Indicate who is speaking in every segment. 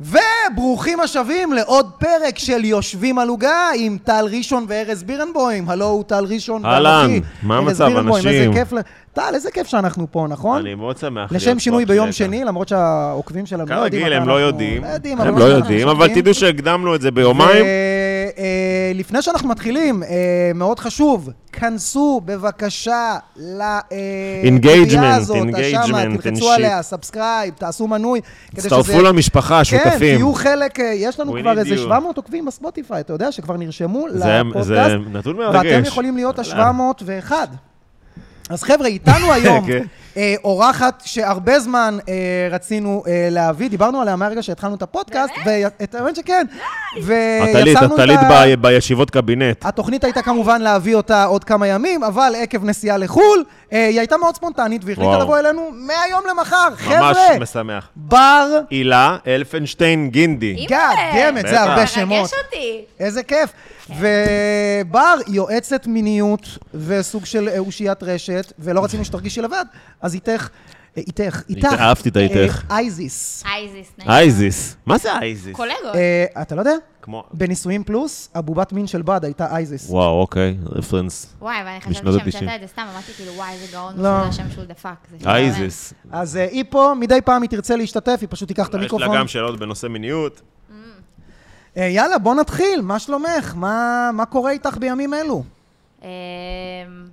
Speaker 1: וברוכים השבים לעוד פרק של יושבים על עוגה עם טל ראשון וארז בירנבוים. הלו, הוא טל ראשון. טל
Speaker 2: אהלן,
Speaker 1: אחי.
Speaker 2: מה
Speaker 1: ארז
Speaker 2: המצב,
Speaker 1: בירנבוים,
Speaker 2: אנשים?
Speaker 1: איזה כיף. ל- טל, איזה כיף שאנחנו פה, נכון?
Speaker 2: אני מאוד שמח להיות
Speaker 1: לשם
Speaker 2: פה
Speaker 1: שינוי
Speaker 2: עכשיו.
Speaker 1: ביום שני, למרות שהעוקבים שלנו לא יודעים.
Speaker 2: כרגיל,
Speaker 1: מתי
Speaker 2: הם לא
Speaker 1: אנחנו-
Speaker 2: יודעים. הם
Speaker 1: אבל
Speaker 2: לא
Speaker 1: אנחנו
Speaker 2: יודעים, אבל
Speaker 1: משודרים.
Speaker 2: תדעו שהקדמנו את זה ביומיים.
Speaker 1: אה, אה, לפני שאנחנו מתחילים, אה, מאוד חשוב, כנסו בבקשה לקריאה
Speaker 2: Engagement,
Speaker 1: הזאת,
Speaker 2: engagement
Speaker 1: השמה,
Speaker 2: and
Speaker 1: תלחצו
Speaker 2: shit.
Speaker 1: עליה, סאבסקרייב, תעשו מנוי, כדי
Speaker 2: הצטרפו למשפחה,
Speaker 1: כן,
Speaker 2: שותפים.
Speaker 1: תהיו חלק, אה, יש לנו
Speaker 2: We
Speaker 1: כבר
Speaker 2: need
Speaker 1: איזה
Speaker 2: you.
Speaker 1: 700 עוקבים בספוטיפיי, אתה יודע שכבר נרשמו
Speaker 2: זה-
Speaker 1: לפודקאסט,
Speaker 2: זה נתון
Speaker 1: ואתם
Speaker 2: מרגש.
Speaker 1: יכולים להיות ה-701. אז חבר'ה, איתנו היום
Speaker 2: כן.
Speaker 1: אה, אורחת שהרבה זמן אה, רצינו אה, להביא, דיברנו עליה מהרגע שהתחלנו את הפודקאסט, ואת האמת שכן,
Speaker 2: הטלית,
Speaker 1: ויצרנו אה, את
Speaker 2: הטלית
Speaker 1: ה... אה,
Speaker 2: ב- בישיבות קבינט.
Speaker 1: התוכנית הייתה כמובן להביא אותה עוד כמה ימים, אבל עקב נסיעה לחו"ל, אה, היא הייתה מאוד ספונטנית והחליטה
Speaker 2: וואו.
Speaker 1: לבוא אלינו מהיום למחר.
Speaker 2: ממש
Speaker 1: חבר'ה,
Speaker 2: משמח.
Speaker 1: בר
Speaker 2: הילה אלפנשטיין גינדי.
Speaker 1: God damn it, זה הרבה
Speaker 2: בטח.
Speaker 1: שמות.
Speaker 3: מרגש אותי. כן.
Speaker 1: איזה כיף. ובר יועצת מיניות וסוג של אה, אושיית רשת, ולא רצינו שתרגישי לבד, אז איתך, אה, איתך, איתך.
Speaker 2: אהבתי את
Speaker 1: אה,
Speaker 2: האיתך.
Speaker 1: אייזיס.
Speaker 3: אייזיס, נעים.
Speaker 2: אייזיס. מה זה אייזיס?
Speaker 3: קולגות.
Speaker 1: אה, אתה לא יודע?
Speaker 2: כמו...
Speaker 1: בנישואים פלוס, הבובת מין של בד הייתה אייזיס.
Speaker 2: וואו, אוקיי, רפרנס.
Speaker 3: וואי, אבל אני חשבתי
Speaker 2: בשנות ה-תשעים.
Speaker 3: שהמצאת את זה סתם, אמרתי כאילו, וואי, איזה גאון,
Speaker 1: לא.
Speaker 3: זה השם שהוא דפק. זה
Speaker 1: אה,
Speaker 3: כאילו, שטויות.
Speaker 2: אייזיס.
Speaker 1: אז אה, היא פה, מדי פעם היא תרצה להשתתף, היא פשוט תיקח את
Speaker 2: יש לה
Speaker 1: המיקרופון.
Speaker 2: גם שאלות בנושא מיניות.
Speaker 1: אה, יאללה, בוא נתחיל, מה שלומך? מה מה קורה איתך בימים אלו?
Speaker 3: אה, אמ,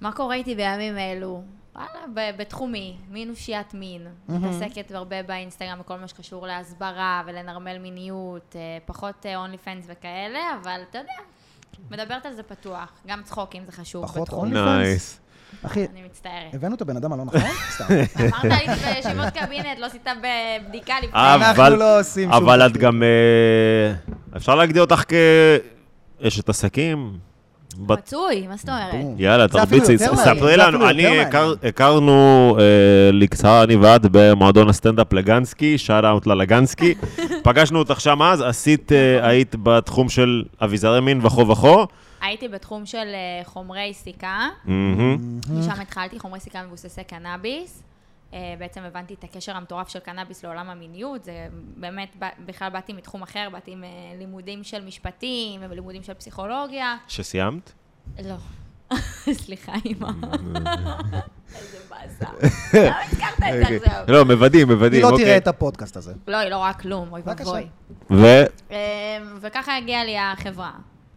Speaker 3: מה קורה איתי בימים אלו? וואלה, ב- בתחומי, מין אושיית מין. מתעסקת הרבה באינסטגרם בכל מה שקשור להסברה ולנרמל מיניות, אה, פחות אונלי פנס וכאלה, אבל אתה יודע, מדברת על זה פתוח. גם צחוקים זה חשוב.
Speaker 1: פחות
Speaker 3: בתחום.
Speaker 1: אונלי פנס?
Speaker 2: נייס.
Speaker 1: אחי,
Speaker 3: אני מצטערת.
Speaker 1: הבאנו את הבן אדם הלא נכון? סתם.
Speaker 3: אמרת לי בישיבות קבינט, לא עשית בדיקה לפני.
Speaker 2: אה,
Speaker 1: אנחנו
Speaker 2: אבל-
Speaker 1: לא עושים שום
Speaker 2: אבל את
Speaker 1: תקציב.
Speaker 2: גם... אה, אפשר להגדיר אותך כאשת עסקים? בת-
Speaker 3: מצוי, מה זאת אומרת?
Speaker 2: יאללה,
Speaker 1: כן. זה אפילו
Speaker 2: תרביצי,
Speaker 1: יותר מעניין,
Speaker 2: ספרי
Speaker 1: זה אפילו
Speaker 2: לנו,
Speaker 1: יותר
Speaker 2: אני
Speaker 1: מעניין.
Speaker 2: הכר- הכרנו אה, לקצר אני ואת במועדון הסטנדאפ לגנסקי, שאט אאוט ללגנסקי, פגשנו אותך שם אז, עשית, אה, היית בתחום של אביזרי מין וכו וכו,
Speaker 3: הייתי בתחום של אה, חומרי סיכה,
Speaker 2: מהמם.
Speaker 1: Mm-hmm.
Speaker 3: משם התחלתי, חומרי סיכה מבוססי קנאביס. אה, בעצם הבנתי את הקשר המטורף של קנאביס לעולם המיניות, זה באמת, ב- בכלל באתי מתחום אחר, באתי עם אה, לימודים של משפטים ולימודים של פסיכולוגיה.
Speaker 2: שסיימת?
Speaker 3: לא. סליחה, אימא. איזה באסה. למה הזכרת את זה עכשיו?
Speaker 2: לא, מוודאים,
Speaker 1: היא
Speaker 2: מוודאים,
Speaker 1: כן, לא
Speaker 2: אוקיי.
Speaker 1: תראה את הפודקאסט הזה.
Speaker 3: לא, היא לא רואה כלום, אוי
Speaker 1: בבקשה.
Speaker 3: ואבוי.
Speaker 2: ו...
Speaker 3: אמ, וככה הגיעה לי החברה.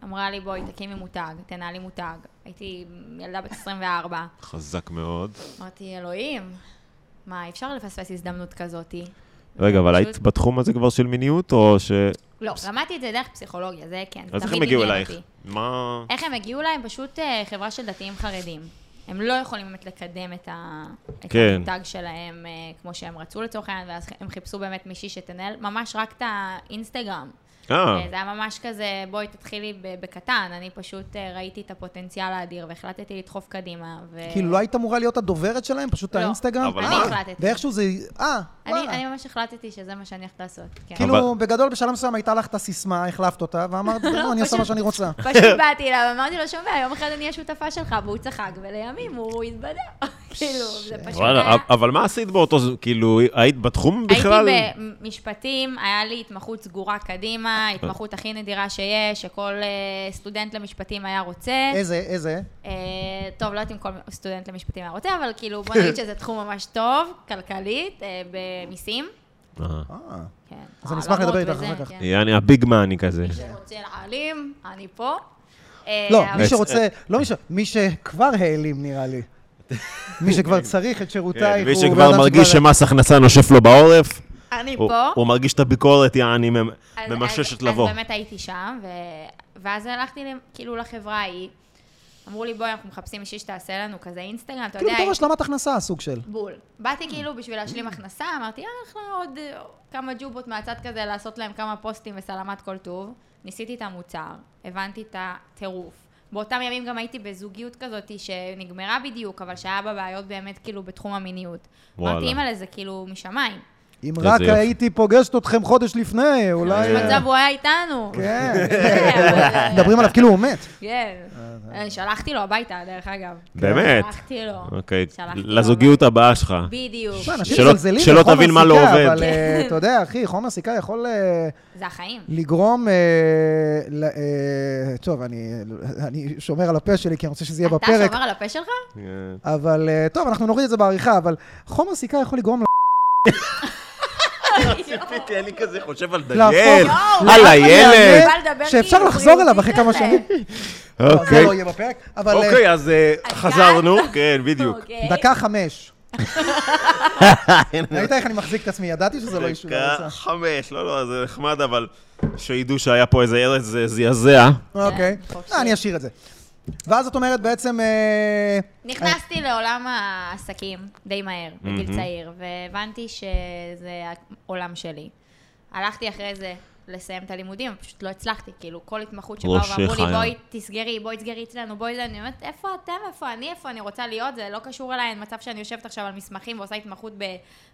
Speaker 3: אמרה לי, בואי, תקימי מותג, תנהלי מותג. הייתי ילדה בת 24.
Speaker 2: חזק מאוד.
Speaker 3: אמרתי, אלוהים, מה, אי אפשר לפספס הזדמנות כזאתי.
Speaker 2: רגע, אבל היית
Speaker 3: פשוט-
Speaker 2: בתחום הזה כבר של מיניות, או ש...
Speaker 3: לא, למדתי את זה דרך פסיכולוגיה, זה כן, זה
Speaker 2: אז איך
Speaker 3: תמיד
Speaker 2: הם הגיעו
Speaker 3: עניין
Speaker 2: אלייך?
Speaker 3: אותי.
Speaker 2: מה...
Speaker 3: איך הם הגיעו אליי? הם פשוט אה, חברה של דתיים חרדים. הם לא יכולים באמת לקדם את, ה... את
Speaker 2: כן.
Speaker 3: המותג שלהם אה, כמו שהם רצו לצורך העניין, ואז הם חיפשו באמת מישהי שתנהל ממש רק את האינסטגרם.
Speaker 2: אה,
Speaker 3: אה, זה היה ממש כזה, בואי תתחילי ב- בקטן, אני פשוט אה, ראיתי את הפוטנציאל האדיר והחלטתי לדחוף קדימה. ו...
Speaker 1: כאילו, לא היית אמורה להיות הדוברת שלהם, פשוט
Speaker 3: לא.
Speaker 1: האינסטגרם?
Speaker 2: אבל
Speaker 1: אה,
Speaker 2: אני
Speaker 3: החלטתי.
Speaker 1: ואיכשהו זה... אה,
Speaker 3: אני, אני
Speaker 1: וואלה.
Speaker 3: ממש החלטתי שזה מה שאני הולכת לעשות. כן.
Speaker 1: כאילו,
Speaker 2: אבל-
Speaker 1: בגדול, בשלב מסוים הייתה לך את הסיסמה, החלפת אותה, ואמרת, לא, אני עושה מה
Speaker 3: פשוט-
Speaker 1: שאני רוצה.
Speaker 3: פשוט באתי אליו, אמרתי לו, שומע, יום אחד אני אהיה שותפה שלך, והוא צחק, ולימים הוא התבדל. כאילו, זה פשוט
Speaker 2: וואלה,
Speaker 3: היה...
Speaker 2: אב- אבל מה עשית באותו... ז- כאילו, היית בתחום
Speaker 3: הייתי
Speaker 2: בכלל?
Speaker 3: במשפטים, היה לי התמחות סגורה קדימה,
Speaker 2: אה.
Speaker 3: התמחות הכי נדירה שיש, שכל אה, סטודנט למשפטים היה רוצה.
Speaker 1: איזה, איזה?
Speaker 3: אה, טוב, לא יודעת אם כל סטודנט למשפטים היה רוצה, אבל כאילו, בוא נגיד שזה תחום ממש טוב, כלכלית, אה, במיסים.
Speaker 2: אה.
Speaker 1: אה,
Speaker 3: כן.
Speaker 1: אז אני אשמח לדבר איתך אחר כך.
Speaker 3: כן.
Speaker 2: יעני, הביג מאני כזה.
Speaker 3: מי שרוצה להעלים, אני פה. אה,
Speaker 1: לא,
Speaker 3: אבל-
Speaker 1: מי שרוצה, לא מי ש... מי שכבר העלים, נראה לי. מי שכבר צריך את שירותייך,
Speaker 2: כן, מי
Speaker 1: הוא בן
Speaker 2: שכבר
Speaker 1: אדם
Speaker 2: מרגיש שמס הכנסה נושף לו בעורף,
Speaker 3: אני
Speaker 2: הוא-
Speaker 3: פה.
Speaker 2: הוא מרגיש את הביקורת, יעני, ממ-
Speaker 3: אז-
Speaker 2: ממששת
Speaker 3: אז-
Speaker 2: לבוא.
Speaker 3: אז באמת הייתי שם, ו... ואז הלכתי למ- כאילו לחברה ההיא, אמרו לי, בואי, אנחנו מחפשים מישהי שתעשה לנו כזה אינסטגרם, אתה
Speaker 1: כאילו,
Speaker 3: יודע,
Speaker 1: בתור השלמת הכנסה, סוג של.
Speaker 3: בול.
Speaker 2: Mm.
Speaker 3: באתי כאילו בשביל להשלים הכנסה, אמרתי, אחלה, עוד אה, כמה ג'ובות מהצד כזה, לעשות להם כמה פוסטים וסלמת כל טוב. ניסיתי את המוצר, הבנתי את הטירוף. באותם ימים גם הייתי בזוגיות כזאת שנגמרה בדיוק, אבל שהיה בה בעיות באמת כאילו בתחום המיניות.
Speaker 2: וואלה.
Speaker 3: אמרתי, אימא'לה, זה כאילו משמיים.
Speaker 1: אם
Speaker 2: איזה
Speaker 1: רק
Speaker 2: יופי.
Speaker 1: הייתי פוגשת אתכם חודש לפני, אולי...
Speaker 2: אה.
Speaker 3: מצב הוא היה איתנו.
Speaker 1: כן.
Speaker 3: כן, אבל-
Speaker 1: מדברים עליו כאילו הוא מת.
Speaker 3: כן. אני שלחתי לו הביתה, דרך אגב.
Speaker 2: אה, באמת?
Speaker 3: שלחתי לו.
Speaker 2: אוקיי,
Speaker 3: שלחתי לו
Speaker 2: לזוגיות הבאה שלך.
Speaker 3: בדיוק.
Speaker 1: מה, אנשים
Speaker 2: שלא-
Speaker 1: מזלזלים
Speaker 2: שלא
Speaker 1: בחומר
Speaker 2: תבין מה
Speaker 1: סיכה,
Speaker 2: לא עובד.
Speaker 1: אבל אה, אתה יודע, אחי, חומר סיכה יכול אה,
Speaker 3: זה החיים.
Speaker 1: לגרום... אה, ל- אה, טוב, אני אני שומר על הפה שלי, כי אני רוצה שזה יהיה
Speaker 3: אתה
Speaker 1: בפרק.
Speaker 3: שומר על הפה שלך?
Speaker 1: אבל אה, טוב, אנחנו נוריד את זה בעריכה, אבל חומר סיכה יכול לגרום
Speaker 2: ציפיתי, אני כזה חושב על
Speaker 1: דניאל,
Speaker 3: יואו,
Speaker 2: על
Speaker 1: למה
Speaker 2: הילד.
Speaker 1: מעניין?
Speaker 3: בא לדבר
Speaker 1: שאפשר
Speaker 3: כאילו
Speaker 1: לחזור אליו
Speaker 3: בריאותי
Speaker 1: אחרי כמה
Speaker 3: כזה.
Speaker 1: שנים. טוב, זה
Speaker 2: אוקיי,
Speaker 1: לא יהיה בפרק, אבל אה,
Speaker 2: אוקיי, אז אה,
Speaker 3: אז
Speaker 2: חזרנו, כן, בדיוק.
Speaker 3: אוקיי.
Speaker 1: דקה חמש. ראית איך אני מחזיק את עצמי? ידעתי שזה לא אישור.
Speaker 2: דקה חמש, לא, לא, זה נחמד, אבל שידעו שהיה פה איזה ארץ זה זעזע.
Speaker 1: אוקיי.
Speaker 3: כן, חופשי.
Speaker 1: אה, אני אשאיר את זה. ואז את אומרת בעצם... אה,
Speaker 3: נכנסתי לעולם העסקים די מהר, בגיל צעיר, והבנתי שזה העולם שלי. הלכתי אחרי זה לסיים את הלימודים, פשוט לא הצלחתי, כאילו, כל התמחות שבאו
Speaker 2: ראש
Speaker 3: ואמרו לי,
Speaker 2: חיה.
Speaker 3: בואי תסגרי, בואי תסגרי אצלנו, בואי זה, אני אומרת, איפה אתם, איפה אני, איפה אני רוצה להיות, זה לא קשור אליי, אין מצב שאני יושבת עכשיו על מסמכים ועושה התמחות ב,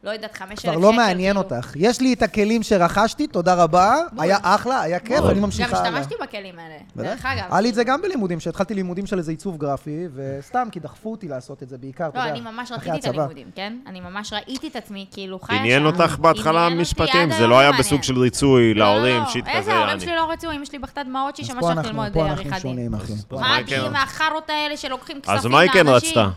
Speaker 3: לא יודעת, חמש אלף שקל.
Speaker 1: כבר לא מעניין
Speaker 3: כאילו.
Speaker 1: אותך. יש לי את הכלים שרכשתי, תודה רבה.
Speaker 3: בול.
Speaker 1: היה אחלה, היה כיף,
Speaker 2: בול.
Speaker 1: אני
Speaker 3: גם
Speaker 1: ממשיכה הלאה.
Speaker 3: השתמשתי בכלים האלה,
Speaker 1: בטח.
Speaker 3: דרך אגב.
Speaker 1: היה לי את זה
Speaker 3: כאילו.
Speaker 1: גם בלימודים, שהתחלתי לימודים של איזה עיצוב גרפי, וסתם, כי דחפו אותי לעשות את זה בעיקר, אתה
Speaker 3: לא,
Speaker 1: יודע,
Speaker 3: אני ממש
Speaker 1: אחרי
Speaker 3: רציתי את
Speaker 1: הצבא.
Speaker 3: הלימודים, כן? אני ממש ראיתי את עצמי, כאילו, חיה שם.
Speaker 2: עניין אותך בהתחלה
Speaker 3: עניין אותי,
Speaker 2: משפטים,
Speaker 3: עד
Speaker 2: זה
Speaker 3: היום
Speaker 2: לא היה
Speaker 3: מעניין.
Speaker 2: בסוג של ריצוי
Speaker 3: לא,
Speaker 2: להורים,
Speaker 3: לא,
Speaker 2: שיט
Speaker 3: איזה
Speaker 2: כזה,
Speaker 3: ההורים
Speaker 2: אני-
Speaker 3: שלי לא רצו, אמא שלי בכתה דמעות שהיא
Speaker 1: אז
Speaker 3: שמעה
Speaker 1: פה
Speaker 3: שהולכת
Speaker 1: אנחנו,
Speaker 3: ללמוד
Speaker 1: פה
Speaker 3: אה,
Speaker 1: אנחנו
Speaker 3: עריכת דין.
Speaker 1: שונים, אחי.
Speaker 2: אז מה
Speaker 3: מה
Speaker 2: היא כן
Speaker 3: עם
Speaker 2: רצתה?
Speaker 3: החארות האלה שלוקחים כספים
Speaker 2: אז
Speaker 3: לאנשים?
Speaker 2: מה היא כן רצתה?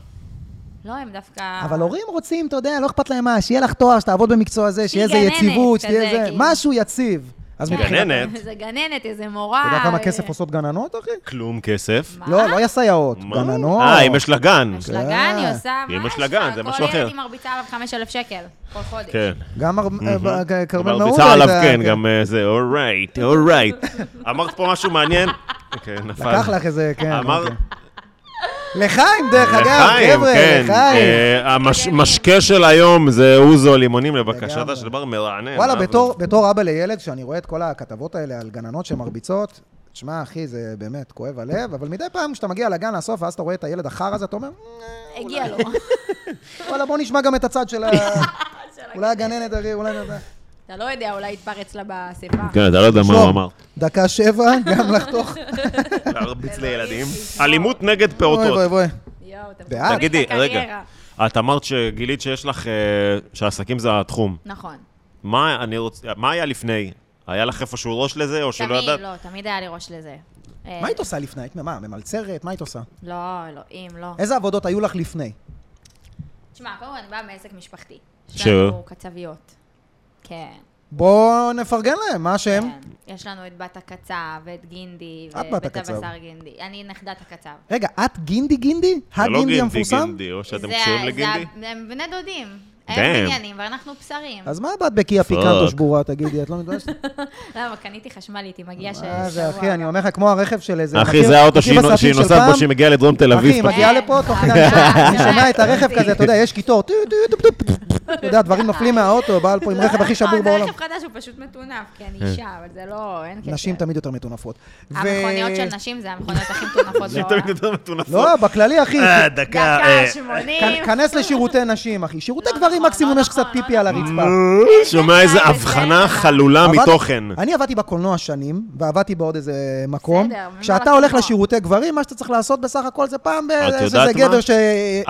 Speaker 3: לא, הם דווקא...
Speaker 1: אבל הורים רוצים, אתה יודע, לא אכפת להם מה, שיהיה לך תואר, שתעבוד במקצוע הזה, שיהיה איזה
Speaker 3: גננת,
Speaker 1: יציבות, שיהיה
Speaker 3: כזה,
Speaker 1: איזה...
Speaker 3: כאילו.
Speaker 1: משהו יציב. אז
Speaker 3: כן.
Speaker 1: מבחינת...
Speaker 2: גננת.
Speaker 1: אתה
Speaker 3: איזה גננת, איזה מורה.
Speaker 1: יודע כמה
Speaker 3: אה,
Speaker 1: כסף עושות גננות, אחי?
Speaker 2: כלום כסף.
Speaker 3: מה?
Speaker 1: לא, לא היה סייעות,
Speaker 2: מה?
Speaker 1: גננות.
Speaker 2: אה, אם יש לה גן.
Speaker 3: יש לה גן, היא
Speaker 1: כן.
Speaker 3: עושה...
Speaker 2: אם
Speaker 3: מה
Speaker 2: יש לה
Speaker 3: יש
Speaker 2: גן,
Speaker 3: לה?
Speaker 2: זה משהו
Speaker 3: כל
Speaker 2: אחר.
Speaker 3: ילד היא מרביצה עליו 5,000 שקל, כל חודש.
Speaker 2: כן.
Speaker 1: גם הר- אה, ב- כרמל מעודה
Speaker 2: מרביצה עליו, כן, גם אה, זה, אורייט, אורייט. אמרת פה משהו מעניין? כן, נפל.
Speaker 1: לקח לך איזה, כן.
Speaker 2: אמר...
Speaker 1: אוקיי. לחיים, דרך אגב,
Speaker 2: לחיים,
Speaker 1: חבר'ה,
Speaker 2: כן.
Speaker 1: לחיים.
Speaker 2: אה, המש- משקה של היום זה אוזו לימונים לבקשתה
Speaker 1: לגמרי.
Speaker 2: של בר מרענן.
Speaker 1: וואלה,
Speaker 2: אה,
Speaker 1: בתור- בתור אבא לילד, כשאני רואה את כל הכתבות האלה על גננות שמרביצות, תשמע, אחי, זה באמת כואב הלב, אבל מדי פעם כשאתה מגיע לגן לסוף, ואז אתה רואה את הילד החרא הזה, אתה אומר, "אה,
Speaker 3: הגיע לו.
Speaker 1: וואלה, בוא נשמע גם את הצד של ה... אולי הגננת, אחי, אולי... נדע."
Speaker 3: אתה לא יודע, אולי התפרץ לה באספה.
Speaker 2: כן, אתה לא יודע מה הוא
Speaker 1: שלום,
Speaker 2: אמר.
Speaker 1: דקה שבע, גם לחתוך.
Speaker 2: להרביץ לילדים.
Speaker 3: שישמור.
Speaker 2: אלימות נגד
Speaker 1: אוי
Speaker 2: פעוטות.
Speaker 1: אוי אוי.
Speaker 3: יואו, אתם
Speaker 1: בעד.
Speaker 3: חושבים
Speaker 2: תגידי,
Speaker 3: את
Speaker 2: רגע,
Speaker 3: הקריירה.
Speaker 2: את אמרת שגילית שיש לך, אה, שעסקים זה התחום.
Speaker 3: נכון.
Speaker 2: מה אני רוצה, מה היה לפני? היה לך איפשהו ראש לזה, או שלא
Speaker 3: תמיד,
Speaker 2: ידעת?
Speaker 3: לא, תמיד היה לי ראש לזה. אה,
Speaker 1: מה היית עושה לפני? היית מה, ממלצרת? מה היית עושה?
Speaker 3: לא, אלוהים, לא.
Speaker 1: איזה עבודות היו לך לפני?
Speaker 3: תשמע, קודם כל אני באה מעסק משפחתי. יש
Speaker 2: ש-
Speaker 3: לנו קצביות. כן.
Speaker 1: בואו נפרגן להם, מה השם?
Speaker 3: כן. יש לנו את בת הקצב, ואת גינדי,
Speaker 1: את בת
Speaker 3: ואת
Speaker 1: הקצב.
Speaker 3: הבשר גינדי. אני נכדת הקצב.
Speaker 1: רגע, את גינדי גינדי?
Speaker 2: זה לא
Speaker 1: הגינדי המפורסם?
Speaker 2: גינדי, או שאתם
Speaker 3: זה-
Speaker 2: קשורים
Speaker 3: זה-
Speaker 2: לגינדי?
Speaker 3: הם בני דודים.
Speaker 2: Damn.
Speaker 3: הם בניינים, ואנחנו בשרים.
Speaker 1: אז מה באת בקיה פיקנטו שבורה, תגידי, את לא מתביישת?
Speaker 3: למה, לא, קניתי חשמלית, היא מגיעה ש...
Speaker 1: מה אה, זה,
Speaker 3: שבוע
Speaker 1: אחי, אני אומר לך, כמו הרכב של איזה...
Speaker 2: אחי,
Speaker 1: מכיר-
Speaker 2: זה האוטו
Speaker 1: מכיר
Speaker 2: שהיא נו-
Speaker 1: בסרטים
Speaker 2: שהיא
Speaker 1: של
Speaker 2: נוסעת בו
Speaker 1: פעם?
Speaker 2: שהיא מגיעה לדרום תל
Speaker 1: אחי, היא
Speaker 2: אביב.
Speaker 1: מגיעה
Speaker 3: כן,
Speaker 1: לפה תוך כדי...
Speaker 3: חזק,
Speaker 1: אני שומע את הרכב
Speaker 3: חזק.
Speaker 1: כזה, אתה יודע, יש קיטור, טו טו טו טו טו טו, אתה יודע, דברים נופלים מהאוטו, בעל פה עם רכב הכי
Speaker 3: לא,
Speaker 1: שבור
Speaker 3: זה
Speaker 1: בעולם.
Speaker 3: רכב חדש, הוא פשוט מטונף, כי
Speaker 2: אה.
Speaker 3: אני אישה, אבל זה לא, אין קשר.
Speaker 1: נשים תמיד יותר מטונפות. ו-
Speaker 3: המכוניות של נשים זה המכוניות הכי מטונפות
Speaker 2: שהיא
Speaker 3: בעולם.
Speaker 2: תמיד יותר מטונפת.
Speaker 1: לא, בכללי, אחי.
Speaker 2: אה, דקה.
Speaker 3: דקה
Speaker 2: אה,
Speaker 3: 80.
Speaker 1: כ- כנס לשירותי
Speaker 3: אה,
Speaker 1: נשים, אחי. שירותי
Speaker 3: לא
Speaker 1: גברים
Speaker 3: נכון,
Speaker 1: מקסימום
Speaker 3: לא
Speaker 1: יש קצת
Speaker 3: נכון,
Speaker 1: פיפי
Speaker 3: לא
Speaker 1: על
Speaker 3: נכון.
Speaker 1: הרצפה.
Speaker 2: אה, שומע איזה הבחנה חלולה
Speaker 1: עבד-
Speaker 2: אה, מתוכן.
Speaker 1: אני עבדתי בקולנוע שנים, ועבדתי בעוד איזה מקום.
Speaker 3: בסדר, מי
Speaker 1: כשאתה
Speaker 3: הולך
Speaker 1: הולך
Speaker 3: לקולנוע?
Speaker 1: לשירותי גברים, מה שאתה צריך לעשות בסך הכל אה, זה פעם ב...
Speaker 2: את
Speaker 1: יש
Speaker 2: יודעת
Speaker 1: איזה
Speaker 2: מה?
Speaker 1: גבר ש...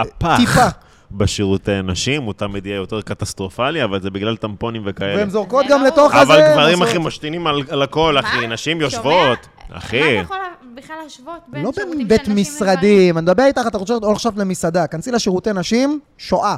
Speaker 1: טיפה.
Speaker 2: הפח בשירותי נשים, הוא תמיד יהיה יותר קטסטרופלי, אבל זה בגלל טמפונים וכאלה.
Speaker 1: והן זורקות
Speaker 3: זה
Speaker 1: גם
Speaker 3: לא-
Speaker 1: לתוך הזה.
Speaker 2: כן. אבל גברים
Speaker 1: מסורת.
Speaker 2: אחי משתינים על על הכל, אחי,
Speaker 3: מה?
Speaker 2: נשים
Speaker 3: שומע?
Speaker 2: יושבות.
Speaker 3: מה
Speaker 2: אחי,
Speaker 3: אתה יכול בכלל להשוות בין
Speaker 1: לא
Speaker 3: שירותים של
Speaker 1: בבית
Speaker 3: נשים
Speaker 1: משרדים, אני מדבר איתך, אתה רוצה או עכשיו למסעדה, כנסי לשירותי נשים, שואה.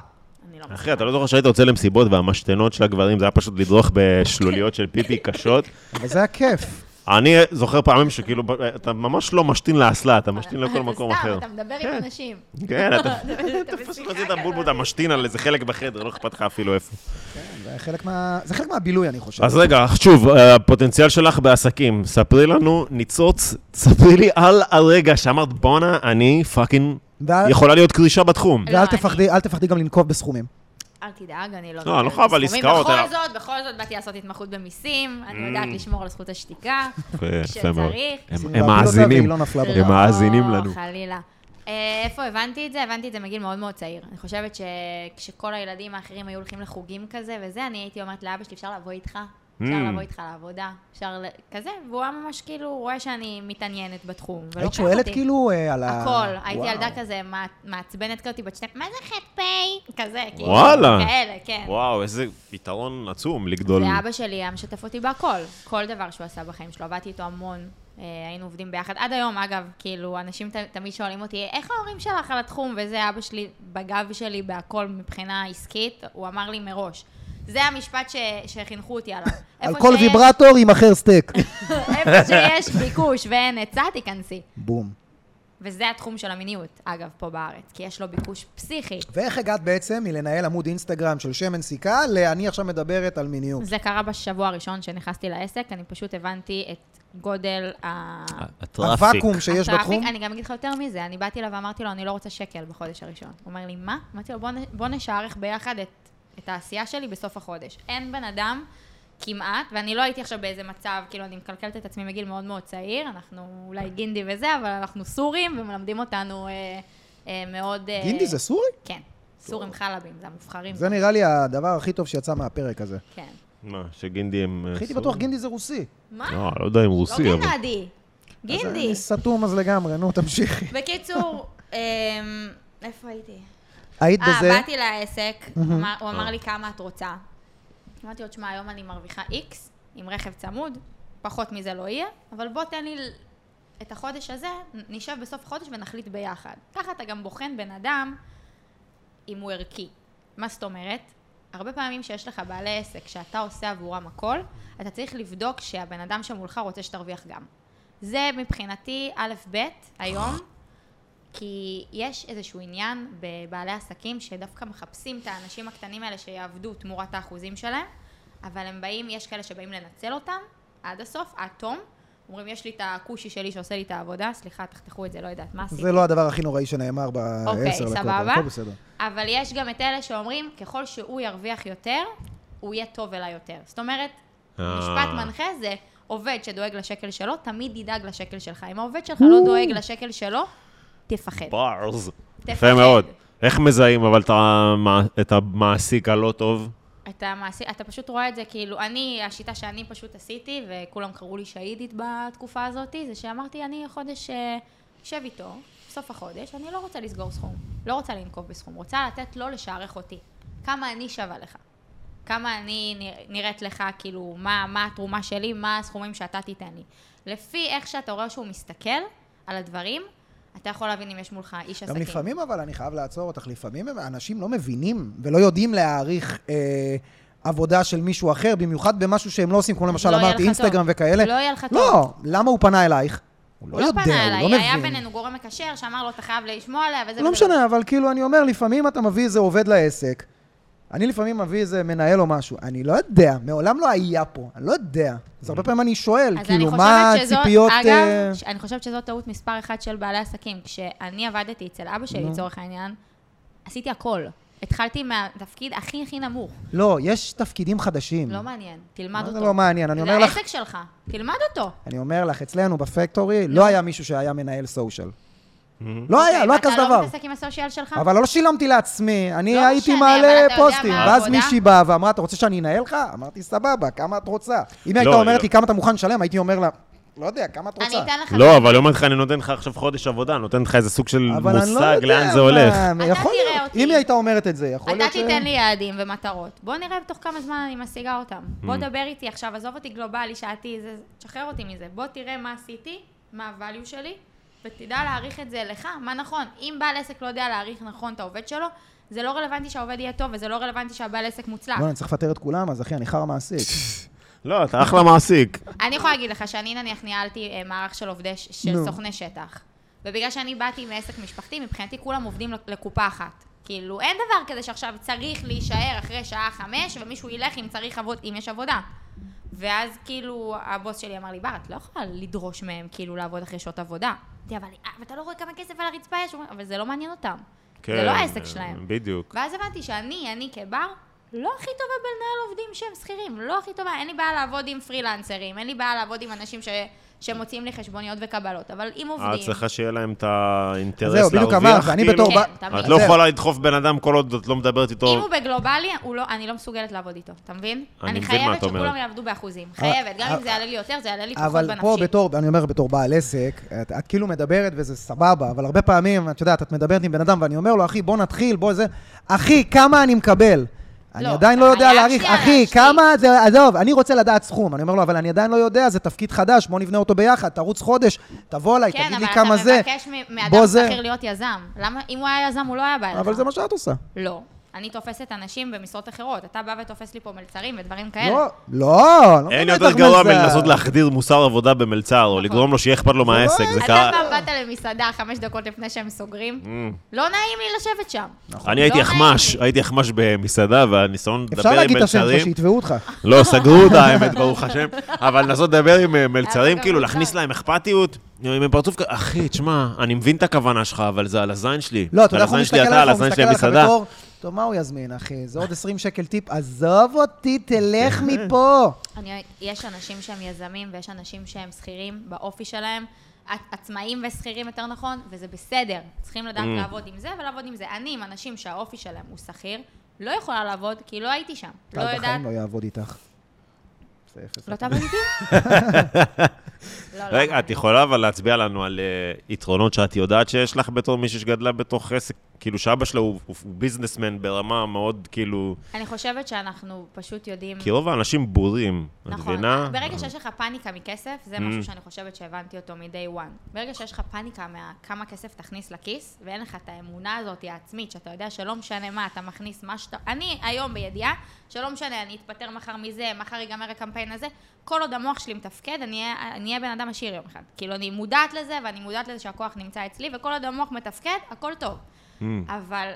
Speaker 3: לגברים? אני לא
Speaker 2: אחי, אתה לא זוכר שהיית יוצא למסיבות והמשתנות של הגברים, זה היה פשוט לדרוך בשלוליות של פיפי קשות.
Speaker 1: וזה הכיף.
Speaker 2: אני זוכר פעמים שכאילו, ב- אתה ממש לא משתין לאסלה, אתה משתין לכל מקום
Speaker 3: אתה
Speaker 2: אחר.
Speaker 3: סתם, אתה מדבר עם
Speaker 2: כן.
Speaker 3: אנשים.
Speaker 2: כן, אתה
Speaker 3: אתה
Speaker 2: פשוט
Speaker 3: בשיחה
Speaker 2: עושה את
Speaker 3: כזאת.
Speaker 2: הבולבול, אתה משתין על איזה חלק בחדר, לא אכפת לך אפילו איפה.
Speaker 1: זה חלק מה- זה חלק מהבילוי, אני חושב.
Speaker 2: אז רגע, שוב, אה, הפוטנציאל שלך בעסקים, ספרי לנו, ניצוץ, ספרי לי על הרגע שאמרת, בואנה, אני פאקינג,
Speaker 1: ואל-
Speaker 2: יכולה להיות קרישה בתחום.
Speaker 3: לא,
Speaker 1: ואל
Speaker 3: אני-
Speaker 1: תפחדי, אל תפחדי גם לנקוב בסכומים.
Speaker 3: אל תדאג, אני לא...
Speaker 2: לא,
Speaker 3: מדברת
Speaker 2: לא חייב על
Speaker 3: בסכומים.
Speaker 2: עסקאות, Mm. אלא-
Speaker 3: בכל זאת, בכל זאת באתי לעשות התמחות במיסים, אני יודעת לשמור על זכות השתיקה,
Speaker 2: יפה מאוד.
Speaker 3: כשצריך.
Speaker 2: הם-
Speaker 1: שים
Speaker 2: הם
Speaker 1: להפיל אותה
Speaker 2: מאזינים,
Speaker 1: והיא לא נפלה בו.
Speaker 2: הם מאזינים לנו.
Speaker 3: לא, חלילה. אה, איפה הבנתי את זה? הבנתי את זה מגיל מאוד מאוד צעיר. אני חושבת שכשכל הילדים האחרים היו הולכים לחוגים כזה וזה, אני הייתי אומרת לאבא שלי, אפשר לבוא איתך? אפשר
Speaker 2: Mm.
Speaker 3: לבוא איתך לעבודה? אפשר ל- כזה? והוא היה ממש כאילו, רואה שאני מתעניינת בתחום.
Speaker 1: היית
Speaker 3: ולוקח
Speaker 1: שואלת
Speaker 3: אותי.
Speaker 1: כאילו אה, על ה...
Speaker 3: הכל. הייתי
Speaker 1: וואו.
Speaker 3: ילדה כזה מע- מעצבנת כזאת בת שניים, מה זה ח"פ? כזה, כאילו.
Speaker 2: וואלה.
Speaker 3: כאלה, כן.
Speaker 2: וואו, איזה יתרון עצום לגדול.
Speaker 3: ואבא שלי היה משתף אותי בהכל, כל דבר שהוא עשה בחיים שלו, עבדתי איתו המון, אה, היינו עובדים ביחד. עד היום, אגב, כאילו, אנשים ת, תמיד שואלים אותי, איך ההורים שלך על התחום? וזה אבא שלי בגב שלי בהכל מבחינה עסקית, הוא אמר לי מראש. זה המשפט ש, שחינכו אותי עליו.
Speaker 1: על
Speaker 3: איפה
Speaker 1: כל
Speaker 3: שיש-
Speaker 1: ויברטור ימכר סטייק.
Speaker 3: איפה שיש ביקוש ואין היצע, תיכנסי.
Speaker 1: בום.
Speaker 3: וזה התחום של המיניות, אגב, פה בארץ, כי יש לו ביקוש פסיכי.
Speaker 1: ואיך הגעת בעצם מלנהל עמוד אינסטגרם של שמן סיכה ל"אני עכשיו מדברת על מיניות"?
Speaker 3: זה קרה בשבוע הראשון שנכנסתי לעסק, אני פשוט הבנתי את גודל
Speaker 2: אה,
Speaker 3: ה...
Speaker 2: הטראפיק.
Speaker 1: הוואקום שיש
Speaker 3: הטראפיק,
Speaker 1: בתחום?
Speaker 3: אני גם אגיד לך יותר מזה, אני באתי אליו ואמרתי לו, אני לא רוצה שקל בחודש הראשון. הוא אומר לי, מה? אמרתי לו, "בוא נ- בוא נשערך ביחד את, את העשייה שלי בסוף החודש. אין בן אדם כמעט, ואני לא הייתי עכשיו באיזה מצב, כאילו, אני מקלקלת את עצמי מגיל מאוד מאוד צעיר, אנחנו אולי גינדי וזה, אבל אנחנו סורים ומלמדים אותנו אה, אה, מאוד... אה,
Speaker 1: גינדי זה סורי?
Speaker 3: כן, סורים חלבים, זה המובחרים.
Speaker 1: זה נראה לי הדבר הכי טוב שיצא מהפרק הזה.
Speaker 3: כן.
Speaker 2: מה, שגינדי הם... אה,
Speaker 1: הייתי
Speaker 2: סורים?
Speaker 1: בטוח גינדי זה רוסי.
Speaker 3: מה?
Speaker 2: לא, לא יודע אם
Speaker 3: לא
Speaker 2: רוסי, אבל...
Speaker 3: גנדי, גינדי.
Speaker 1: אני סתום אז לגמרי, נו, תמשיכי.
Speaker 3: אה, בקיצור, אמ, איפה הייתי?
Speaker 1: היית בזה?
Speaker 3: אה, באתי לעסק, אמר- הוא אמר לי כמה את רוצה. אמרתי לו, תשמע, היום אני מרוויחה איקס, עם רכב צמוד, פחות מזה לא יהיה, אבל בוא תן לי ל- את החודש הזה, נ- נשב בסוף החודש ונחליט ביחד. ככה אתה גם בוחן בן אדם אם הוא ערכי. מה זאת אומרת? הרבה פעמים שיש לך בעלי עסק שאתה עושה עבורם הכל, אתה צריך לבדוק שהבן אדם שמולך רוצה שתרוויח גם. זה מבחינתי א'-ב' היום, כי יש איזשהו עניין בבעלי עסקים שדווקא מחפשים את האנשים הקטנים האלה שיעבדו תמורת האחוזים שלהם, אבל הם באים, יש כאלה שבאים לנצל אותם עד הסוף, עד תום. אומרים, יש לי את הכושי שלי שעושה לי את העבודה, סליחה, תחתכו את זה, לא יודעת מה עשיתי.
Speaker 1: זה לא הדבר הכי נוראי שנאמר בעשר
Speaker 3: אוקיי,
Speaker 1: דקות, אבל
Speaker 3: סבבה.
Speaker 1: הכל בסדר.
Speaker 3: אבל יש גם את אלה שאומרים, ככל שהוא ירוויח יותר, הוא יהיה טוב אליי יותר. זאת אומרת,
Speaker 2: אה.
Speaker 3: משפט מנחה זה עובד שדואג לשקל שלו, תמיד ידאג לשקל שלך. אם העובד שלך לא דואג לשקל שלו, תפחד.
Speaker 2: בארז.
Speaker 3: תפחד.
Speaker 2: יפה מאוד. איך מזהים אבל את המע- את המעסיק הלא טוב?
Speaker 3: אתה, מעשי, אתה פשוט רואה את זה כאילו, אני, השיטה שאני פשוט עשיתי, וכולם קראו לי שהידית בתקופה הזאת, זה שאמרתי, אני חודש אה, אשב איתו, בסוף החודש, אני לא רוצה לסגור סכום, לא רוצה לנקוב בסכום, רוצה לתת לו לשערך אותי. כמה אני שווה לך. כמה אני נ- נראית לך, כאילו, מה, מה התרומה שלי, מה הסכומים שאתה תיתן לי. לפי איך שאתה רואה שהוא מסתכל על הדברים, אתה יכול להבין אם יש מולך איש
Speaker 1: גם
Speaker 3: עסקים.
Speaker 1: לפעמים, אבל אני חייב לעצור אותך, לפעמים הם- אנשים לא מבינים ולא יודעים להעריך אה, עבודה של מישהו אחר, במיוחד במשהו שהם לא עושים, כמו למשל
Speaker 3: לא יהיה לך
Speaker 1: אמרתי
Speaker 3: טוב.
Speaker 1: אינסטגרם וכאלה.
Speaker 3: לא יהיה לך
Speaker 1: לא, למה הוא פנה אלייך? הוא לא
Speaker 3: לא
Speaker 1: יודע, הוא
Speaker 3: פנה
Speaker 1: לא
Speaker 3: אליי,
Speaker 1: מבין.
Speaker 3: היה בינינו גורם מקשר שאמר לו, אתה חייב לשמוע עליה, וזה...
Speaker 1: לא
Speaker 3: וזה."
Speaker 1: משנה, אבל כאילו, אני אומר, לפעמים אתה מביא איזה עובד לעסק. אני לפעמים מביא איזה מנהל או משהו, אני לא יודע, מעולם לא היה פה, אני לא יודע. אז
Speaker 2: Mm.
Speaker 1: הרבה פעמים אני שואל,
Speaker 3: אז
Speaker 1: כאילו,
Speaker 3: אני
Speaker 1: מה
Speaker 3: חושבת שזאת-
Speaker 1: הציפיות...
Speaker 3: אגב,
Speaker 1: אה,
Speaker 3: ש- אני חושבת שזאת טעות מספר אחת של בעלי עסקים. כשאני עבדתי אצל אבא
Speaker 1: לא.
Speaker 3: שלי, לצורך העניין, עשיתי הכל. התחלתי מהתפקיד הכי הכי נמוך.
Speaker 1: לא, יש תפקידים חדשים.
Speaker 3: לא מעניין, תלמד
Speaker 1: מה
Speaker 3: אותו.
Speaker 1: זה לא מעניין? אני אומר
Speaker 3: זה
Speaker 1: לך- לא
Speaker 3: העסק שלך, תלמד אותו.
Speaker 1: אני אומר לך, אצלנו בפקטורי לא היה מישהו שהיה מנהל סושיאל.
Speaker 2: Mm-hmm.
Speaker 1: לא היה, לא היה כזה
Speaker 3: ואתה
Speaker 1: דבר.
Speaker 3: לא מתעסק עם הסושיאל שלך?
Speaker 1: אבל לא שילמתי לעצמי, אני
Speaker 3: לא
Speaker 1: הייתי
Speaker 3: משנה, אבל אתה
Speaker 1: מעלה
Speaker 3: יודע
Speaker 1: פוסטים.
Speaker 3: מה
Speaker 1: ואז
Speaker 3: העבודה?
Speaker 1: מישהי באה ואמרה, אתה רוצה שאני אנהל לך? אמרתי, סבבה, כמה את רוצה? אם היא
Speaker 2: לא,
Speaker 1: הייתה
Speaker 2: לא.
Speaker 1: אומרת לי כמה אתה מוכן לשלם, הייתי אומר לה, לא יודע, כמה את
Speaker 3: אני
Speaker 1: רוצה?
Speaker 3: אתן לך...
Speaker 2: לא, אבל אומרת לך, אני נותן לך עכשיו חודש עבודה, אני נותן לך איזה סוג של
Speaker 1: אבל אני לא
Speaker 2: מושג
Speaker 1: יודע
Speaker 2: לאן זה
Speaker 1: מה,
Speaker 2: הולך.
Speaker 1: יכול
Speaker 3: תראה
Speaker 1: להיות.
Speaker 3: אותי.
Speaker 1: אם היא הייתה אומרת את זה, יכול
Speaker 3: אתה
Speaker 1: להיות ש...
Speaker 3: תיתן לי יעדים ומטרות. בוא נראה בתוך כמה זמן אני משיגה אותם. בוא
Speaker 1: Mm.
Speaker 3: דבר איתי עכשיו, עזוב אותי גלובלי, שעתי, זה- תשחרר אותי מזה. בוא תראה מה עשיתי, מה הvalue שלי, ותדע להעריך את זה לך, מה נכון. אם בעל עסק לא יודע להעריך נכון את העובד שלו, זה לא רלוונטי שהעובד יהיה טוב, וזה לא רלוונטי שהבעל עסק מוצלח.
Speaker 1: בוא, אני צריך לפטר את כולם, אז אחי, אני חר מעסיק.
Speaker 2: לא, אתה אחלה מעסיק.
Speaker 3: אני יכולה להגיד לך שאני נניח ניהלתי אה, מערך של עובדי, ש- של
Speaker 1: נו.
Speaker 3: סוכני שטח. ובגלל שאני באתי מעסק משפחתי, מבחינתי כולם עובדים לקופה אחת. כאילו, אין דבר כזה שעכשיו צריך להישאר אחרי שעה חמש, ומישהו ילך אם צריך עבוד, אם יש עבודה. ואז כאילו, הבוס שלי אמר לי, בר, את לא יכולה לדרוש מהם כאילו לעבוד אחרי שעות עבודה. אמרתי, אבל אה, אבל אתה לא רואה כמה כסף על הרצפה יש? הוא אומר, אבל זה לא מעניין אותם. זה לא העסק שלהם.
Speaker 2: כן, בדיוק.
Speaker 3: ואז הבנתי שאני, אני כבר, לא הכי טובה בלנהל עובדים שהם שכירים, לא הכי טובה. אין לי בעיה לעבוד עם פרילנסרים, אין לי בעיה לעבוד עם אנשים ש... שמוציאים לי חשבוניות וקבלות, אבל אם עובדים...
Speaker 2: את צריכה שיהיה להם את האינטרס
Speaker 1: זהו,
Speaker 2: להרוויח,
Speaker 1: בדיוק אמרת, אני
Speaker 2: כאילו.
Speaker 1: בתור
Speaker 3: כן,
Speaker 1: ב-
Speaker 3: תמיד.
Speaker 2: את לא
Speaker 1: זהו.
Speaker 2: יכולה לדחוף בן אדם כל עוד את לא מדברת
Speaker 3: אם
Speaker 2: איתו.
Speaker 3: הוא בגלובלי, הוא לא, אני לא מסוגלת לעבוד איתו, אתה מבין?
Speaker 2: אני
Speaker 3: אני
Speaker 2: מבין מה
Speaker 3: חייבת
Speaker 2: את אומרת.
Speaker 3: שכולם יעבדו באחוזים. חייבת, גם
Speaker 1: אה,
Speaker 3: אם זה יעלה לי יותר, זה יעלה לי פחות
Speaker 1: אבל פה
Speaker 3: בנפשי.
Speaker 1: בתור, אני אומר בתור בעל עסק, את, את כאילו מדברת וזה סבבה, אבל הרבה פעמים, את יודעת, את מדברת עם בן אדם ואני אומר לו, אחי, בוא נתחיל, בוא זה, אחי, כמה אני מקבל? אני
Speaker 3: לא,
Speaker 1: עדיין לא יודע
Speaker 3: הלשתי,
Speaker 1: להעריך, אחי,
Speaker 3: הלשתי.
Speaker 1: כמה זה, עזוב, אני רוצה לדעת סכום. אני אומר לו, אבל אני עדיין לא יודע, זה תפקיד חדש, בוא נבנה אותו ביחד, תרוץ חודש, תבוא אליי,
Speaker 3: כן,
Speaker 1: תגיד
Speaker 3: אבל
Speaker 1: לי
Speaker 3: אתה
Speaker 1: כמה זה.
Speaker 3: מבקש מ-
Speaker 1: בוא
Speaker 3: מאדם
Speaker 1: זה.
Speaker 3: שכיר להיות יזם. למה, אם הוא היה יזם, הוא לא היה בא אליך.
Speaker 1: אבל זה מה שאת עושה.
Speaker 3: לא. אני תופסת אנשים במשרות אחרות. אתה בא ותופס לי פה מלצרים ודברים כאלה.
Speaker 1: לא, לא, לא
Speaker 2: אין
Speaker 1: מדבר
Speaker 2: יותר
Speaker 1: איתך
Speaker 2: גרוע
Speaker 1: מזה.
Speaker 2: מלנסות להחדיר מוסר עבודה במלצר,
Speaker 1: נכון.
Speaker 2: או לגרום לו שיהיה אכפת
Speaker 1: לא
Speaker 2: לו מהעסק. זה
Speaker 3: אתה
Speaker 2: קרה...
Speaker 3: פעם באת למסעדה חמש דקות לפני שהם סוגרים? לא נעים לי לשבת שם.
Speaker 2: Mm. נכון. אני הייתי
Speaker 3: לא נעים
Speaker 2: אחמש,
Speaker 3: לי.
Speaker 2: הייתי אחמש במסעדה, והניסיון
Speaker 1: אפשר
Speaker 2: לדבר עם
Speaker 1: להגיד את השם שלך,
Speaker 2: מלצרים...
Speaker 1: שיתבעו אותך.
Speaker 2: לא, סגרו אותה, האמת, ברוך השם. אבל לנסות לדבר עם אה, מלצרים,
Speaker 3: גם
Speaker 2: כאילו,
Speaker 3: מוזר.
Speaker 2: להכניס להם אכפתיות. עם פרצוף כזה, אחי, תשמע, אני מבין את הכוונה שלך, אבל זה על הזין שלי.
Speaker 1: לא, אתה יודע
Speaker 2: על
Speaker 1: איך הוא
Speaker 2: הזין
Speaker 1: מסתכל
Speaker 2: שלי
Speaker 1: עליך,
Speaker 2: אתה, על
Speaker 1: הוא
Speaker 2: הזין
Speaker 1: מסתכל
Speaker 2: שלי
Speaker 1: עליך
Speaker 2: המסעדה.
Speaker 1: בתור, טוב, מה הוא יזמין, אחי? זה עוד 20 שקל טיפ, עזוב אותי, תלך
Speaker 2: כן.
Speaker 1: מפה.
Speaker 3: אני, יש אנשים שהם יזמים ויש אנשים שהם שכירים באופי שלהם, עצ- עצמאים ושכירים יותר נכון, וזה בסדר. צריכים לדעת
Speaker 2: Mm.
Speaker 3: לעבוד עם זה ולעבוד עם זה. אני עם אנשים שהאופי שלהם הוא שכיר, לא יכולה לעבוד כי לא הייתי שם.
Speaker 1: טל
Speaker 3: לא יודעת...
Speaker 1: בחיים לא יעבוד איתך. זה אפס.
Speaker 3: לא תעבוד איתי? לא, לא,
Speaker 2: רגע,
Speaker 3: לא.
Speaker 2: את יכולה אבל להצביע לנו על אה, יתרונות שאת יודעת שיש לך בתור מישהי שגדלה בתוך עסק, כאילו שאבא שלה הוא הוא- הוא ביזנסמן ברמה מאוד, כאילו...
Speaker 3: אני חושבת שאנחנו פשוט יודעים...
Speaker 2: כי רוב האנשים בורים, את
Speaker 3: נכון.
Speaker 2: מבינה?
Speaker 3: ברגע שיש לך פאניקה מכסף, זה
Speaker 2: Mm.
Speaker 3: משהו שאני חושבת שהבנתי אותו מ-day one. ברגע שיש לך פאניקה מכמה כסף תכניס לכיס, ואין לך את האמונה הזאת העצמית, שאתה יודע שלא משנה מה, אתה מכניס מה שאתה... אני היום בידיעה, שלא משנה, אני אתפטר מחר מזה, מחר ייגמר הקמפיין הזה, כל עוד המוח שלי מתפקד, אני אהיה- אני אהיה בן אדם עשיר יום אחד. כאילו, אני מודעת לזה, ואני מודעת לזה שהכוח נמצא אצלי, וכל עוד המוח מתפקד, הכל טוב.
Speaker 2: Mm.
Speaker 3: אבל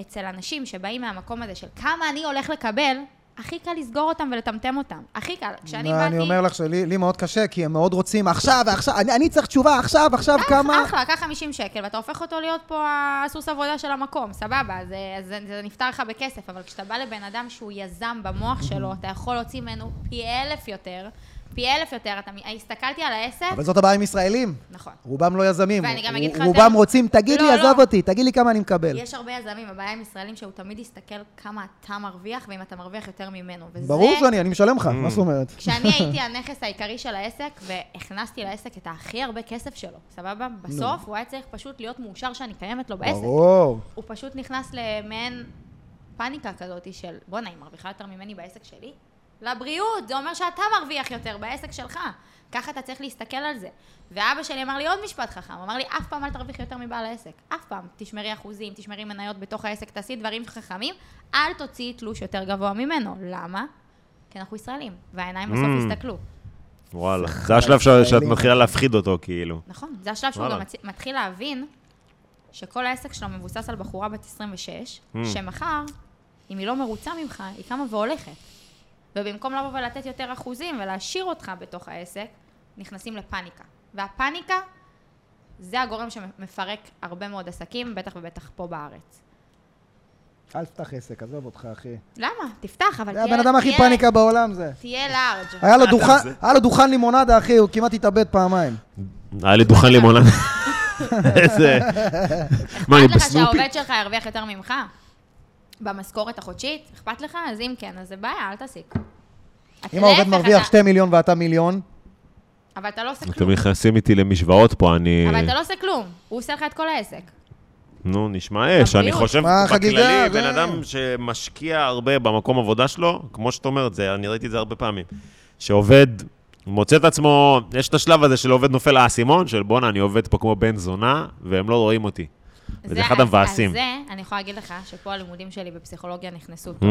Speaker 3: אצל אנשים שבאים מהמקום הזה של כמה אני הולך לקבל, הכי קל לסגור אותם ולטמטם אותם. הכי קל. כשאני
Speaker 1: לא,
Speaker 3: באתי...
Speaker 1: אני אומר לך שלי לי מאוד קשה, כי הם מאוד רוצים עכשיו, עכשיו, אני- אני צריך תשובה עכשיו, עכשיו, כמה...
Speaker 3: אה, אחלה, קח 50 שקל, ואתה הופך אותו להיות פה הסוס עבודה של המקום, סבבה, זה, זה, זה נפתר לך בכסף, אבל כשאתה בא לבן אדם שהוא יזם במוח שלו, אתה יכול להוציא ממנו פי אלף יותר, פי אלף יותר, אתה מ- הסתכלתי על העסק,
Speaker 1: אבל זאת הבעיה עם ישראלים.
Speaker 3: נכון.
Speaker 1: רובם לא יזמים.
Speaker 3: ואני גם אגיד לך
Speaker 1: רוב- רובם
Speaker 3: יותר-
Speaker 1: רוצים, תגיד
Speaker 3: לא,
Speaker 1: לי,
Speaker 3: לא.
Speaker 1: עזוב אותי, תגיד לי כמה אני מקבל.
Speaker 3: יש הרבה יזמים, הבעיה עם ישראלים שהוא תמיד יסתכל כמה אתה מרוויח, ואם אתה מרוויח יותר ממנו, וזה...
Speaker 1: ברור שאני, אני משלם לך,
Speaker 2: Mm.
Speaker 1: מה זאת אומרת?
Speaker 3: כשאני הייתי הנכס העיקרי של העסק, והכנסתי לעסק את הכי הרבה כסף שלו, סבבה? בסוף הוא היה צריך פשוט להיות מאושר שאני קיימת לו בעסק.
Speaker 1: ברור.
Speaker 3: הוא פשוט נכנס למעין פאניקה כזאת של, בואנה, היא מרוויחה יותר ממני בעסק שלי? לבריאות, זה אומר שאתה מרוויח יותר בעסק שלך. ככה אתה צריך להסתכל על זה. ואבא שלי אמר לי עוד משפט חכם, הוא אמר לי, אף פעם אל תרוויח יותר מבעל העסק. אף פעם. תשמרי אחוזים, תשמרי מניות בתוך העסק, תעשי דברים חכמים, אל תוציאי תלוש יותר גבוה ממנו. למה? כי אנחנו ישראלים, והעיניים בסוף
Speaker 2: Mm.
Speaker 3: יסתכלו.
Speaker 2: וואלה. זה השלב ש- שאת מתחילה להפחיד אותו, כאילו.
Speaker 3: נכון, זה השלב שהוא
Speaker 2: וואלה.
Speaker 3: גם מצ- מתחיל להבין שכל העסק שלו מבוסס על בחורה בת 26,
Speaker 2: Mm.
Speaker 3: שמחר, אם היא לא מרוצה ממך, היא קמה והולכת. ובמקום לבוא ולתת יותר אחוזים ולהשאיר אותך בתוך העסק, נכנסים לפאניקה. והפאניקה זה הגורם שמפרק הרבה מאוד עסקים, בטח ובטח פה בארץ.
Speaker 1: אל תפתח עסק, עזוב אותך, אחי.
Speaker 3: למה? תפתח, אבל
Speaker 1: זה
Speaker 3: תהיה...
Speaker 1: הבן אדם הכי
Speaker 3: תהיה-
Speaker 1: פאניקה בעולם, זה.
Speaker 3: תהיה לארג'.
Speaker 1: היה לו דוכן- היה לו דוכן לימונדה, אחי, הוא כמעט התאבד פעמיים.
Speaker 2: היה לי דוכן לימונד. איזה... מה, אני
Speaker 3: אכפת לך
Speaker 2: בסנופי?
Speaker 3: שהעובד שלך ירוויח יותר ממך? במשכורת החודשית? אכפת לך? אז אם כן, אז זה בעיה, אל תסיק. אתה-
Speaker 1: אם העובד
Speaker 3: להפך,
Speaker 1: מרוויח
Speaker 3: אתה-
Speaker 1: 2 מיליון ואתה מיליון,
Speaker 3: אבל אתה לא עושה
Speaker 2: אתם
Speaker 3: כלום.
Speaker 2: נכנסים איתי למשוואות פה, אני...
Speaker 3: אבל אתה לא עושה כלום. הוא עושה לך את כל העסק.
Speaker 2: נו, נשמע אש. אני
Speaker 3: הבריאות.
Speaker 2: חושב,
Speaker 1: מה, חגיגה, אה.
Speaker 2: בכללי,
Speaker 1: זה-
Speaker 2: בן אדם שמשקיע הרבה במקום עבודה שלו, כמו שאת אומרת, זה- אני ראיתי את זה הרבה פעמים, שעובד, מוצא את עצמו, יש את השלב הזה של עובד נופל האסימון, של בואנה, אני עובד פה כמו בן זונה, והם לא רואים אותי. וזה אחד
Speaker 3: אז-
Speaker 2: המבאסים.
Speaker 3: אז זה, אני יכולה להגיד לך שפה הלימודים שלי בפסיכולוגיה נכנסו.
Speaker 2: Mm,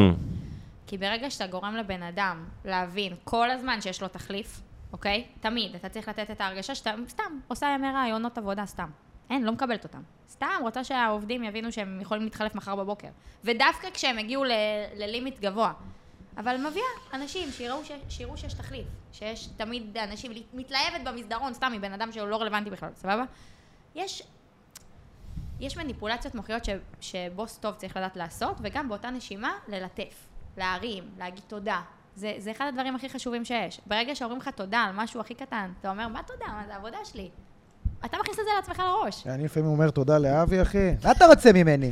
Speaker 3: כי ברגע שאתה גורם לבן אדם להבין כל הזמן שיש לו תחליף, אוקיי? תמיד, אתה צריך לתת את ההרגשה שאתה סתם עושה ימי רעיונות עבודה, סתם. אין, לא מקבלת אותם. סתם רוצה שהעובדים יבינו שהם יכולים להתחלף מחר בבוקר. ודווקא כשהם הגיעו ל- ללימיט גבוה. אבל מביאה אנשים שיראו, ש- שיראו שיש תחליף. שיש תמיד אנשים, מתלהבת במסדרון סתם מבן אדם שהוא לא רלוונטי בכלל, סבבה? יש יש מניפולציות מוחיות ש, שבוס טוב צריך לדעת לעשות, וגם באותה נשימה ללטף, להרים, להגיד תודה. זה, זה אחד הדברים הכי חשובים שיש. ברגע שאומרים לך תודה על משהו הכי קטן, אתה אומר, מה תודה? מה זה העבודה שלי? אתה מכניס את זה לעצמך לראש.
Speaker 1: אה, אני לפעמים אומר תודה לאבי, אחי. מה אתה רוצה ממני?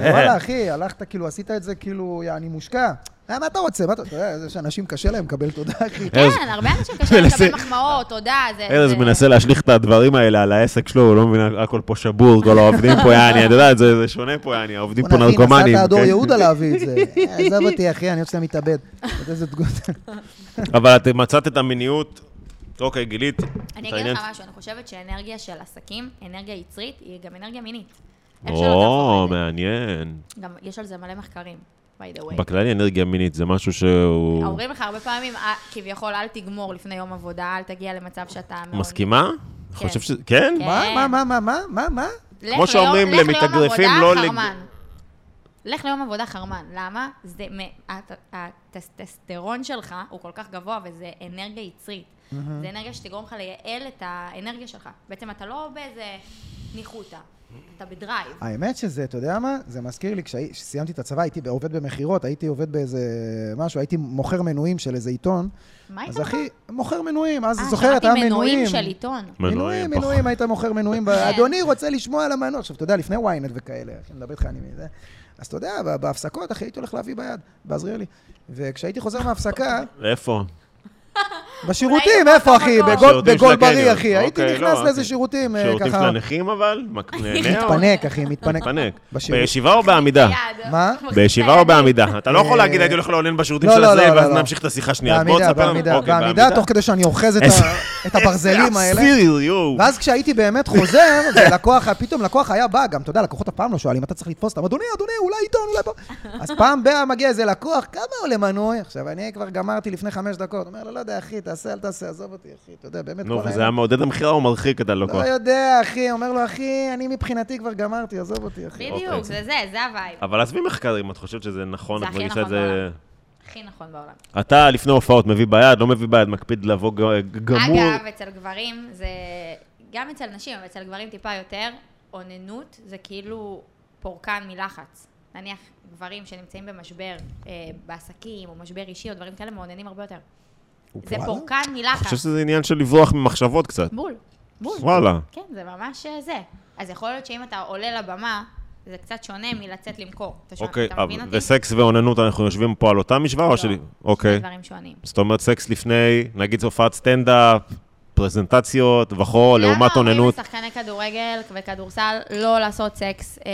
Speaker 1: וואלה, אחי, הלכת, כאילו, עשית את זה, כאילו, אני מושקע. אה, מה אתה רוצה? מה אתה אתה יודע, זה שאנשים קשה להם לקבל תודה, אחי.
Speaker 2: ארז-
Speaker 3: כן, הרבה אנשים קשה להם לקבל מחמאות, תודה, זה...
Speaker 2: ארז
Speaker 3: זה-
Speaker 2: מנסה להשליך את הדברים האלה על העסק שלו, הוא לא מבין, הכל פה שבור, כל העובדים פה, יעני, את יודעת, זה זה שונה פה, יעני, העובדים פה
Speaker 1: בוא'נה, אחי,
Speaker 2: נרקומנים.
Speaker 1: נסעת הדור
Speaker 2: כן?
Speaker 1: יהודה להביא את זה. אה, עזוב אותי, אחי, אני רוצה להתאבד. אתה יודע, זה תגובה.
Speaker 2: אבל את מצאת את המיניות, אוקיי, גילית.
Speaker 3: אני
Speaker 2: את
Speaker 3: אגיד
Speaker 2: העניין-
Speaker 3: לך משהו, אני חושבת שאנרגיה של עסקים, אנרגיה יצרית, היא גם אנרגיה מינית. איך שלא אוקיי. תהפוך
Speaker 2: או,
Speaker 3: את זה.
Speaker 2: מעניין.
Speaker 3: גם יש על זה מלא מחקרים, by the way.
Speaker 2: בכללי אנרגיה מינית זה משהו שהוא...
Speaker 3: אומרים לך הרבה פעמים, "אה, כביכול, אל תגמור לפני יום עבודה, אל תגיע למצב שאתה... מאוד-"
Speaker 2: מסכימה? חושב שזה... כן?
Speaker 3: כן.
Speaker 1: מה, מה, מה, מה, מה, מה, מה?
Speaker 3: לך
Speaker 2: כמו שאומרים
Speaker 3: ליום- לך
Speaker 2: למתאגרפים,
Speaker 3: ליום
Speaker 2: לא
Speaker 3: עבודה
Speaker 2: לג-
Speaker 3: חרמן. לך ליום עבודה חרמן, למה? זה, מ- הט- הטסטסטרון שלך הוא כל כך גבוה וזה אנרגיה יצרית. זה אנרגיה שתגרום לך לייעל את האנרגיה שלך. בעצם אתה לא באיזה ניחותא, אתה בדרייב.
Speaker 1: האמת שזה, אתה יודע מה? זה מזכיר לי, כשהי- כשסיימתי את הצבא, הייתי עובד במכירות, הייתי עובד באיזה משהו, הייתי מוכר מנויים של איזה עיתון.
Speaker 3: מה היית
Speaker 1: אז אחי, מוכר מנויים, אז
Speaker 3: אה,
Speaker 1: זוכרת, היה
Speaker 3: שמעתי
Speaker 1: מנויים.
Speaker 3: מנועים של עיתון. כן.
Speaker 1: מנויים,
Speaker 2: פחות.
Speaker 1: מנויים, היית מוכר מנויים. ב- אדוני רוצה לשמוע על המנות. עכשיו, אתה יודע, לפני ynet וכאלה, אחי, מדבר איתך אני מזה. אז אתה יודע, ב- בהפסקות, אחי, הייתי הולך להביא ביד, בעזריאלי. וכשהייתי חוזר מההפסקה,
Speaker 2: איפה?
Speaker 1: בשירותים,
Speaker 3: אוקיי. אולי
Speaker 1: איפה אחי?
Speaker 3: במקום.
Speaker 1: בגול-
Speaker 2: שירותים של
Speaker 1: בגול בריא,
Speaker 2: הקניון.
Speaker 1: אחי. הייתי
Speaker 2: אוקיי, לא,
Speaker 1: נכנס לאיזה
Speaker 2: אוקיי.
Speaker 1: שירותים, אה,
Speaker 2: שירותים של
Speaker 1: ככה...
Speaker 2: הנכים אבל? מק- נהנה או-
Speaker 1: מתפנק, אחי, מתפנק.
Speaker 2: מתפנק.
Speaker 1: בשירות.
Speaker 2: בישיבה או בעמידה?
Speaker 3: יד.
Speaker 1: מה?
Speaker 2: בישיבה או בעמידה? אתה לא יכול
Speaker 1: אה,
Speaker 2: להגיד, הייתי הולך לאונן בשירותים
Speaker 1: לא,
Speaker 2: של
Speaker 1: לא,
Speaker 2: הזה,
Speaker 1: לא,
Speaker 2: ואז
Speaker 1: לא.
Speaker 2: נמשיך את השיחה שנייה. בוא
Speaker 1: בעמידה,
Speaker 2: תספר לנו.
Speaker 1: בעמידה,
Speaker 2: אוקיי,
Speaker 1: בעמידה, תוך כדי שאני אוחז את ה-
Speaker 2: איזה-
Speaker 1: את הברזלים האלה.
Speaker 2: אסיר, יואו.
Speaker 1: ואז כשהייתי באמת חוזר, ולקוח, פתאום לקוח היה בא, גם, אתה יודע, לקוחות אף פעם לא שואלים, אתה צריך לתפוס אותם, אדוני, אדוני, אולי עיתון, אולי... פה." אז פעם בא, מגיע איזה לקוח, כמה עולה מנוי? עכשיו, אני כבר גמרתי לפני חמש דקות, אומר לו, לא יודע, אחי, תעשה, אל תעשה, עזוב אותי, אחי, אתה יודע, באמת,
Speaker 2: נו,
Speaker 1: כל
Speaker 2: וזה
Speaker 1: העניין.
Speaker 2: היה מעודד המכירה או מרחיק את הלקוח?
Speaker 1: לא יודע, אחי, אומר לו, אחי, אני מבחינתי כבר גמרתי, עזוב אותי, אחי.
Speaker 2: אוקיי.
Speaker 3: בדיוק, זה זה, זה הווייב.
Speaker 2: אבל עזבי מחקרים, את חושבת שזה נכון?
Speaker 3: זה
Speaker 2: את
Speaker 3: הכי
Speaker 2: מרגישה
Speaker 3: נכון
Speaker 2: את זה...
Speaker 3: בעולם. הכי נכון בעולם.
Speaker 2: אתה לפני הופעות מביא ביד, לא מביא ביד, מקפיד לבוא ג- גמור.
Speaker 3: אגב, אצל גברים זה... גם אצל נשים, אבל אצל גברים טיפה יותר, אוננות זה כאילו פורקן מלחץ. נניח גברים שנמצאים במשבר אה, בעסקים, או משבר אישי, או דברים כאלה, מאוננים הרבה יותר. זה
Speaker 1: וואלה?
Speaker 3: פורקן
Speaker 2: אני חושב
Speaker 3: מלחץ.
Speaker 2: שזה עניין של לברוח ממחשבות קצת.
Speaker 3: בול. בול.
Speaker 2: וואלה.
Speaker 3: כן, זה ממש אה, זה. אז יכול להיות שאם אתה עולה לבמה, זה קצת שונה מלצאת למכור. אתה, שומע-
Speaker 2: אוקיי,
Speaker 3: אתה מבין
Speaker 2: אבל-
Speaker 3: אותי?
Speaker 2: וסקס ואוננות, אנחנו יושבים פה על אותה משוואה או
Speaker 3: לא.
Speaker 2: שלי?
Speaker 3: שני
Speaker 2: אוקיי.
Speaker 3: דברים שונים.
Speaker 2: זאת אומרת, סקס לפני, נגיד זו הופעת סטנדאפ, פרזנטציות וכו', לא, לעומת
Speaker 3: למה אומרים
Speaker 2: אוננות.
Speaker 3: לשחקני כדורגל וכדורסל לא לעשות סקס אה,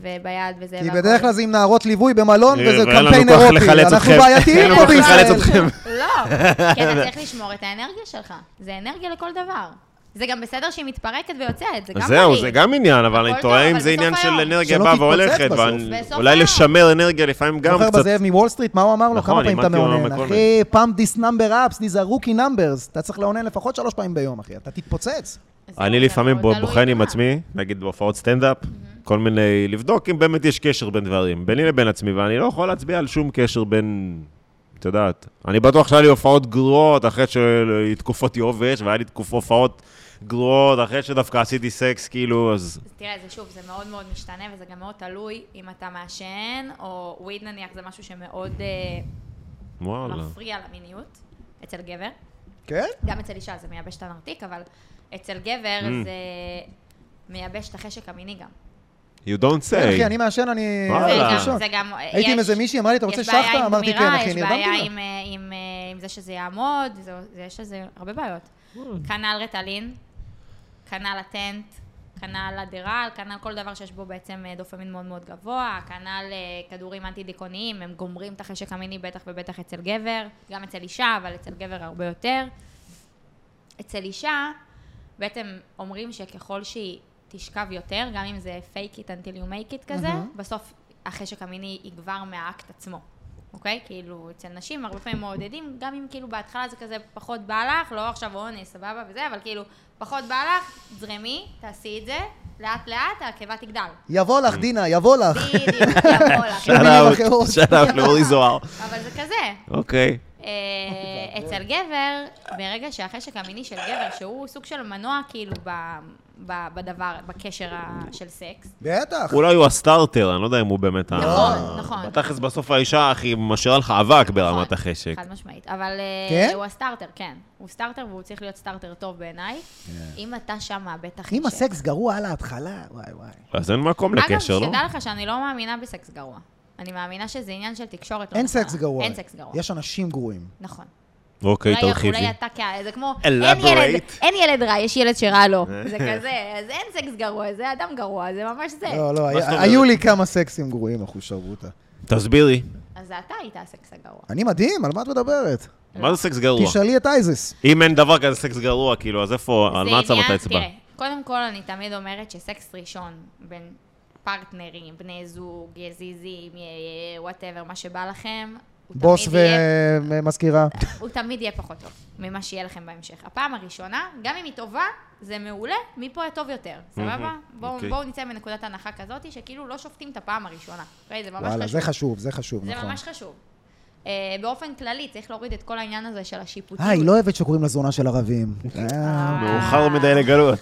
Speaker 3: וביד וזה?
Speaker 1: כי
Speaker 3: והכל?
Speaker 1: בדרך כלל זה עם נערות ליווי במלון,
Speaker 2: אה,
Speaker 1: וזה
Speaker 2: ואין לנו
Speaker 1: קמפיין
Speaker 2: כוח
Speaker 1: אירופי,
Speaker 2: לחלץ
Speaker 1: אנחנו
Speaker 2: אתכם. אין
Speaker 1: בעייתיים
Speaker 2: לנו
Speaker 1: פה
Speaker 2: כוח לחלץ
Speaker 1: בישראל.
Speaker 2: אתכם.
Speaker 3: לא, כי אתה צריך לשמור את האנרגיה שלך. זה אנרגיה לכל דבר. זה גם בסדר שהיא מתפרקת ויוצאת, זה גם
Speaker 2: זהו,
Speaker 3: בריא.
Speaker 2: זה גם עניין, אבל
Speaker 3: הכל
Speaker 2: אני
Speaker 3: טוב,
Speaker 2: תוהה אם
Speaker 3: אבל
Speaker 2: זה
Speaker 3: בסוף
Speaker 2: עניין של
Speaker 3: היום.
Speaker 2: אנרגיה
Speaker 1: שלא
Speaker 2: באה
Speaker 1: תתפוצץ
Speaker 2: והולכת,
Speaker 1: בסוף.
Speaker 2: ואני-
Speaker 3: בסוף
Speaker 2: אולי
Speaker 3: היום.
Speaker 2: לשמר אנרגיה לפעמים גם
Speaker 1: זוכר
Speaker 2: קצת...
Speaker 1: בזאב מוול סטריט, מה הוא אמר לו?
Speaker 2: נכון,
Speaker 1: כמה פעמים אתה
Speaker 2: לימדתי אותו
Speaker 1: מאונן?
Speaker 2: מכל
Speaker 1: אחי, פעם this number ups, these are rookie numbers. אתה צריך לאונן לפחות שלוש פעמים ביום, אחי. אתה תתפוצץ.
Speaker 3: זהו,
Speaker 2: אני
Speaker 3: זה
Speaker 2: לפעמים
Speaker 3: מאוד
Speaker 2: בו-
Speaker 3: תלוי
Speaker 2: בוחן עם
Speaker 3: בך.
Speaker 2: עצמי, נגיד בהופעות סטנדאפ, כל מיני, לבדוק אם באמת יש קשר בין דברים, ביני לבין עצמי, ואני לא יכול להצביע על שום קשר בין, את יודעת, אני בטוח שהיה לי הופעות גרועות אחרי שהיו תקופות יובש, והיה לי תקופ- הופעות גרועות אחרי שדווקא עשיתי סקס, כאילו, אז...
Speaker 3: אז תראה, זה שוב, זה מאוד מאוד משתנה, וזה גם מאוד תלוי אם אתה מעשן, או וויד נניח, זה משהו שמאוד אה,
Speaker 2: וואלה.
Speaker 3: מפריע למיניות, אצל גבר.
Speaker 1: כן?
Speaker 3: גם אצל אישה זה מייבש את הנרתיק, אבל אצל גבר
Speaker 2: Mm.
Speaker 3: זה מייבש את החשק המיני גם.
Speaker 2: You don't
Speaker 1: כן, אחי,
Speaker 2: say.
Speaker 1: אני מעשן, אני...
Speaker 2: וואלה.
Speaker 3: זה
Speaker 1: אני
Speaker 3: גם-
Speaker 1: ראשון.
Speaker 3: זה גם... אה,
Speaker 1: הייתי עם
Speaker 3: יש-
Speaker 1: איזה מישהי, אמרה לי, אתה רוצה
Speaker 3: יש בעיה
Speaker 1: שחטה?
Speaker 3: עם
Speaker 1: אמרתי, כן,
Speaker 3: גמירה,
Speaker 1: אחי,
Speaker 3: יש
Speaker 1: נרדמתי
Speaker 3: בעיה
Speaker 1: לה.
Speaker 3: עם, אה, עם, אה, עם זה שזה יעמוד, זה- זה- יש לזה הרבה בעיות. כנ"ל רטלין, כנ"ל הטנט, כנ"ל אדרל, כנ"ל כל דבר שיש בו בעצם אה, דופמין מאוד מאוד גבוה, כנ"ל אה, כדורים אנטי-דיכאוניים, הם גומרים את החשק המיני בטח ובטח אצל גבר, גם אצל אישה, אבל אצל גבר הרבה יותר. אצל אישה, בעצם אומרים שככל שהיא תשכב יותר, גם אם זה fake it until you make it כזה,
Speaker 1: מהמם.
Speaker 3: בסוף החשק המיני יגבר מהאקט עצמו, אוקיי? כאילו, אצל נשים הרבה פעמים מעודדים, גם אם כאילו בהתחלה זה כזה פחות בא לך, לא עכשיו אונס, סבבה וזה, אבל כאילו, פחות בא לך, זרמי, תעשי את זה, לאט לאט, הקיבה תגדל.
Speaker 1: יבוא לך, דינה, יבוא לך.
Speaker 3: בדיוק, יבוא לך.
Speaker 1: במילים אחרות.
Speaker 2: שאט אאוט לאורי זוהר.
Speaker 3: אבל זה כזה.
Speaker 2: אוקיי.
Speaker 3: אה, אצל גבר, ברגע שהחשק המיני של גבר, שהוא סוג של מנוע כאילו ב- ב- בדבר, בקשר ה- של סקס,
Speaker 1: בטח.
Speaker 2: אולי הוא הסטארטר, אני לא יודע אם הוא באמת... ה-
Speaker 3: נכון, נכון.
Speaker 2: בתכלס בסוף האישה, אחי, משאירה לך אבק ברמת החשק.
Speaker 3: חד משמעית. נכון, אבל אה,
Speaker 1: כן?
Speaker 3: הוא הסטארטר, כן. הוא סטארטר והוא צריך להיות סטארטר טוב בעיניי. אם אתה שם מאבד את החשק.
Speaker 1: כן. אם הסקס גרוע על ההתחלה, וואי וואי.
Speaker 2: אז אין מקום לקשר,
Speaker 3: אגב,
Speaker 2: לא?
Speaker 3: שתדע לך שאני לא מאמינה בסקס גרוע. אני מאמינה שזה עניין של תקשורת. לא
Speaker 1: אין
Speaker 3: נכונה.
Speaker 1: סקס גרוע.
Speaker 3: אין סקס גרוע.
Speaker 1: יש אנשים גרועים.
Speaker 3: נכון.
Speaker 2: אוקיי,
Speaker 3: אולי-
Speaker 2: תרחיבי.
Speaker 3: אולי אתה כ... זה כמו... אין
Speaker 2: Elaborate.
Speaker 3: ילד- אין ילד רע, יש ילד שרע לו.
Speaker 1: אה.
Speaker 3: זה כזה, אז אין סקס גרוע, זה אדם גרוע, זה ממש זה.
Speaker 1: לא, לא,
Speaker 2: זאת אומרת?
Speaker 1: היה- היו לי כמה סקסים גרועים, אחושרבותה.
Speaker 2: תסבירי.
Speaker 3: אז זה אתה היית הסקס הגרוע.
Speaker 1: אני מדהים, על מה את מדברת?
Speaker 3: לא.
Speaker 2: מה זה סקס גרוע?
Speaker 1: תשאלי את אייזס.
Speaker 2: אם אין דבר כזה סקס גרוע, כאילו, אז איפה, על
Speaker 3: זה
Speaker 2: מה את שמה את
Speaker 3: עניין-
Speaker 2: האצבע?
Speaker 3: תראה, קודם כל אני תמיד אומרת שסקס ראשון בין פרטנרים, בני זוג, יזיזים, וואטאבר, מה שבא לכם, הוא
Speaker 1: בוס
Speaker 3: תמיד יהיה-
Speaker 1: ומזכירה.
Speaker 3: הוא תמיד יהיה פחות טוב ממה שיהיה לכם בהמשך. הפעם הראשונה, גם אם היא טובה, זה מעולה, מפה יהיה טוב יותר,
Speaker 1: Mhm,
Speaker 3: סבבה?
Speaker 2: מהמם,
Speaker 3: בואו
Speaker 2: אוקיי.
Speaker 3: בואו נצא מנקודת הנחה כזאת, שכאילו לא שופטים את הפעם הראשונה. אוקיי, זה ממש חשוב.
Speaker 1: וואלה, זה חשוב, זה חשוב,
Speaker 3: זה
Speaker 1: נכון.
Speaker 3: ממש חשוב. אה, באופן כללי, צריך להוריד את כל העניין הזה של השיפוטיות.
Speaker 1: אה, היא לא אוהבת שקוראים לה זונה של ערבים. אה,
Speaker 2: מאוחר מדי לגלות.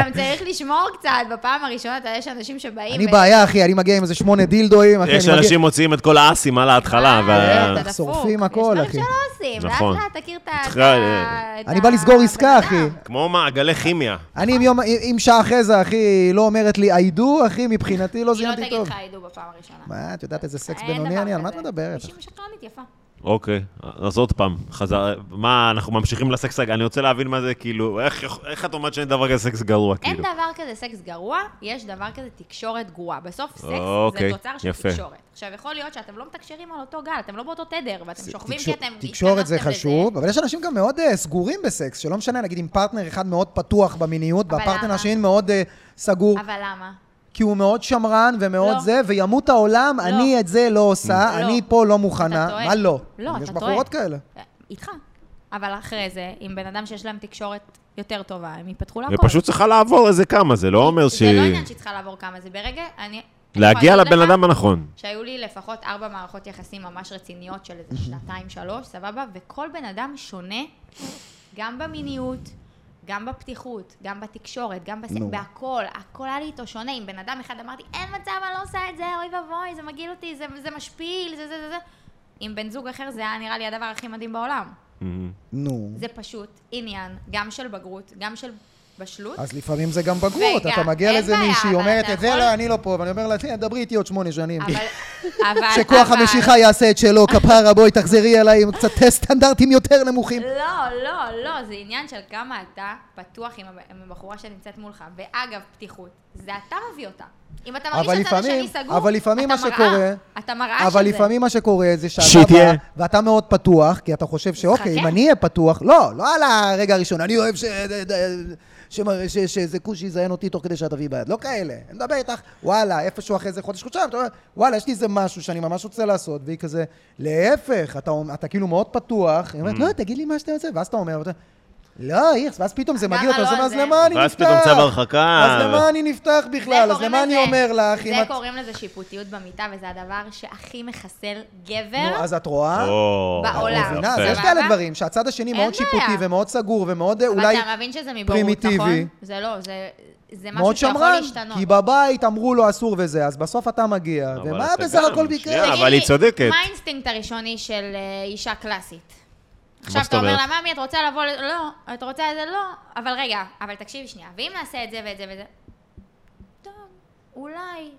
Speaker 3: גם צריך לשמור קצת, בפעם הראשונה, אתה יודע, יש אנשים שבאים...
Speaker 1: אני
Speaker 3: ו-
Speaker 1: בעיה, אחי, אני מגיע עם איזה שמונה דילדואים, אחי,
Speaker 2: יש
Speaker 1: אני כן, מגיע...
Speaker 2: אנשים מוציאים את כל האסים על ההתחלה,
Speaker 3: אה,
Speaker 2: וה-
Speaker 3: אתה דפוק.
Speaker 1: שורפים הכל,
Speaker 3: יש
Speaker 1: אחי.
Speaker 3: דברים שלא עושים,
Speaker 2: נכון.
Speaker 3: לאט לאט תכיר את ה...
Speaker 2: צריך,
Speaker 3: את ה- את
Speaker 1: אני בא
Speaker 3: ה-
Speaker 1: לסגור עסקה,
Speaker 3: הבן
Speaker 1: אחי. לא
Speaker 3: אדם.
Speaker 2: כמו מעגלי כימיה.
Speaker 1: אני עם יום- עם שעה אחרי זה, אחי, היא לא אומרת לי, I do, אחי, מבחינתי לא
Speaker 3: היא לא
Speaker 1: זיינתי
Speaker 3: תגיד
Speaker 1: טוב.
Speaker 3: לך עידו בפעם הראשונה. אה,
Speaker 1: מה, את יודעת איזה סקס
Speaker 3: אין
Speaker 1: בינוני
Speaker 3: דבר
Speaker 1: אני? על מה את
Speaker 3: כזה.
Speaker 1: מדברת?
Speaker 3: מישהי משקרנית יפה.
Speaker 2: אוקיי, אז עוד פעם, חזר, מה, אנחנו ממשיכים לסקס, הגרוע? אני רוצה להבין מה זה, כאילו, איך יכול- איך את אומרת שאין דבר כזה סקס גרוע,
Speaker 3: אין
Speaker 2: כאילו?
Speaker 3: דבר כזה סקס גרוע, יש דבר כזה תקשורת גרועה. בסוף סקס זה
Speaker 2: אוקיי,
Speaker 3: תוצר של
Speaker 2: יפה.
Speaker 3: תקשורת. עכשיו, יכול להיות שאתם לא מתקשרים על אותו גל, אתם לא באותו תדר, ואתם שוכבים כי
Speaker 1: תקשור-
Speaker 3: אתם...
Speaker 1: תקשורת זה
Speaker 3: התכנסתם לזה.
Speaker 1: חשוב, אבל יש אנשים גם מאוד אה, סגורים בסקס, שלא משנה, נגיד אם פרטנר אחד מאוד פתוח במיניות,
Speaker 3: אבל
Speaker 1: והפרטנר
Speaker 3: למה?
Speaker 1: השני מאוד אה, סגור,
Speaker 3: אבל למה?
Speaker 1: כי הוא מאוד שמרן ומאוד
Speaker 3: לא.
Speaker 1: זה, וימות העולם,
Speaker 3: לא.
Speaker 1: אני את זה לא עושה,
Speaker 3: לא.
Speaker 1: אני פה לא
Speaker 3: אתה
Speaker 1: מוכנה.
Speaker 3: טועה.
Speaker 1: מה לא?
Speaker 3: לא, אתה
Speaker 1: יש
Speaker 3: טועה.
Speaker 1: בחורות כאלה.
Speaker 3: איתך. אבל אחרי זה, עם בן אדם שיש להם תקשורת יותר טובה, הם יפתחו
Speaker 2: היא
Speaker 3: לעבור.
Speaker 2: פשוט צריכה לעבור איזה כמה, זה לא אומר ש...
Speaker 3: לא זה לא עניין לא שהיא צריכה לעבור כמה, זה ברגע, אני... אני
Speaker 2: להגיע
Speaker 3: יכולה להגיד
Speaker 2: לבן
Speaker 3: לך
Speaker 2: אדם הנכון.
Speaker 3: שהיו לי לפחות ארבע מערכות יחסים ממש רציניות של איזה שנתיים, שלוש, סבבה? וכל בן אדם שונה, גם במיניות, גם בפתיחות, גם בתקשורת, גם בסק,
Speaker 1: נו.
Speaker 3: בהכל, הכל היה לי איתו שונה. עם בן אדם אחד אמרתי, אין מצב, אני לא עושה את זה, אוי ואבוי, זה מגעיל אותי, זה, זה משפיל, זה זה זה זה. עם בן זוג אחר זה היה נראה לי הדבר הכי מדהים בעולם.
Speaker 2: אמ,
Speaker 1: נו.
Speaker 3: זה פשוט עניין, גם של בגרות, גם של בשלות.
Speaker 1: אז לפעמים זה גם בגרות,
Speaker 3: לא- רגע,
Speaker 1: אתה מגיע
Speaker 3: אין
Speaker 1: לאיזה
Speaker 3: בעיה,
Speaker 1: מישהי,
Speaker 3: אבל
Speaker 1: אומרת
Speaker 3: אתה
Speaker 1: את זה
Speaker 3: יכול-
Speaker 1: לא, אני לא פה, ואני אומר לה, "תראה, דברי איתי עוד שמונה שנים.
Speaker 3: אבל, אבל,
Speaker 1: כן. שכוח
Speaker 3: אבל-
Speaker 1: המשיכה יעשה את שלו, כפרה, בואי תחזרי אליי עם קצת סטנדרטים יותר נמוכים.
Speaker 3: לא, לא, לא, זה עניין של כמה אתה פתוח עם הב- עם הבחורה שנמצאת מולך. ואגב, פתיחות, זה אתה מביא אותה. אם אתה
Speaker 1: אבל
Speaker 3: מרגיש שאתה
Speaker 1: לפעמים-
Speaker 3: שאני סגור,
Speaker 1: אבל לפעמים
Speaker 3: אתה
Speaker 1: מה
Speaker 3: מראה,
Speaker 1: שקורה-
Speaker 3: אתה מראה שזה.
Speaker 1: אבל לפעמים מה שקורה זה
Speaker 2: שהיא
Speaker 1: שאתה
Speaker 2: תהיה.
Speaker 1: בא, ואתה מאוד פתוח, כי אתה חושב שאוקיי, אם
Speaker 3: חכה.
Speaker 1: אני אהיה פתוח, לא, לא על הרגע הראשון, אני אוהב ש... ש- ש- שאיזה כוש יזיין אותי תוך כדי שאת תביאי ביד, לא כאלה. אני מדבר איתך, וואלה, איפשהו אחרי זה חודש חודשיים, אתה אומר, וואלה, יש לי איזה משהו שאני ממש רוצה לעשות, והיא כזה, להפך, אתה, אומר- אתה כאילו מאוד פתוח, היא
Speaker 2: Mm.
Speaker 1: אומרת, לא, תגיד לי מה שאתה רוצה, ואז אתה אומר, ואתה, לא, איכס, ואז פתאום זה
Speaker 3: למה
Speaker 1: מגיע אותו,
Speaker 3: לא
Speaker 1: זה, אז
Speaker 3: זה?
Speaker 1: למה אני נפתח?
Speaker 2: ואז פתאום צו הרחקה.
Speaker 1: אז למה אני נפתח בכלל? אז
Speaker 3: קוראים
Speaker 1: למה אני
Speaker 3: לזה-
Speaker 1: אומר לך? אם
Speaker 3: זה
Speaker 1: את-
Speaker 3: קוראים לזה שיפוטיות במיטה, וזה הדבר שהכי מחסל
Speaker 1: נו,
Speaker 3: גבר.
Speaker 1: אז את רואה?
Speaker 2: או,
Speaker 3: בעולם.
Speaker 2: יפה.
Speaker 1: אה? מבינה, אז
Speaker 3: יפה.
Speaker 1: יש כאלה
Speaker 3: סבבה?
Speaker 1: דברים שהצד השני
Speaker 3: אין
Speaker 1: מאוד
Speaker 3: בעיה.
Speaker 1: שיפוטי ומאוד סגור ומאוד אה,
Speaker 3: אבל
Speaker 1: אולי
Speaker 3: אתה מבין שזה מבורות,
Speaker 1: פרימיטיבי.
Speaker 3: נכון? זה לא, זה- זה משהו
Speaker 1: מאוד
Speaker 3: שיכול
Speaker 1: שמרן,
Speaker 3: להשתנות.
Speaker 1: כי בבית אמרו לו אסור וזה, אז בסוף אתה מגיע,
Speaker 2: אבל
Speaker 1: ומה
Speaker 2: אתה
Speaker 1: בסך
Speaker 2: גם,
Speaker 1: הכל
Speaker 2: שנייה.
Speaker 1: ביקר?
Speaker 3: תגיד
Speaker 2: אה, אבל
Speaker 3: לי,
Speaker 2: היא צודקת.
Speaker 3: מה האינסטינקט הראשוני של אה, אישה קלאסית? עכשיו
Speaker 2: זאת
Speaker 3: אתה אומר
Speaker 2: אומרת?
Speaker 3: לה, ממי, את רוצה לבוא ל... לא, את רוצה את זה? לא. אבל רגע, אבל תקשיבי שנייה, ואם נעשה את זה ואת זה ואת זה? טוב, אולי.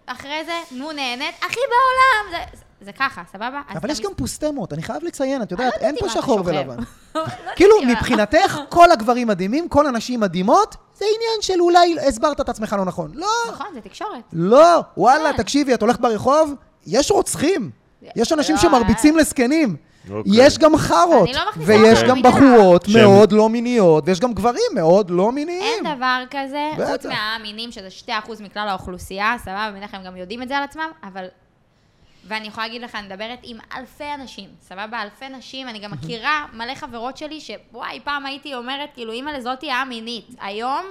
Speaker 3: אחרי זה, נו, נהנית, הכי בעולם! זה- זה ככה, סבבה? אז
Speaker 1: אבל
Speaker 3: אתה
Speaker 1: יש גם
Speaker 3: מס-
Speaker 1: פוסטמות, אני חייב לציין, את
Speaker 3: אני לא
Speaker 1: יודעת,
Speaker 3: יודעת
Speaker 1: אין פה
Speaker 3: אם אתה
Speaker 1: שחור
Speaker 3: שוכב.
Speaker 1: ולבן.
Speaker 3: לא יודעת
Speaker 1: כאילו,
Speaker 3: אם אתה-
Speaker 1: מבחינתך, כל הגברים מדהימים, כל הנשים מדהימות, זה עניין של אולי הסברת את עצמך לא נכון. לא,
Speaker 3: נכון, זה תקשורת.
Speaker 1: לא, וואלה,
Speaker 3: כן.
Speaker 1: תקשיבי, את הולכת ברחוב, יש רוצחים. יש אנשים
Speaker 3: לא,
Speaker 1: שמרביצים לזקנים.
Speaker 2: אוקיי.
Speaker 1: יש גם חארות.
Speaker 3: אני לא מכניסה
Speaker 1: ויש
Speaker 2: אותם
Speaker 1: גם
Speaker 3: למידה.
Speaker 1: בחורות
Speaker 2: שהם-
Speaker 1: מאוד לא מיניות, ויש גם גברים מאוד לא
Speaker 3: אין
Speaker 1: מיניים.
Speaker 3: דבר כזה,
Speaker 1: בטח.
Speaker 3: חוץ מהמינים, שזה 2% מכלל האוכלוסייה, סבבה, בטח הם גם יודעים את זה על עצמם, אבל... ואני יכולה להגיד לך, אני מדברת עם אלפי אנשים, סבבה? אלפי נשים, אני גם מכירה מלא חברות שלי, שוואי, פעם הייתי אומרת, כאילו, אימא לזאתי היה מינית. היום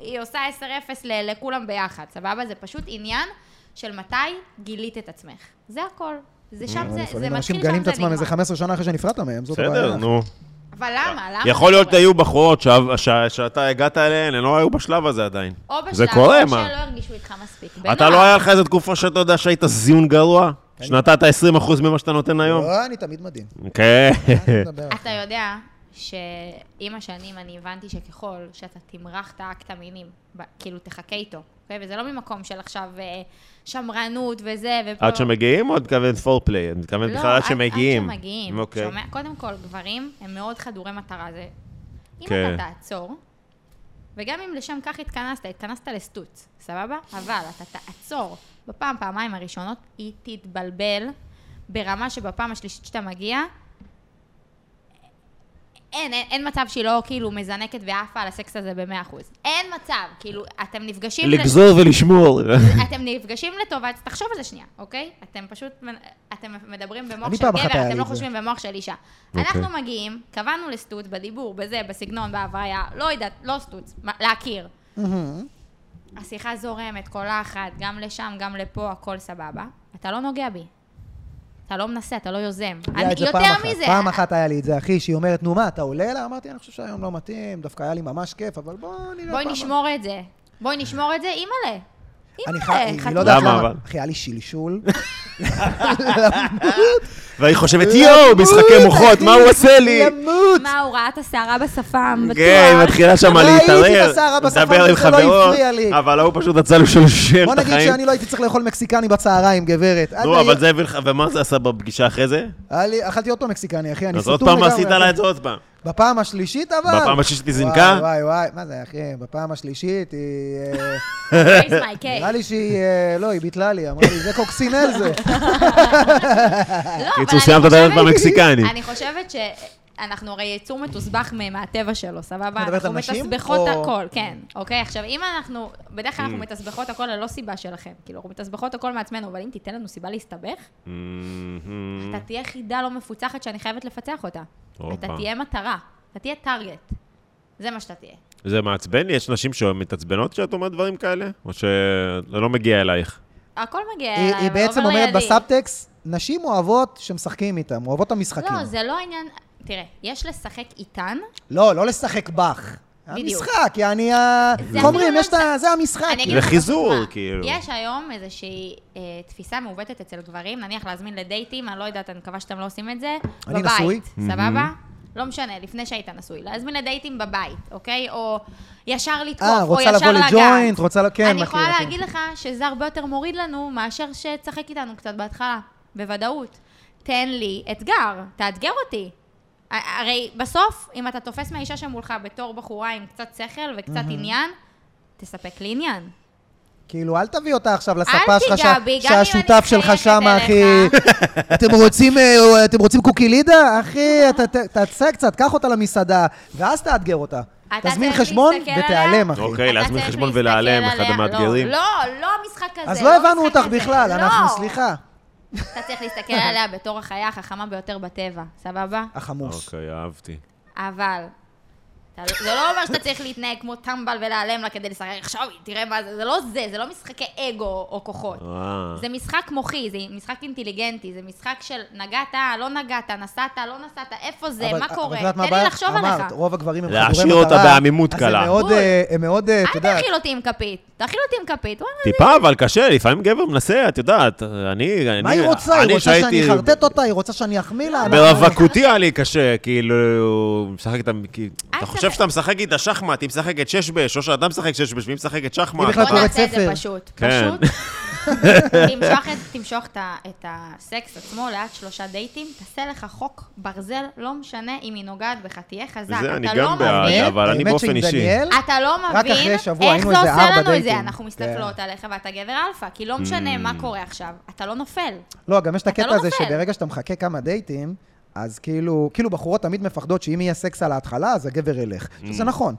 Speaker 3: היא עושה 10-0 ל- לכולם ביחד, סבבה? זה פשוט עניין של מתי גילית את עצמך. זה הכל. זה שם, זה- זה
Speaker 1: אה, לפעמים אנשים
Speaker 3: מתחיל
Speaker 1: מגלים
Speaker 3: שם,
Speaker 1: את
Speaker 3: זה
Speaker 1: עצמם איזה
Speaker 3: נגמר.
Speaker 1: 15 שנה אחרי שנפרדת מהם, זאת הבעיה.
Speaker 2: בסדר, נו.
Speaker 3: אבל למה? למה?
Speaker 2: יכול
Speaker 3: זה
Speaker 2: להיות
Speaker 3: קורה?
Speaker 2: היו בחורות שה- שה- שאתה הגעת אליהן, הן לא היו בשלב הזה עדיין.
Speaker 3: או בשלב,
Speaker 2: זה קורה,
Speaker 3: או שלא
Speaker 2: מה?
Speaker 3: הרגישו איתך מספיק.
Speaker 2: אתה לא היה לך איזה תקופה שאתה יודע שהיית זיון גרוע? שנתת 20% ממה שאתה נותן היום?
Speaker 1: לא, אני תמיד מדהים.
Speaker 2: כן.
Speaker 1: אני מדבר.
Speaker 3: אתה יודע שעם השנים אני הבנתי שככל שאתה תמרח את האקט המיני, ב- כאילו תחכה איתו, אוקיי? וזה לא ממקום של עכשיו אה, שמרנות וזה, ופה...
Speaker 2: עד שמגיעים או את מתכוונת פורפליי? את מתכוונת
Speaker 3: לא,
Speaker 2: בכלל עד שמגיעים?
Speaker 3: עד שמגיעים.
Speaker 2: אוקיי.
Speaker 3: שומע, קודם כל, גברים הם מאוד חדורי מטרה. זה... אם
Speaker 2: כן.
Speaker 3: אתה תעצור, וגם אם לשם כך התכנסת, התכנסת לסטוץ, סבבה? אבל אתה תעצור בפעם, פעמיים הראשונות, היא תתבלבל ברמה שבפעם השלישית שאתה מגיע, אין, אין, אין מצב שהיא לא כאילו מזנקת ועפה על הסקס הזה במאה אחוז. אין מצב, כאילו, אתם נפגשים...
Speaker 2: לגזור ולשמור.
Speaker 3: אתם נפגשים לטובה, אז תחשוב על זה שנייה, אוקיי? אתם פשוט, אתם מדברים במוח
Speaker 1: אני
Speaker 3: של
Speaker 1: פעם אחת היה
Speaker 3: גבר,
Speaker 1: לי
Speaker 3: אתם לא
Speaker 1: את זה.
Speaker 3: חושבים במוח של אישה.
Speaker 2: אוקיי.
Speaker 3: אנחנו מגיעים, קבענו לסטוץ בדיבור, בזה, בסגנון, בהוויה, לא יודעת, לא סטוץ, מה- להכיר. השיחה זורמת, קולחת, גם לשם, גם לפה, הכל סבבה. אתה לא נוגע בי. אתה לא מנסה, אתה לא יוזם.
Speaker 1: היה
Speaker 3: אני-
Speaker 1: את זה פעם
Speaker 3: יותר
Speaker 1: אחת.
Speaker 3: מזה.
Speaker 1: פעם אחת היה לי את זה, אחי, שהיא אומרת, נו מה, אתה עולה לה? אמרתי, אני חושב שהיום לא מתאים, דווקא היה לי ממש כיף, אבל בוא נראה
Speaker 3: בואי
Speaker 1: פעם
Speaker 3: נשמור את זה. בואי נשמור את זה, אימא'לה.
Speaker 1: אני חי...
Speaker 3: אימא'לה,
Speaker 1: אני לא יודעת
Speaker 2: למה,
Speaker 1: למה.
Speaker 2: אבל?
Speaker 1: אחי, היה לי שלשול.
Speaker 2: והיא חושבת, יואו, משחקי מוחות, מה הוא עושה לי?
Speaker 1: למות!
Speaker 3: מה, הוא ראה את הסערה בשפם, בטוח.
Speaker 2: כן, היא מתחילה שם
Speaker 1: לא הייתי
Speaker 2: להתערער,
Speaker 1: בסערה בשפה,
Speaker 2: לדבר עם
Speaker 1: וזה לא
Speaker 2: חברות,
Speaker 1: הפריע לי.
Speaker 2: אבל ההוא פשוט רצה לשלשל
Speaker 1: בוא
Speaker 2: את
Speaker 1: נגיד
Speaker 2: החיים.
Speaker 1: שאני לא הייתי צריך לאכול מקסיקני בצהריים, גברת. עד
Speaker 2: נו,
Speaker 1: היום-
Speaker 2: אבל זה הביא לך, ומה זה עשה בפגישה אחרי זה?
Speaker 1: היה לי- אכלתי אותו מקסיקני, אחי, אני
Speaker 2: אז
Speaker 1: סתום
Speaker 2: עוד
Speaker 1: לגמרי.
Speaker 2: פעם עשית
Speaker 1: אחי.
Speaker 2: לה את זה עוד פעם.
Speaker 1: בפעם השלישית אבל...
Speaker 2: בפעם השלישית היא
Speaker 1: וואי,
Speaker 2: זינקה?
Speaker 1: וואי וואי, מה זה אחי, בפעם השלישית היא... אה,
Speaker 3: Raise my cake.
Speaker 1: נראה לי שהיא... אה, לא, היא ביטלה לי, אמרה לי, זה קוקסינל זה.
Speaker 3: לא, אבל
Speaker 2: קיצור,
Speaker 3: אני
Speaker 2: סיימת את הילד
Speaker 3: חושבת-
Speaker 2: במקסיקני.
Speaker 3: אני חושבת שאנחנו הרי יצור מתוסבך מ- מהטבע שלו, סבבה?
Speaker 1: מדברת
Speaker 3: אנחנו
Speaker 1: על נשים,
Speaker 3: מתסבכות
Speaker 1: או-
Speaker 3: הכל, כן. אוקיי, עכשיו, אם אנחנו, בדרך כלל
Speaker 2: Mm.
Speaker 3: אנחנו מתסבכות הכל ללא סיבה שלכם. כאילו, אנחנו מתסבכות הכל מעצמנו, אבל אם תיתן לנו סיבה להסתבך,
Speaker 2: Mm.
Speaker 3: אתה תהיה חידה לא מפוצחת שאני חייבת לפצח אותה.
Speaker 2: הופה.
Speaker 3: אתה תהיה מטרה, אתה תהיה טארגט. זה מה שאתה תהיה.
Speaker 2: זה מעצבן לי? יש נשים שמתעצבנות כשאת אומרת דברים כאלה? או שזה לא מגיע אלייך?
Speaker 3: הכל מגיע אליי,
Speaker 1: היא
Speaker 3: כן, אבל לא
Speaker 1: היא בעצם
Speaker 3: עובר
Speaker 1: אומרת
Speaker 3: לידי.
Speaker 1: בסאבטקסט, נשים אוהבות שמשחקים איתם, אוהבות את המשחקים.
Speaker 3: לא, זה לא עניין... תראה, יש לשחק איתן,
Speaker 1: לא, לא לשחק בך.
Speaker 3: בדיוק.
Speaker 1: המשחק, יעני ה...
Speaker 3: זה
Speaker 1: איך אומרים,
Speaker 3: אפילו
Speaker 1: יש את ה...
Speaker 3: לא
Speaker 1: זה המשחק.
Speaker 3: אני אגיד
Speaker 2: זה
Speaker 3: לך
Speaker 2: חיזור,
Speaker 3: דוגמה.
Speaker 2: כאילו.
Speaker 3: יש היום איזושהי אה, תפיסה מעוותת אצל גברים, נניח להזמין לדייטים, אני לא יודעת, אני מקווה שאתם לא עושים את זה,
Speaker 1: אני
Speaker 3: בבית,
Speaker 1: נשוי.
Speaker 3: סבבה? לא משנה, לפני שהיית נשוי, להזמין לדייטים בבית, אוקיי? או ישר לתקוף,
Speaker 1: אה,
Speaker 3: או
Speaker 1: רוצה
Speaker 3: ישר לגעת.
Speaker 1: לבוא לג'וינט, רוצה... ל- כן,
Speaker 3: אני
Speaker 1: מכיר,
Speaker 3: יכולה
Speaker 1: מכיר.
Speaker 3: להגיד לך שזה הרבה יותר מוריד לנו מאשר שתשחק איתנו קצת בהתחלה, בוודאות. תן לי אתגר, תאתגר אותי. ה- הרי בסוף, אם אתה תופס מהאישה שמולך בתור בחורה עם קצת שכל וקצת עניין, תספק לי עניין.
Speaker 2: אוקיי,
Speaker 1: כאילו, אל תביא אותה עכשיו
Speaker 3: אל
Speaker 1: לספה שלך,
Speaker 3: תיגע
Speaker 1: שה-
Speaker 3: בי, גם אם אני
Speaker 1: שהשותף שלך
Speaker 3: מחייכת
Speaker 1: שם, אחי.
Speaker 3: אליך.
Speaker 1: אתם רוצים, אה, או- אתם רוצים קוקילידה? אחי, אתה- ת- תעשה קצת, קח אותה למסעדה, ואז תאתגר אותה.
Speaker 3: אתה
Speaker 1: תזמין
Speaker 3: צריך
Speaker 1: חשבון
Speaker 3: להסתכל
Speaker 1: ותיעלם, אחי.
Speaker 2: אוקיי,
Speaker 3: אתה
Speaker 2: להזמין
Speaker 3: צריך
Speaker 2: חשבון
Speaker 3: להסתכל
Speaker 2: ולהיעלם, אחד
Speaker 3: עליה.
Speaker 2: המאתגרים.
Speaker 3: לא, לא, לא המשחק הזה.
Speaker 1: אז לא הבנו
Speaker 3: המשחק
Speaker 1: אותך
Speaker 3: הזה.
Speaker 1: בכלל,
Speaker 3: לא.
Speaker 1: אנחנו, סליחה.
Speaker 3: אתה צריך להסתכל עליה בתור החיה החכמה ביותר בטבע, סבבה?
Speaker 1: החמוס.
Speaker 2: אוקיי, אהבתי.
Speaker 3: אבל... אתה לא- זה לא אומר שאתה צריך להתנהג כמו טמבל ולהיעלם לה כדי לשחק, עכשיו היא, תראה מה זה, זה לא זה, זה לא משחקי אגו או כוחות.
Speaker 2: אה.
Speaker 3: זה משחק מוחי, זה משחק אינטליגנטי, זה משחק של נגעת, לא נגעת, נסעת, לא נסעת, איפה זה,
Speaker 1: אבל- אה,
Speaker 3: מה
Speaker 1: אבל
Speaker 3: קורה?
Speaker 1: את יודעת מה
Speaker 3: תן לי
Speaker 1: הבעיה?
Speaker 3: לחשוב
Speaker 1: אמרת,
Speaker 3: עליך.
Speaker 1: רוב הגברים הם
Speaker 2: להשאיר
Speaker 1: חדורי מטרה.
Speaker 2: אותה בעמימות קלה.
Speaker 1: אז הם מאוד,
Speaker 3: בול.
Speaker 1: אה, הם מאוד, אה, אתה
Speaker 3: אל
Speaker 1: יודע,
Speaker 3: תאכיל אותי עם כפית, תאכיל אותי עם כפית, וואלה,
Speaker 2: טיפה, אבל קשה, לפעמים גבר מנסה, את יודעת, אני...
Speaker 1: מה
Speaker 2: אני-
Speaker 1: היא רוצה? היא
Speaker 2: אני
Speaker 1: רוצה שאני
Speaker 2: שהייתי-
Speaker 1: אחרטט אותה? היא רוצה שאני אחמיא לה?
Speaker 2: ברווקותי היה לי קשה, כאילו, משחק איתם, כאילו, אתה חושב
Speaker 3: תשחק.
Speaker 2: שאתה משחק איתה שחמט, היא משחקת שש באש, או שאתה משחק שש באש, והיא משחקת
Speaker 1: היא
Speaker 2: שחמט.
Speaker 1: בכלל
Speaker 3: בוא
Speaker 1: קוראת
Speaker 3: נעשה את זה
Speaker 1: ספר.
Speaker 3: פשוט.
Speaker 2: כן.
Speaker 3: פשוט. תמשוך את- תמשוך את ה- את הסקס עצמו ליד שלושה דייטים, תעשה לך חוק ברזל, לא משנה אם היא נוגעת בך, תהיה חזק.
Speaker 2: זה, אני
Speaker 3: אתה
Speaker 2: גם
Speaker 3: לא
Speaker 2: בעד.
Speaker 3: מבין-
Speaker 2: אבל אני באופן
Speaker 1: האמת
Speaker 2: אישי.
Speaker 1: שעם דניאל,
Speaker 3: אתה לא
Speaker 1: כן. רק
Speaker 3: מבין
Speaker 1: אחרי
Speaker 3: איך
Speaker 1: שבוע היינו
Speaker 3: זה
Speaker 1: איזה
Speaker 3: עושה
Speaker 1: ארבע
Speaker 3: לנו את זה.
Speaker 1: דייטים. כן.
Speaker 3: אנחנו מסתכלות עליך ואתה גבר אלפא, כי לא
Speaker 2: Mm.
Speaker 3: משנה מה קורה עכשיו, אתה לא נופל.
Speaker 1: לא, גם יש את
Speaker 3: אתה
Speaker 1: הקטע
Speaker 3: לא
Speaker 1: הזה
Speaker 3: נופל.
Speaker 1: שברגע שאתה מחכה כמה דייטים, אז כאילו, כאילו בחורות תמיד מפחדות שאם יהיה סקס על ההתחלה, אז הגבר ילך. שזה נכון.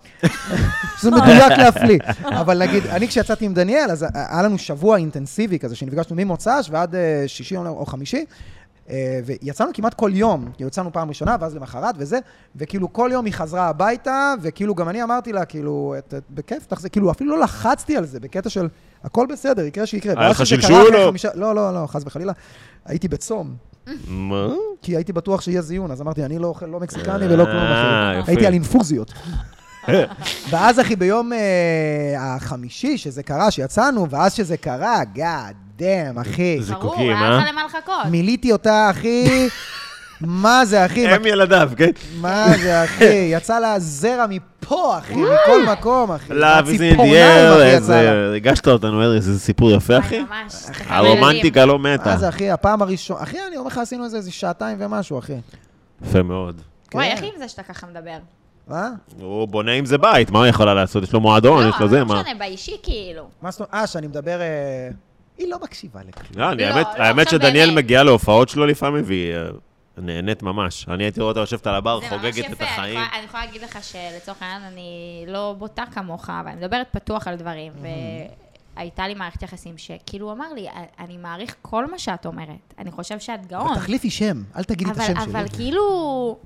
Speaker 1: שזה מדויק להפליא. אבל נגיד, אני כשיצאתי עם דניאל, אז היה לנו שבוע אינטנסיבי כזה, שנפגשנו ממוצ"ש ועד אה, שישי או לא, חמישי. אה, ויצאנו כמעט כל יום, כאילו, יצאנו פעם ראשונה, ואז למחרת וזה, וכאילו כל יום היא חזרה הביתה, וכאילו גם אני אמרתי לה, כאילו, את, את, בכיף, תחזרי, כאילו אפילו לא לחצתי על זה, בקטע של הכל בסדר, יקרה שיקרה.
Speaker 2: היה
Speaker 1: ואז
Speaker 2: לך
Speaker 1: שזה קרה
Speaker 2: שלשול
Speaker 1: אחרי
Speaker 2: או-
Speaker 1: חמישה- לא, לא, לא, חס וחלילה. הייתי בצום,
Speaker 2: מה?
Speaker 1: כי הייתי בטוח שיהיה זיון, אז אמרתי, אני לא אוכל לא מקסיקני ולא כלום
Speaker 2: אה,
Speaker 1: אחר.
Speaker 2: יפה.
Speaker 1: הייתי על אינפוזיות. ואז, אחי, ביום אה, החמישי שזה קרה, שיצאנו, ואז שזה קרה, גאד דאם, אחי.
Speaker 2: זה-
Speaker 3: ברור,
Speaker 2: זיקוקים,
Speaker 3: היה
Speaker 2: אה?
Speaker 3: לך למה לחכות.
Speaker 1: מיליתי אותה, אחי. מה זה, אחי?
Speaker 2: הם ילדיו, כן?
Speaker 1: מה זה, אחי? יצא לה זרע מפה, אחי, מכל מקום, אחי.
Speaker 2: Love is in the
Speaker 1: מהציפורניים, אחי,
Speaker 2: air,
Speaker 1: יצא לה.
Speaker 2: איזה- הרגשת אותנו, ארז, איזה סיפור יפה, אחי.
Speaker 3: וואי, ממש, תחבלים.
Speaker 2: הרומנטיקה לא מתה.
Speaker 1: מה זה, אחי, הפעם הראשונה... אחי, אני אומר לך, עשינו איזה איזה שעתיים ומשהו, אחי.
Speaker 2: יפה מאוד.
Speaker 3: וואי,
Speaker 1: כן.
Speaker 3: איך עם זה שאתה ככה מדבר?
Speaker 1: מה?
Speaker 2: הוא בונה עם זה בית, מה הוא יכולה לעשות? יש לו מועדון, יש לו זה,
Speaker 3: לא
Speaker 2: מה?
Speaker 3: משנה, באישי כאילו.
Speaker 1: מה זאת אומרת? אה, שאני מדבר... אה, היא לא מקשיבה לכלום.
Speaker 2: לא, אני-
Speaker 3: לא,
Speaker 2: האמת-
Speaker 3: לא,
Speaker 2: האמת
Speaker 3: עכשיו
Speaker 2: שדניאל
Speaker 3: באמת.
Speaker 2: מגיעה להופעות שלו לפעמים, והיא אה, נהנית ממש. אני הייתי רואה אותה יושבת על הבר,
Speaker 3: זה ממש
Speaker 2: חוגגת את
Speaker 3: יפה, אני
Speaker 2: החיים.
Speaker 3: יכולה- אני יכולה להגיד לך שלצורך העניין אני לא בוטה כמוך, אבל אני מדברת פתוח על דברים, והייתה לי מערכת יחסים שכאילו הוא אמר לי, אני מעריך כל מה שאת אומרת, אני חושב שאת גאון,
Speaker 1: תחליפי שם, אל תגידי את
Speaker 3: אבל-
Speaker 1: השם
Speaker 3: אבל
Speaker 1: שלי.
Speaker 3: כאילו,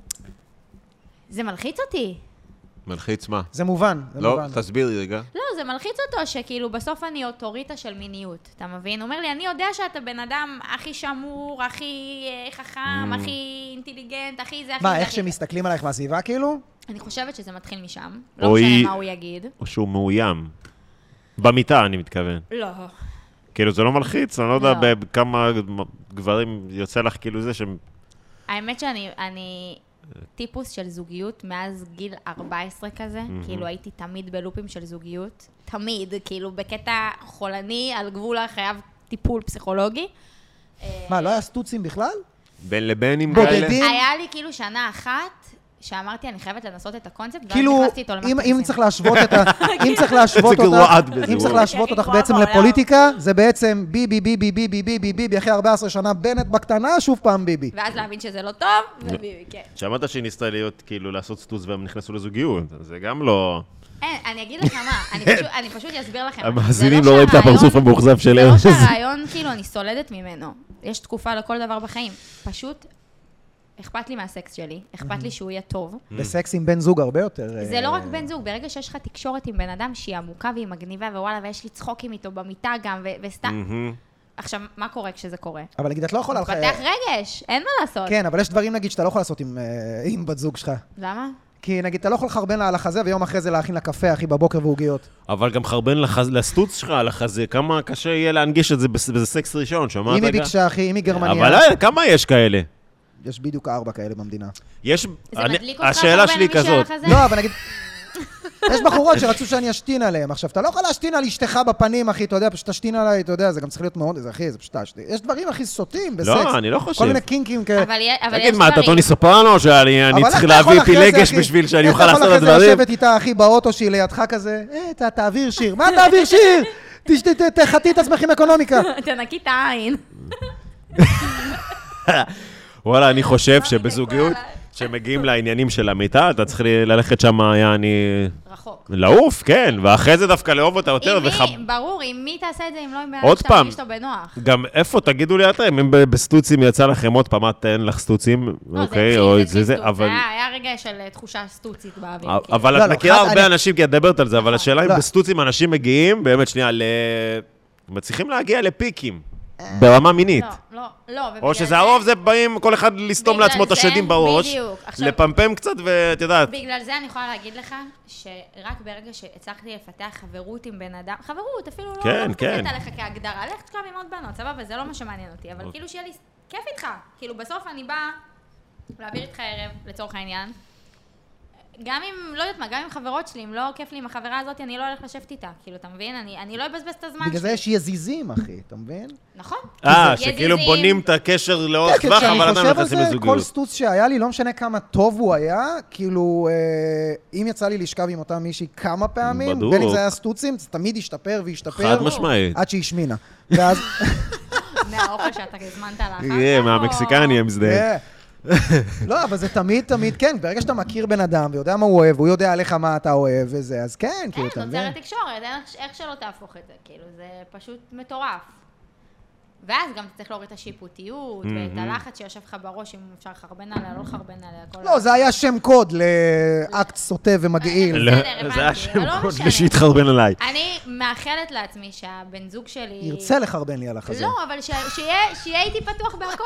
Speaker 3: זה מלחיץ אותי.
Speaker 2: מלחיץ מה?
Speaker 1: זה מובן, זה
Speaker 2: לא,
Speaker 1: מובן.
Speaker 2: תסבירי רגע.
Speaker 3: לא, זה מלחיץ אותו שכאילו בסוף אני אוטוריטה של מיניות, אתה מבין? הוא אומר לי, אני יודע שאתה בן אדם הכי שמור, הכי אה, חכם, הכי אינטליגנט, הכי זה, הכי זה.
Speaker 1: מה, איך
Speaker 3: הכי-
Speaker 1: שמסתכלים עלייך מהסביבה, כאילו?
Speaker 3: אני חושבת שזה מתחיל משם, לא
Speaker 2: או
Speaker 3: משנה
Speaker 2: היא-
Speaker 3: מה הוא יגיד.
Speaker 2: או שהוא מאוים. במיטה, אני מתכוון.
Speaker 3: לא.
Speaker 2: כאילו, זה לא מלחיץ, אני לא יודע
Speaker 3: לא.
Speaker 2: בכמה גברים יוצא לך כאילו זה שהם...
Speaker 3: האמת שאני אני טיפוס של זוגיות מאז גיל 14 כזה, כאילו הייתי תמיד בלופים של זוגיות, תמיד, כאילו בקטע חולני על גבול החייב טיפול פסיכולוגי.
Speaker 1: מה, לא היה סטוצים בכלל?
Speaker 2: בין לבנים
Speaker 1: כאלה? בודדים? כן.
Speaker 3: היה לי כאילו שנה אחת שאמרתי, אני חייבת לנסות את הקונספט, ואז
Speaker 1: כאילו,
Speaker 3: נכנסתי איתו למערכת
Speaker 1: אם- אם
Speaker 3: יחסים.
Speaker 1: צריך להשוות את ה... אם צריך להשוות
Speaker 2: איזה גרועה את
Speaker 1: אותך...
Speaker 2: בזה,
Speaker 1: אם צריך
Speaker 2: וואו.
Speaker 1: להשוות
Speaker 3: הכי
Speaker 1: אותך
Speaker 3: גרועה
Speaker 1: בעצם
Speaker 3: בעולם.
Speaker 1: לפוליטיקה, זה בעצם ביבי, ביבי, ביבי, ביבי, ביבי, אחרי 14 שנה בנט בקטנה, שוב פעם ביבי.
Speaker 3: ואז להבין שזה לא טוב, וביבי, כן.
Speaker 2: שמעת שהיא ניסתה להיות, כאילו, לעשות סטוס והם נכנסו לזוגיות, זה גם לא...
Speaker 3: אין, אני אגיד לך מה, אני פשוט- אני פשוט אסביר לכם.
Speaker 2: כן. המאזינים
Speaker 3: זה
Speaker 2: לא רואים את
Speaker 3: שהרעיון-
Speaker 2: הפרצוף המאוכזב של
Speaker 3: זה לא
Speaker 2: ארז.
Speaker 3: שהרעיון, כאילו, אני סולדת ממנו. יש תקופה לכל דבר בחיים. פשוט, אכפת לי מהסקס שלי, אכפת לי שהוא יהיה טוב.
Speaker 1: וסקס עם בן זוג הרבה יותר...
Speaker 3: זה
Speaker 1: אה,
Speaker 3: לא רק בן זוג, ברגע שיש לך תקשורת עם בן אדם שהיא עמוקה והיא מגניבה, ווואלה, ויש לי צחוקים איתו במיטה גם, ו- וסתם...
Speaker 2: מהמם.
Speaker 3: עכשיו, מה קורה כשזה קורה?
Speaker 1: אבל נגיד, את לא יכולה...
Speaker 3: מתפתח רגש, אין מה לעשות.
Speaker 1: כן, אבל יש דברים, נגיד, שאתה לא יכול לעשות עם, אה, עם בת זוג שלך.
Speaker 3: למה?
Speaker 1: כי נגיד, אתה לא יכול לחרבן לה על החזה, ויום אחרי זה להכין לה קפה, אחי, בבוקר ועוגיות.
Speaker 2: אבל גם חרבן לחז- לסטוץ שלך, לחזה, כמה קשה יהיה להנגיש את זה בס- בזה סקס ראשון, שמעת?
Speaker 1: אם היא
Speaker 2: רגע?
Speaker 1: ביקשה, אחי, אם היא גרמניה,
Speaker 2: אבל אה, כמה יש כאלה?
Speaker 1: יש בדיוק ארבע כאלה במדינה.
Speaker 2: יש...
Speaker 3: זה
Speaker 2: אני-
Speaker 3: מדליק אותך
Speaker 2: השאלה שלי
Speaker 3: מישהו על
Speaker 2: כזאת,
Speaker 3: החזה?
Speaker 1: לא, אבל נגיד... יש בחורות שרצו שאני אשתין עליהן. עכשיו, אתה לא יכול להשתין על אשתך בפנים, אחי, אתה יודע, פשוט תשתין עליי, אתה יודע, זה גם צריך להיות מאוד, זה אחי, זה פשוט תשתין. יש דברים, אחי, סוטים בסקס.
Speaker 2: אני לא חושב.
Speaker 1: כל מיני קינקים כאלה.
Speaker 3: אבל יה- אבל יש
Speaker 2: תגיד, מה, אתה
Speaker 3: דברים-
Speaker 2: טוני סופרנו, שאני אני
Speaker 1: אבל
Speaker 2: צריך
Speaker 1: איך אתה יכול
Speaker 2: להביא
Speaker 1: אחרי זה,
Speaker 2: פילגש
Speaker 1: אחי?
Speaker 2: בשביל שאני
Speaker 1: איך
Speaker 2: אוכל לעשות את
Speaker 1: אתה יכול אחרי זה
Speaker 2: הדברים?
Speaker 1: לשבת איתה, אחי, באוטו שהיא לידך כזה, אה, ת- תעביר שיר. מה תעביר שיר? תשת- ת- תחטאי את עצמך עם אקונומיקה.
Speaker 3: תנקי את העין.
Speaker 2: וואלה, אני
Speaker 3: לא,
Speaker 2: חושב שבזוגיות, כשמגיעים לעניינים של המיטה, אתה צריך ל- ללכת שם, יעני...
Speaker 3: רחוק.
Speaker 2: לעוף, כן, ואחרי זה דווקא לאהוב אותה יותר,
Speaker 3: עם מי?
Speaker 2: וחב...
Speaker 3: ברור, עם מי תעשה את זה אם לא עם בן אדם
Speaker 2: עוד
Speaker 3: שאתה
Speaker 2: פעם.
Speaker 3: מרגיש אותו בנוח?
Speaker 2: גם איפה, תגידו לי אתם, אם ב- בסטוצים יצא לכם עוד פעם, את אין לך סטוצים,
Speaker 3: לא, זה
Speaker 2: אוקיי,
Speaker 3: התחיל,
Speaker 2: או
Speaker 3: זה
Speaker 2: את זה,
Speaker 3: התחיל
Speaker 2: זה,
Speaker 3: סטוץ.
Speaker 2: אבל...
Speaker 3: היה היה רגע של אה, תחושה סטוצית באוויר. כאילו.
Speaker 2: אה, אבל
Speaker 1: לא,
Speaker 2: את
Speaker 1: לא,
Speaker 2: מכירה
Speaker 1: אחד,
Speaker 2: הרבה
Speaker 1: אני-
Speaker 2: אנשים, כי את מדברת על זה,
Speaker 3: אה,
Speaker 2: אבל השאלה אם
Speaker 1: לא.
Speaker 2: בסטוצים אנשים מגיעים, באמת, שנייה, ל... מצליחים להגיע לפיקים, ברמה מינית.
Speaker 3: לא, לא, לא. ובגלל
Speaker 2: או שזה הרוב, זה באים כל אחד לסתום
Speaker 3: בגלל
Speaker 2: לעצמו את
Speaker 3: זה,
Speaker 2: השדים בראש,
Speaker 3: בדיוק. עכשיו-
Speaker 2: לפמפם קצת, ואת יודעת,
Speaker 3: בגלל זה אני יכולה להגיד לך, שרק ברגע שהצלחתי לפתח חברות עם בן אדם, חברות, אפילו לא
Speaker 2: כן,
Speaker 3: לא מסתכלת
Speaker 2: כן.
Speaker 3: עליך כהגדרה, לך תשכב עם עוד בנות, סבבה, זה לא מה שמעניין אותי, אבל
Speaker 2: אוקיי.
Speaker 3: כאילו שיהיה לי כיף איתך. כאילו בסוף אני באה להעביר איתך ערב, לצורך העניין. גם אם, לא יודעת מה, גם עם חברות שלי, אם לא כיף לי עם החברה הזאת, אני לא הולך לשבת איתה. כאילו, אתה מבין? אני, אני לא אבזבז את הזמן
Speaker 1: בגלל זה
Speaker 3: שלי.
Speaker 1: יש יזיזים, אחי, אתה מבין?
Speaker 3: נכון.
Speaker 2: אה,
Speaker 3: כי זה
Speaker 2: שכאילו
Speaker 3: יזיזים.
Speaker 2: בונים את הקשר לאורך
Speaker 1: כן,
Speaker 2: טווח,
Speaker 1: כשאני
Speaker 2: אבל לא, עדיין
Speaker 1: חושב על
Speaker 2: נכנסים
Speaker 1: זה, כל
Speaker 2: לזוגיות.
Speaker 1: סטוץ שהיה לי, לא משנה כמה טוב הוא היה, כאילו, אה, אם יצא לי לשכב עם אותה מישהי כמה פעמים,
Speaker 2: בדוק.
Speaker 1: בין אם זה היה סטוצים, זה תמיד השתפר והשתפר.
Speaker 2: חד משמעית.
Speaker 3: אה,
Speaker 1: עד שהשמינה. ואז,
Speaker 3: מהאוכל שאתה הזמנת לה אחר
Speaker 2: אה, יהיה,
Speaker 3: כך,
Speaker 2: מהמקסיקני המזדהה.
Speaker 1: אה. לא, אבל זה תמיד, תמיד, כן, ברגע שאתה מכיר בן אדם ויודע מה הוא אוהב, הוא יודע עליך מה אתה אוהב וזה, אז כן,
Speaker 3: כן,
Speaker 1: כאילו, אתה מבין?
Speaker 3: נוצרת תקשורת, אין איך- איך שלא תהפוך את זה, כאילו, זה פשוט מטורף. ואז גם אתה צריך להוריד את השיפוטיות, ואת
Speaker 2: מהמם.
Speaker 3: הלחץ שיושב לך בראש, אם אפשר לחרבן עליה, לא לחרבן עליה, כל
Speaker 1: לא, זה היה שם קוד לאקט סוטה ומגעיל.
Speaker 3: אה,
Speaker 2: לא.
Speaker 3: בסדר, הבנתי,
Speaker 2: זה היה שם
Speaker 3: לא
Speaker 2: קוד
Speaker 3: משנה. אה,
Speaker 2: שהתחרבן עליי.
Speaker 3: אני מאחלת לעצמי שהבן זוג שלי...
Speaker 1: ירצה לחרבן לי על החזה.
Speaker 3: לא, אבל ש- שיהיה שיהיה איתי פתוח בהכל.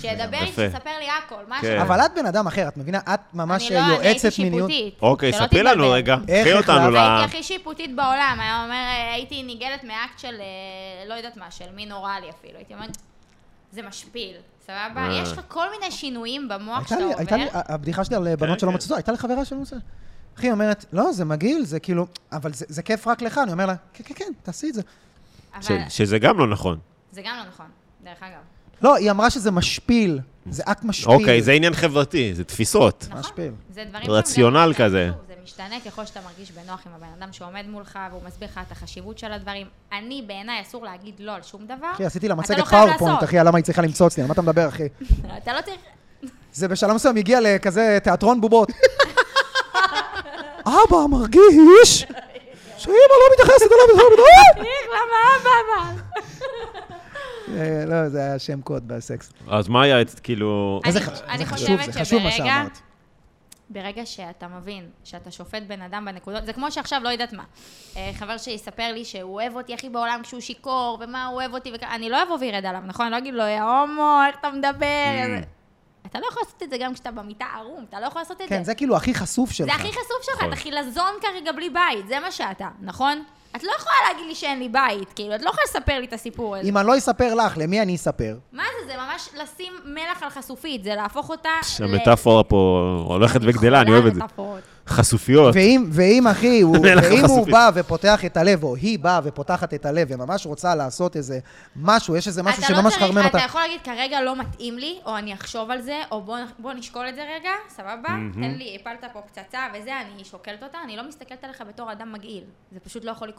Speaker 3: שידבר איתי,
Speaker 2: יפה.
Speaker 3: שיספר לי הכל, מה ש...
Speaker 2: כן.
Speaker 1: אבל את בן אדם אחר, את מבינה? את ממש
Speaker 3: אני לא, אני הייתי
Speaker 1: יועצת מיניות.
Speaker 3: שיפוטית.
Speaker 2: אוקיי,
Speaker 3: שלא
Speaker 2: ספרי לנו
Speaker 3: תתבלבל. לא
Speaker 2: רגע.
Speaker 1: איך
Speaker 2: קחי אותנו
Speaker 1: החלטת?
Speaker 2: ל...
Speaker 3: הייתי הכי שיפוטית בעולם, היה אומר, אה, הייתי נגעלת מאקט של, אה, לא יודעת מה, של מין אוראלי אפילו, הייתי אומרת, זה משפיל, סבבה?
Speaker 2: אה.
Speaker 3: יש לך כל מיני שינויים במוח
Speaker 1: הייתה
Speaker 3: שאתה
Speaker 1: לי, הייתה לי,
Speaker 3: עובר.
Speaker 1: הבדיחה שלי על אה, בנות שלא
Speaker 2: כן.
Speaker 1: מצאו, הייתה לי חברה שלא מצאו. אחי, היא אומרת, לא, זה מגעיל, זה כאילו, אבל זה זה כיף רק לך. אני אומר לה, כן, כן, כן, תעשי את זה.
Speaker 2: ש-
Speaker 3: אבל
Speaker 2: שזה גם לא נכון.
Speaker 3: זה גם לא נכון, דרך אגב.
Speaker 1: לא, היא אמרה שזה משפיל, זה אקט משפיל.
Speaker 2: אוקיי, זה עניין חברתי, זה תפיסות.
Speaker 3: נכון.
Speaker 1: משפיל.
Speaker 3: זה דברים... שהם
Speaker 2: רציונל
Speaker 3: גם-
Speaker 2: כזה.
Speaker 3: שוב, זה משתנה ככל שאתה מרגיש בנוח עם הבן אדם שעומד מולך והוא מסביר לך את החשיבות של הדברים. אני, בעיניי, אסור להגיד לא על שום דבר.
Speaker 1: אחי, עשיתי לה
Speaker 3: אתה
Speaker 1: מצגת
Speaker 3: לא חייב
Speaker 1: פאורפוינט,
Speaker 3: לעשות.
Speaker 1: אחי, על למה היא צריכה למצוא אצלי, על מה אתה מדבר, אחי?
Speaker 3: אתה לא צריך...
Speaker 1: זה בשלב מסוים הגיע לכזה תיאטרון בובות. אבא מרגיש שאמא לא מתייחסת אליו בצורה בטוח.
Speaker 3: איך, למה אבא אבל?
Speaker 1: לא, זה היה שם קוד בסקס.
Speaker 2: אז מה היה, כאילו...
Speaker 3: אני-
Speaker 1: זה חש-
Speaker 3: אני
Speaker 1: זה
Speaker 3: חושבת
Speaker 1: חשוב, זה חשוב מה
Speaker 3: שברגע-
Speaker 1: שאמרת.
Speaker 3: ברגע שאתה מבין שאתה שופט בן אדם בנקודות, זה כמו שעכשיו, לא יודעת מה. אה, חבר שיספר לי שהוא אוהב אותי הכי בעולם כשהוא שיכור, ומה הוא אוהב אותי, וכ... אני לא אבוא וירד עליו, נכון? אני לא אגיד לו, יא הומו, איך אתה מדבר?
Speaker 2: Mm.
Speaker 3: אתה לא יכול לעשות את זה גם כשאתה במיטה ערום, אתה לא יכול לעשות את
Speaker 1: כן, זה כאילו הכי חשוף שלך.
Speaker 3: זה הכי חשוף שלך,
Speaker 2: נכון.
Speaker 3: אתה חילזון כרגע בלי בית, זה מה שאתה, נכון? את לא יכולה להגיד לי שאין לי בית, כאילו, את לא יכולה לספר לי את הסיפור הזה.
Speaker 1: אם אני לא אספר לך, למי אני אספר?
Speaker 3: מה זה, זה ממש לשים מלח על חשופית, זה להפוך אותה... ל-
Speaker 2: המטאפורה פה הולכת וגדלה, אני
Speaker 3: חולה
Speaker 2: אוהב את זה.
Speaker 3: מטאפורות.
Speaker 2: חשופיות.
Speaker 1: ואם, ואם אחי, הוא,
Speaker 2: מלח
Speaker 1: ואם הוא
Speaker 2: החשופית.
Speaker 1: בא ופותח את הלב, או היא באה ופותחת את הלב, וממש רוצה לעשות איזה משהו, יש איזה משהו
Speaker 3: אתה לא
Speaker 1: שממש
Speaker 3: צריך-
Speaker 1: חרמן אותה.
Speaker 3: אתה יכול להגיד, כרגע לא מתאים לי, או אני אחשוב על זה, או בוא- בוא נשקול את זה רגע, סבבה? תן לי, הפלת פה פצצה וזה, אני שוקלת אותה, אני לא מסתכלת עליך בתור אדם מגעיל. זה פשוט לא יכול לקרות.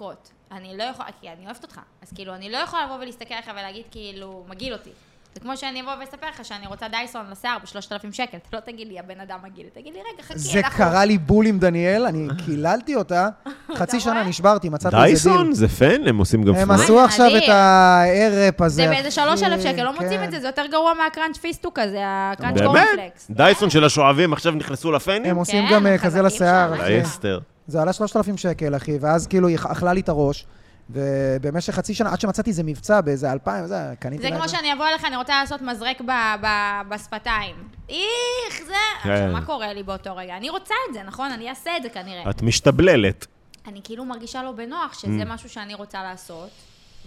Speaker 3: אני לא יכולה, כי אני אוהבת אותך. אז כאילו, אני לא יכולה לבוא ולהסתכל עליך ולהגיד, כאילו, מגעיל אותי. זה כמו שאני אבוא ואספר לך שאני רוצה דייסון לשיער ב-3,000 שקל. אתה לא תגיד לי, הבן אדם מגעיל. תגיד לי, רגע, חכי,
Speaker 1: זה קרה לי בול עם דניאל, אני קיללתי אותה, חצי שנה
Speaker 3: רואה?
Speaker 1: נשברתי, מצאתי איזה דיל.
Speaker 2: דייסון? זה פן? הם עושים גם
Speaker 1: הם
Speaker 2: פנאי?
Speaker 1: עשו
Speaker 3: אוי,
Speaker 1: עכשיו
Speaker 3: נדיר.
Speaker 1: את הערב הזה.
Speaker 3: זה באיזה 3,000
Speaker 1: אחי,
Speaker 3: שקל, לא מוצאים
Speaker 1: כן.
Speaker 3: את זה, זה יותר גרוע מהקראנץ' פיסטוק הזה, הקראנץ'
Speaker 2: באמת?
Speaker 3: קורנפלקס.
Speaker 2: דייסון של השואבים עכשיו נכנסו לפנים?
Speaker 1: הם עושים
Speaker 3: כן,
Speaker 1: גם אה,
Speaker 3: הם
Speaker 1: כזה
Speaker 3: חזקים
Speaker 1: לשיער,
Speaker 3: שם,
Speaker 1: אחי.
Speaker 3: אה.
Speaker 2: אסתר.
Speaker 1: זה עלה 3,000 שקל, אחי, ואז כאילו היא אכלה לי את הראש, ובמשך חצי שנה, עד שמצאתי איזה מבצע באיזה 2,000, זה, קניתי
Speaker 3: זה
Speaker 1: לה את
Speaker 3: כמו שאני אבוא אליך, אני רוצה לעשות מזרק ב- ב- בשפתיים. איך זה... עכשיו,
Speaker 2: כן.
Speaker 3: מה קורה לי באותו רגע? אני רוצה את זה, נכון? אני אעשה את זה כנראה.
Speaker 2: את Mm. משתבללת.
Speaker 3: אני כאילו מרגישה לא בנוח שזה משהו שאני רוצה לעשות,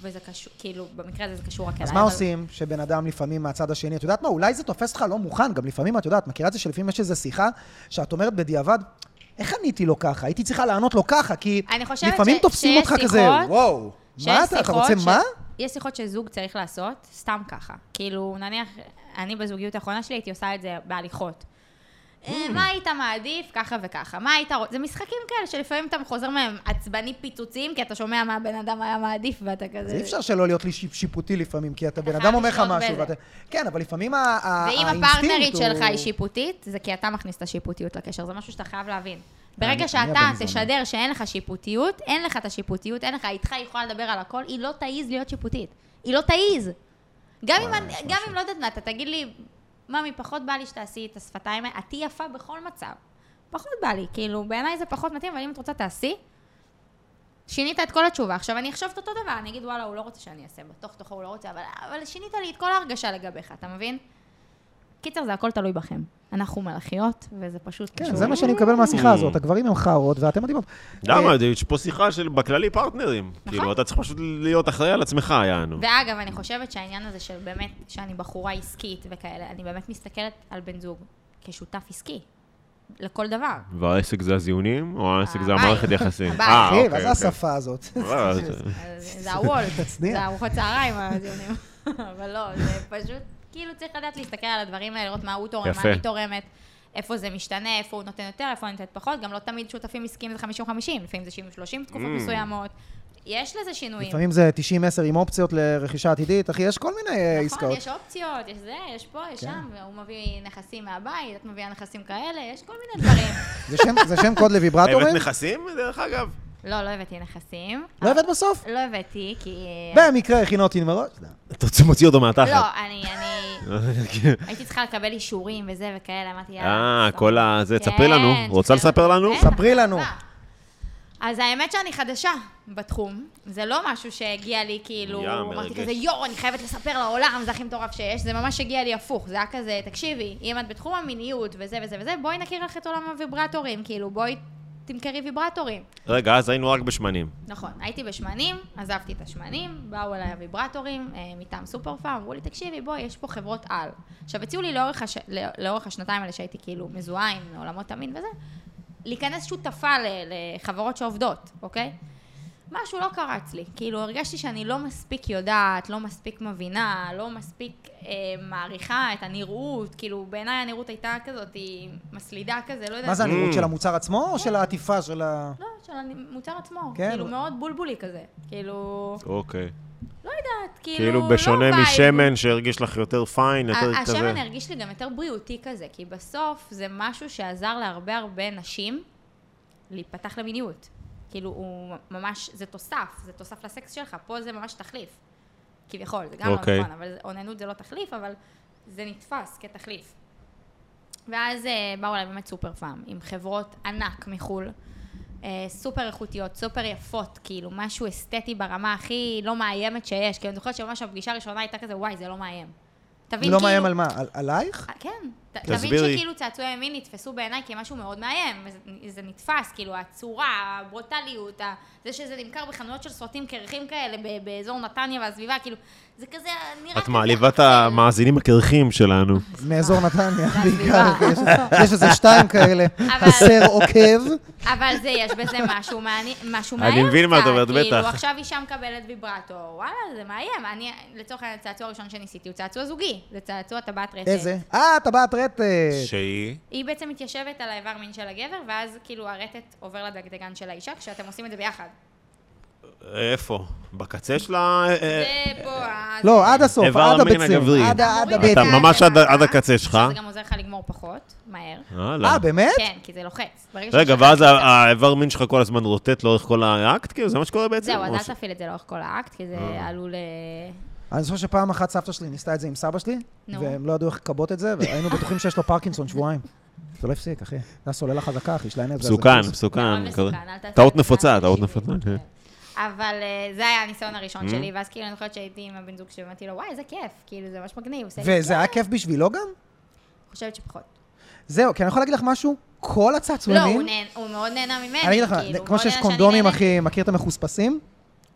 Speaker 3: וזה קשור, כאילו, במקרה הזה זה קשור רק אליי.
Speaker 1: אז מה
Speaker 3: כן, אבל-
Speaker 1: עושים שבן אדם לפעמים מהצד השני, את יודעת מה, אולי זה תופס לך לא מוכן, גם לפעמים את יודעת, מכירה את זה שלפעמים יש איזו שיחה שאת אומרת בדיעבד, איך עניתי לו ככה? הייתי צריכה לענות לו ככה, כי
Speaker 3: אני חושבת
Speaker 1: לפעמים
Speaker 3: ש-
Speaker 1: תופסים
Speaker 3: שיש
Speaker 1: אותך כזה,
Speaker 3: שיחות-
Speaker 1: וואו, מה
Speaker 3: שיש
Speaker 1: אתה, אתה
Speaker 3: שיחות
Speaker 1: רוצה
Speaker 3: ש-
Speaker 1: מה?
Speaker 3: יש שיחות שזוג צריך לעשות, סתם ככה. כאילו, נניח, אני בזוגיות האחרונה שלי הייתי עושה את זה בהליכות. אה,
Speaker 1: Mm.
Speaker 3: מה היית מעדיף? ככה וככה. מה היית רוצה? זה משחקים כאלה שלפעמים אתה חוזר מהם עצבני פיצוצים, כי אתה שומע מה הבן אדם היה מעדיף ואתה כזה...
Speaker 1: אז אי אפשר שלא להיות לי שיפ- שיפוטי לפעמים, כי אתה בן
Speaker 3: חייב
Speaker 1: אדם אומר לך
Speaker 3: לשלוט
Speaker 1: משהו,
Speaker 3: בזה.
Speaker 1: ואתה... כן, אבל לפעמים ה- ה-
Speaker 3: ואם
Speaker 1: האינסטינקט
Speaker 3: הפרטנרית
Speaker 1: הוא-
Speaker 3: שלך היא שיפוטית, זה כי אתה מכניס את השיפוטיות לקשר, זה משהו שאתה חייב להבין.
Speaker 1: אני-
Speaker 3: ברגע
Speaker 1: אני
Speaker 3: שאתה
Speaker 1: הבן זונה.
Speaker 3: תשדר שאין לך שיפוטיות, אין לך את השיפוטיות, אין לך, איתך היא יכולה לדבר על הכל, היא לא תעיז להיות שיפוטית. היא לא תעיז. גם
Speaker 1: אה,
Speaker 3: אם, אני- גם אם לא יודעת מה, אתה תגיד לי, ממי, פחות בא לי שתעשי את השפתיים, האלה." את תהיי יפה בכל מצב. פחות בא לי, כאילו, בעיניי זה פחות מתאים, אבל אם את רוצה, תעשי. שינית את כל התשובה. עכשיו, אני אחשוב את אותו דבר, אני אגיד, וואלה, הוא לא רוצה שאני אעשה, בתוך תוכו הוא לא רוצה, אבל, אבל שינית לי את כל ההרגשה לגביך, אתה מבין? קיצר, זה הכל תלוי בכם. אנחנו מלאכיות, וזה פשוט
Speaker 1: כן, זה מה שאני
Speaker 3: Mm.
Speaker 1: מקבל מהשיחה הזאת, הגברים הם חארות ואתם אה, מדהימות.
Speaker 2: למה? זה- יש פה שיחה של בכללי פרטנרים. כאילו, אתה צריך פשוט להיות אחראי על עצמך, יענו.
Speaker 3: ואגב, אני חושבת שהעניין הזה של באמת, שאני בחורה עסקית וכאלה, אני באמת מסתכלת על בן זוג כשותף עסקי, לכל דבר.
Speaker 2: והעסק זה הזיונים, או העסק זה
Speaker 3: הבית.
Speaker 2: המערכת יחסים?
Speaker 3: הבית.
Speaker 2: אה,
Speaker 1: אחי, מה
Speaker 2: אוקיי,
Speaker 1: זה
Speaker 2: אוקיי.
Speaker 1: השפה הזאת?
Speaker 2: אה, זה-
Speaker 3: אז זה הוולט,
Speaker 1: שנייה.
Speaker 3: זה ארוחות צהריים, הדיונים. אבל לא, זה פשוט, כאילו צריך לדעת להסתכל על הדברים האלה, לראות מה הוא תורם, מה
Speaker 2: יפה.
Speaker 3: אני תורמת, איפה זה משתנה, איפה הוא נותן יותר, איפה אני נותנת פחות, גם לא תמיד שותפים עסקיים זה 50-50, לפעמים זה 70-30 בתקופות
Speaker 2: Mm.
Speaker 3: מסוימות. יש לזה שינויים.
Speaker 1: לפעמים זה 90-10 עם אופציות לרכישה עתידית, אחי, יש כל מיני אה,
Speaker 3: נכון,
Speaker 1: עסקאות. כן.
Speaker 3: יש אופציות, יש זה, יש פה, יש שם, הוא מביא נכסים מהבית, את מביאה נכסים כאלה, יש כל מיני דברים.
Speaker 1: זה שם- זה שם קוד לוויברטורים?
Speaker 2: הבאת נכסים, דרך אגב?
Speaker 3: לא, לא הבאתי נכסים.
Speaker 1: לא הבאת בסוף?
Speaker 3: לא הבאתי, כי...
Speaker 1: במקרה הכינו אותי מראש? לא.
Speaker 2: אתה רוצה להוציא אותו מהתחת. כן.
Speaker 3: לא, אני... אני... הייתי צריכה לקבל אישורים וזה וכאלה, אמרתי,
Speaker 2: אה,
Speaker 3: בסדר.
Speaker 2: כל ה... זה,
Speaker 3: כן,
Speaker 2: תספרי לנו. רוצה
Speaker 3: שתספר-
Speaker 2: לספר לנו?
Speaker 3: בטח,
Speaker 1: ספרי לנו.
Speaker 3: רוצה. אז האמת שאני חדשה בתחום, זה לא משהו שהגיע לי כאילו,
Speaker 2: יא,
Speaker 3: אמרתי
Speaker 2: מרגש.
Speaker 3: כזה יואו, אני חייבת לספר לעולם, זה הכי מטורף שיש, זה ממש הגיע לי הפוך, זה היה כזה, תקשיבי, אם את בתחום המיניות וזה וזה וזה, בואי נכיר לך את עולם הוויברטורים, כאילו, בואי תמכרי ויברטורים.
Speaker 2: רגע, אז היינו רק בשמנים.
Speaker 3: נכון, הייתי בשמנים, עזבתי את השמנים, באו אליי הוויברטורים אה, מטעם סופר פארם, אמרו לי, תקשיבי, בואי, יש פה חברות על. עכשיו, הציעו לי לאורך, הש... לא- לאורך השנתיים האלה שהייתי כאילו מזוהה עם עולמות המין וזה, להיכנס שותפה ל... לחברות שעובדות, אוקיי? משהו לא קרץ לי, כאילו הרגשתי שאני לא מספיק יודעת, לא מספיק מבינה, לא מספיק אה, מעריכה את הנראות, כאילו בעיניי הנראות הייתה כזאת, היא מסלידה כזה, לא יודעת.
Speaker 1: מה זה הנראות
Speaker 2: Mm.
Speaker 1: של המוצר עצמו או של העטיפה של ה...
Speaker 3: לא, של המוצר עצמו,
Speaker 1: כן.
Speaker 3: כאילו מאוד בולבולי כזה, כאילו...
Speaker 2: אוקיי.
Speaker 3: יודעת, כאילו,
Speaker 2: כאילו,
Speaker 3: לא
Speaker 2: בשונה
Speaker 3: וייב.
Speaker 2: משמן שהרגיש לך יותר פיין, יותר
Speaker 3: ה-
Speaker 2: כזה.
Speaker 3: השמן הרגיש לי גם יותר בריאותי כזה, כי בסוף זה משהו שעזר להרבה הרבה נשים להיפתח למיניות. כאילו, הוא ממש, זה תוסף, זה תוסף לסקס שלך, פה זה ממש תחליף. כביכול, זה גם לא
Speaker 2: אוקיי.
Speaker 3: נכון, אבל זה- אוננות זה לא תחליף, אבל זה נתפס כתחליף. ואז אה, באו אליי באמת סופר פארם, עם חברות ענק מחו"ל, אה, סופר איכותיות, סופר יפות, כאילו, משהו אסתטי ברמה הכי לא מאיימת שיש. כאילו, אני זוכרת שממש הפגישה הראשונה הייתה כזה, וואי, זה לא מאיים. תבין,
Speaker 1: לא
Speaker 3: כאילו...
Speaker 1: מאיים על מה? על- עלייך?
Speaker 3: אה, כן. ת- תבין
Speaker 2: תסבירי.
Speaker 3: שכאילו צעצועי ימין נתפסו בעיניי כמשהו מאוד מאיים, וזה זה נתפס, כאילו הצורה, הברוטליות, ה- זה שזה נמכר בחנויות של סרטים קרחים כאלה ב- באזור נתניה והסביבה, כאילו, זה כזה נראה...
Speaker 2: את
Speaker 3: כזה
Speaker 2: מעליבה את
Speaker 3: ערפל.
Speaker 2: המאזינים הקרחים שלנו.
Speaker 1: מאזור נתניה, בעיקר.
Speaker 3: הסביבה.
Speaker 1: כי יש- יש איזה שתיים כאלה.
Speaker 3: אבל- אוקיי.
Speaker 1: חסר עוקב.
Speaker 3: אבל זה, יש בזה משהו מעניין, משהו
Speaker 2: אני
Speaker 3: מאיים.
Speaker 2: מבין מה את
Speaker 3: קצת,
Speaker 2: אומרת, בטח.
Speaker 3: כאילו, עכשיו אישה מקבלת ויברטור, וואלה, זה מאיים. אני, לצורך העניין, הצעצוע הראשון שניסיתי הוא צעצוע זוגי, זה צעצוע טבעת רשת.
Speaker 1: איזה? אה, טבעת רטט.
Speaker 2: שהיא?
Speaker 3: היא בעצם מתיישבת על האיבר מין של הגבר, ואז כאילו הרטט עובר לדגדגן של האישה, כשאתם עושים את זה ביחד.
Speaker 2: איפה? בקצה שלה? אה, אה,
Speaker 3: זה פה ה...
Speaker 1: לא, עד הסוף,
Speaker 2: איבר
Speaker 1: עד
Speaker 2: המין
Speaker 1: הבצר.
Speaker 2: הגברי.
Speaker 1: עד ה- עד
Speaker 3: מוריד את
Speaker 2: אתה
Speaker 1: הבטן.
Speaker 3: ה-
Speaker 2: ממש עד ה- עד הקצה שלך.
Speaker 3: שזה גם עוזר לך לגמור פחות, מהר.
Speaker 2: הלאה.
Speaker 1: אה, באמת?
Speaker 3: כן, כי זה לוחץ. ברגע
Speaker 2: רגע,
Speaker 3: שיש לך-
Speaker 2: ואז ה- האיבר מין שלך כל הזמן רוטט לאורך כל האקט? כאילו, זה מה שקורה בעצם?
Speaker 3: זהו, אז
Speaker 2: או
Speaker 3: אל
Speaker 2: ש-
Speaker 3: תפעיל את זה לאורך כל האקט, כי זה עלול... אה,
Speaker 1: אני זוכר שפעם אחת סבתא שלי ניסתה את זה עם סבא שלי,
Speaker 3: נו.
Speaker 1: והם לא ידעו איך לכבות את זה, והיינו בטוחים שיש לו פרקינסון שבועיים. זה לא הפסיק, אחי. זה הסוללה חזקה, אחי, שלהם זה...
Speaker 2: מסוכן,
Speaker 1: זה-
Speaker 2: מסוכן.
Speaker 3: מאוד
Speaker 2: כן, כזה.
Speaker 3: מסוכן, אל תעשה את
Speaker 2: טעות
Speaker 3: זה
Speaker 2: נפוצה,
Speaker 3: לאנשים
Speaker 2: טעות
Speaker 3: שיושבים,
Speaker 2: נפוצה. Mm-hmm. כן.
Speaker 3: כן. אבל אה, זה היה הניסיון הראשון שלי, ואז כאילו אני זוכרת שהייתי עם הבן זוג שלי, ואמרתי לו, וואי, איזה כיף, כאילו, זה ממש מגניב, הוא עושה לי כיף.
Speaker 1: וזה היה כיף בשבילו גם?
Speaker 3: אני חושבת שפחות.
Speaker 1: זהו, כי אני יכול להגיד לך משהו? כל
Speaker 3: לא, הוא
Speaker 1: הצעצועים...
Speaker 3: נהנה- הוא מאוד נהנה ממני,
Speaker 1: אני אגיד לך,
Speaker 3: כאילו, הוא
Speaker 1: כמו
Speaker 3: מאוד
Speaker 1: שיש
Speaker 3: נהנה שאני
Speaker 1: קונדומים,
Speaker 3: נהנית.
Speaker 1: אחי, מכיר את המחוספסים?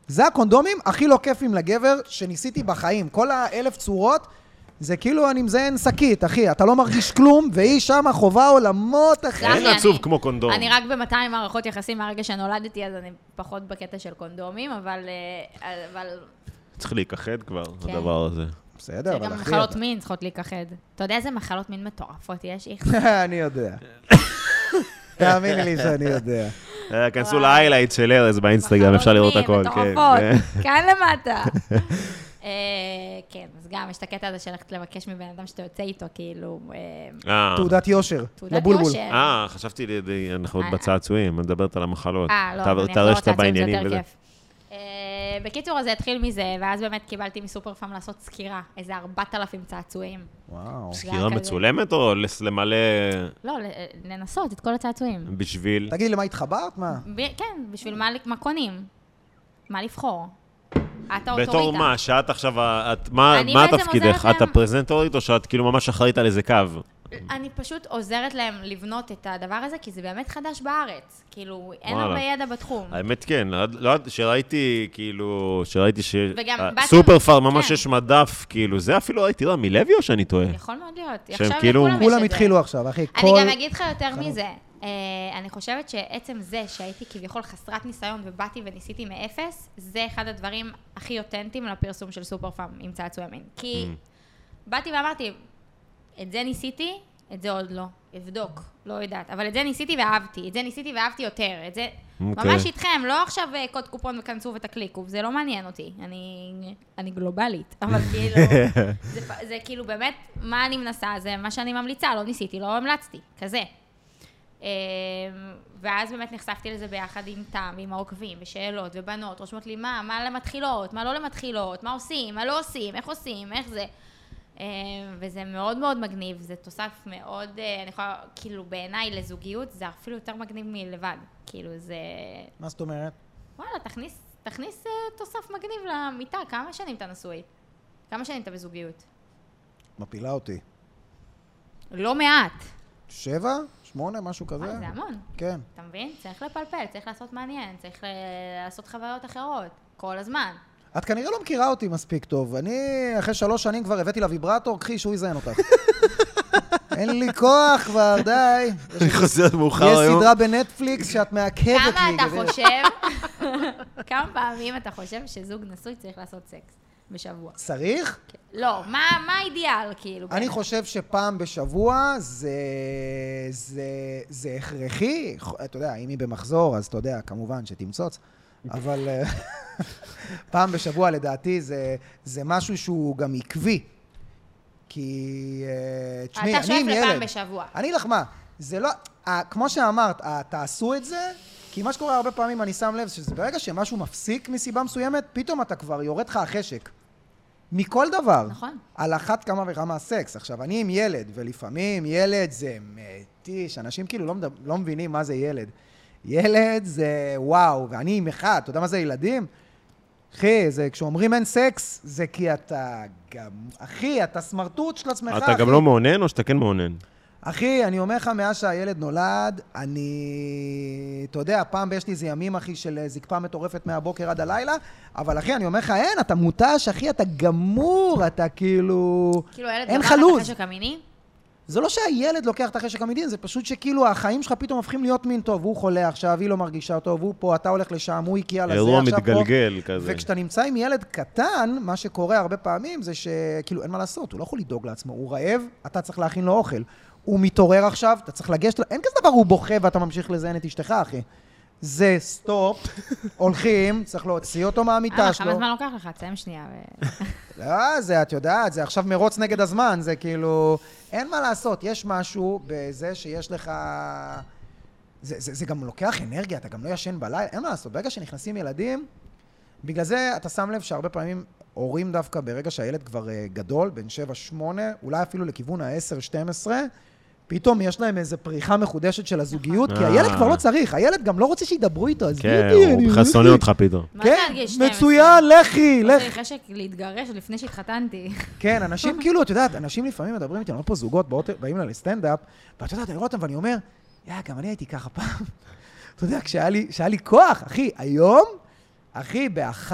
Speaker 1: זה הקונדומים הכי לא כיפים לגבר שניסיתי בחיים. כל האלף צורות, זה כאילו אני מזיין שקית, אחי. אתה לא מרגיש כלום, והיא שמה חובה עולמות, אחי.
Speaker 3: זה אחי,
Speaker 2: אין עצוב
Speaker 3: אני-
Speaker 2: כמו קונדום.
Speaker 3: אני רק ב-200 מערכות יחסים מהרגע שנולדתי, אז אני פחות בקטע של קונדומים, אבל... אה, אבל...
Speaker 2: צריך להיכחד כבר,
Speaker 3: כן.
Speaker 2: הדבר הזה.
Speaker 1: בסדר, אבל
Speaker 3: גם
Speaker 1: אחי...
Speaker 3: מחלות
Speaker 1: אתה-
Speaker 3: מין צריכות להיכחד. אתה יודע איזה מחלות מין מטורפות יש, איך?
Speaker 1: אני יודע. תאמיני לי שאני יודע.
Speaker 2: אה, כנסו
Speaker 3: וואי.
Speaker 2: להיילייט של ארז באינסטגרם, אפשר לראות הכל. כן.
Speaker 3: מטורפות, כאן למטה. אה, כן, אז גם יש את הקטע הזה של ללכת לבקש מבן אדם שאתה יוצא איתו, כאילו... אה,
Speaker 2: אה.
Speaker 1: תעודת יושר.
Speaker 3: תעודת
Speaker 1: לבולבול.
Speaker 3: יושר.
Speaker 2: אה, חשבתי, לי- לי- אנחנו עוד
Speaker 3: אה,
Speaker 2: בצעצועים, את מדברת על המחלות.
Speaker 3: אה, לא,
Speaker 2: אתה-
Speaker 3: אז אני
Speaker 2: אתה
Speaker 3: אחזור
Speaker 2: רואה שאתה
Speaker 3: לצעצועים, זה
Speaker 2: בעניינים
Speaker 3: יותר
Speaker 2: וזה.
Speaker 3: כיף. אה, בקיצור, אז זה התחיל מזה, ואז באמת קיבלתי מסופר פארם לעשות סקירה, איזה 4,000 צעצועים.
Speaker 1: וואו.
Speaker 2: סקירה
Speaker 3: כזה.
Speaker 2: מצולמת או לס- למלא
Speaker 3: לא, ל- לנסות את כל הצעצועים.
Speaker 2: בשביל...
Speaker 1: תגידי, למה התחברת? מה?
Speaker 3: ב- כן, בשביל מה, מה קונים? מה לבחור? את האוטוריטה.
Speaker 2: בתור מה? שאת עכשיו, ה- את- מה
Speaker 3: אני
Speaker 2: מה
Speaker 3: בעצם
Speaker 2: תפקידך?
Speaker 3: עוזרת
Speaker 2: את
Speaker 3: להם-
Speaker 2: הפרזנטורית או שאת כאילו ממש אחראית על איזה קו?
Speaker 3: אני פשוט עוזרת להם לבנות את הדבר הזה, כי זה באמת חדש בארץ. כאילו, אין
Speaker 2: וואלה.
Speaker 3: הרבה ידע בתחום.
Speaker 2: האמת כן, לא- לא יודעת, שראיתי כאילו, שראיתי ש...
Speaker 3: וגם
Speaker 2: אה,
Speaker 3: באת-
Speaker 2: סופר פאר, ממש
Speaker 3: כן.
Speaker 2: יש מדף, כאילו, זה אפילו הייתי רע מלוי או שאני טועה?
Speaker 3: יכול מאוד להיות.
Speaker 2: שהם
Speaker 3: עכשיו
Speaker 2: כאילו-
Speaker 3: לכולם יש את
Speaker 1: כולם
Speaker 3: זה.
Speaker 1: התחילו עכשיו, אחי.
Speaker 3: אני
Speaker 1: כל-
Speaker 3: גם אגיד לך יותר מזה. אה, אני חושבת שעצם זה שהייתי כביכול חסרת ניסיון ובאתי וניסיתי מאפס, זה אחד הדברים הכי אותנטיים לפרסום של סופר פארם עם צעצועי מין. כי
Speaker 2: Mm.
Speaker 3: באתי ואמרתי, את זה ניסיתי, את זה עוד לא. אבדוק, לא יודעת. אבל את זה ניסיתי ואהבתי, את זה ניסיתי ואהבתי יותר. את זה
Speaker 2: אוקיי.
Speaker 3: ממש איתכם, לא עכשיו אה, קוד קופון וכנסו ותקליקו, זה לא מעניין אותי. אני, אני גלובלית, אבל כאילו, זה, פ- זה כאילו באמת, מה אני מנסה, זה מה שאני ממליצה, לא ניסיתי, לא המלצתי, כזה. אמ, ואז באמת נחשפתי לזה ביחד עם תם ועם העוקבים, ושאלות, ובנות, רושמות לי מה, מה למתחילות, מה לא למתחילות, מה עושים, מה לא עושים, איך עושים, איך זה. אמ, וזה מאוד מאוד מגניב, זה תוסף מאוד, אה, אני יכולה, כאילו בעיניי לזוגיות זה אפילו יותר מגניב מלבד, כאילו זה,
Speaker 1: מה זאת אומרת?
Speaker 3: וואלה, תכניס, תכניס אה, תוסף מגניב למיטה, כמה שנים אתה נשוי? כמה שנים אתה בזוגיות?
Speaker 1: מפילה אותי.
Speaker 3: לא מעט.
Speaker 1: שבע? שמונה? משהו כזה?
Speaker 3: אה, זה המון.
Speaker 1: כן.
Speaker 3: אתה מבין? צריך לפלפל, צריך לעשות מעניין, צריך ל- לעשות חוויות אחרות, כל הזמן.
Speaker 1: את כנראה לא מכירה אותי מספיק טוב. אני, אחרי שלוש שנים כבר הבאתי לה ויברטור, קחי, שהוא יזיין אותך. אין לי כוח כבר, די.
Speaker 2: אני חוזר מאוחר
Speaker 1: יש
Speaker 2: היום.
Speaker 1: סדרה בנטפליקס שאת מעכבת לי.
Speaker 3: כמה אתה
Speaker 1: גברת.
Speaker 3: חושב, כמה פעמים אתה חושב שזוג נשוי צריך לעשות סקס בשבוע?
Speaker 1: צריך?
Speaker 3: כן. לא, מה מה האידיאל, כאילו?
Speaker 1: אני
Speaker 3: כן.
Speaker 1: חושב שפעם בשבוע זה, זה, זה הכרחי. ח- אתה יודע, אם היא במחזור, אז אתה יודע, כמובן שתמצוץ. אבל אה, פעם בשבוע, לדעתי, זה, זה משהו שהוא גם עקבי. כי... אה, תשמעי,
Speaker 3: אתה
Speaker 1: אני
Speaker 3: שואף
Speaker 1: עם ילד.
Speaker 3: לפעם בשבוע.
Speaker 1: אני לך מה, זה לא... אה, כמו שאמרת, אה, תעשו את זה, כי מה שקורה הרבה פעמים, אני שם לב, שזה ברגע שמשהו מפסיק מסיבה מסוימת, פתאום אתה כבר יורד לך החשק. מכל דבר.
Speaker 3: נכון.
Speaker 1: על אחת כמה וכמה סקס. עכשיו, אני עם ילד, ולפעמים ילד זה מתיש, אנשים כאילו לא, מדבר, לא מבינים מה זה ילד. ילד זה וואו, ואני עם אחד, אתה יודע מה זה ילדים? אחי, זה כשאומרים אין סקס, זה כי אתה גם... אחי, אתה סמרטוט של עצמך,
Speaker 2: אתה
Speaker 1: אחי.
Speaker 2: גם לא מאונן או שאתה כן מאונן?
Speaker 1: אחי, אני אומר לך, מאז שהילד נולד, אני... אתה יודע, פעם יש לי איזה ימים, אחי, של אה, זקפה מטורפת מהבוקר עד הלילה, אבל אחי, אני אומר לך, אין, אתה מותש, אחי, אתה גמור, אתה כאילו...
Speaker 3: כאילו, הילד
Speaker 1: אין
Speaker 3: גמר
Speaker 1: לך
Speaker 3: לך
Speaker 1: לו"ז.
Speaker 3: חשק המיני?
Speaker 1: זה לא שהילד לוקח את החשק המדין, זה פשוט שכאילו החיים שלך פתאום הופכים להיות מין טוב, הוא חולה עכשיו, היא לא מרגישה טוב, הוא פה, אתה הולך לשם, הוא הגיע לזה,
Speaker 2: אירוע
Speaker 1: עכשיו פה.
Speaker 2: מתגלגל כזה.
Speaker 1: וכשאתה נמצא עם ילד קטן, מה שקורה הרבה פעמים זה שכאילו אין מה לעשות, הוא לא יכול לדאוג לעצמו, הוא רעב, אתה צריך להכין לו אוכל. הוא מתעורר עכשיו, אתה צריך לגשת, לו- אין כזה דבר, הוא בוכה ואתה ממשיך לזיין את אשתך, אחי. זה סטופ, הולכים, צריך להוציא אותו
Speaker 3: אה,
Speaker 1: מהמיטה שלו.
Speaker 3: כמה זמן לוקח לך? תסיים שנייה. ו-
Speaker 1: לא, זה, את יודעת, זה עכשיו מרוץ נגד הזמן, זה כאילו... אין מה לעשות, יש משהו בזה שיש לך... זה, זה, זה גם לוקח אנרגיה, אתה גם לא ישן בלילה, אין מה לעשות. ברגע שנכנסים ילדים, בגלל זה אתה שם לב שהרבה פעמים הורים דווקא, ברגע שהילד כבר אה, גדול, בן 7-8, אולי אפילו לכיוון ה-10-12, פתאום יש להם איזו פריחה מחודשת של הזוגיות, כי
Speaker 2: אה.
Speaker 1: הילד כבר לא צריך, הילד גם לא רוצה שידברו איתו, אז
Speaker 2: כן,
Speaker 1: ביבי,
Speaker 2: הוא
Speaker 1: אני-
Speaker 2: בכלל שונא אותך פתאום.
Speaker 3: מה זה
Speaker 1: כן,
Speaker 3: עד גיל 12?
Speaker 1: מצוין, לכי,
Speaker 3: יש
Speaker 1: לכי.
Speaker 3: לי חשק להתגרש עוד לפני שהתחתנתי.
Speaker 1: כן, אנשים כאילו, את יודעת, אנשים לפעמים מדברים איתי, אני רואה פה זוגות, באות- באים אליי לסטנדאפ, ואת יודעת, אני רואה אותם ואני אומר, יא, גם אני הייתי ככה פעם. אתה יודע, כשהיה לי, כשהיה לי כוח, אחי, היום, אחי, ב-11,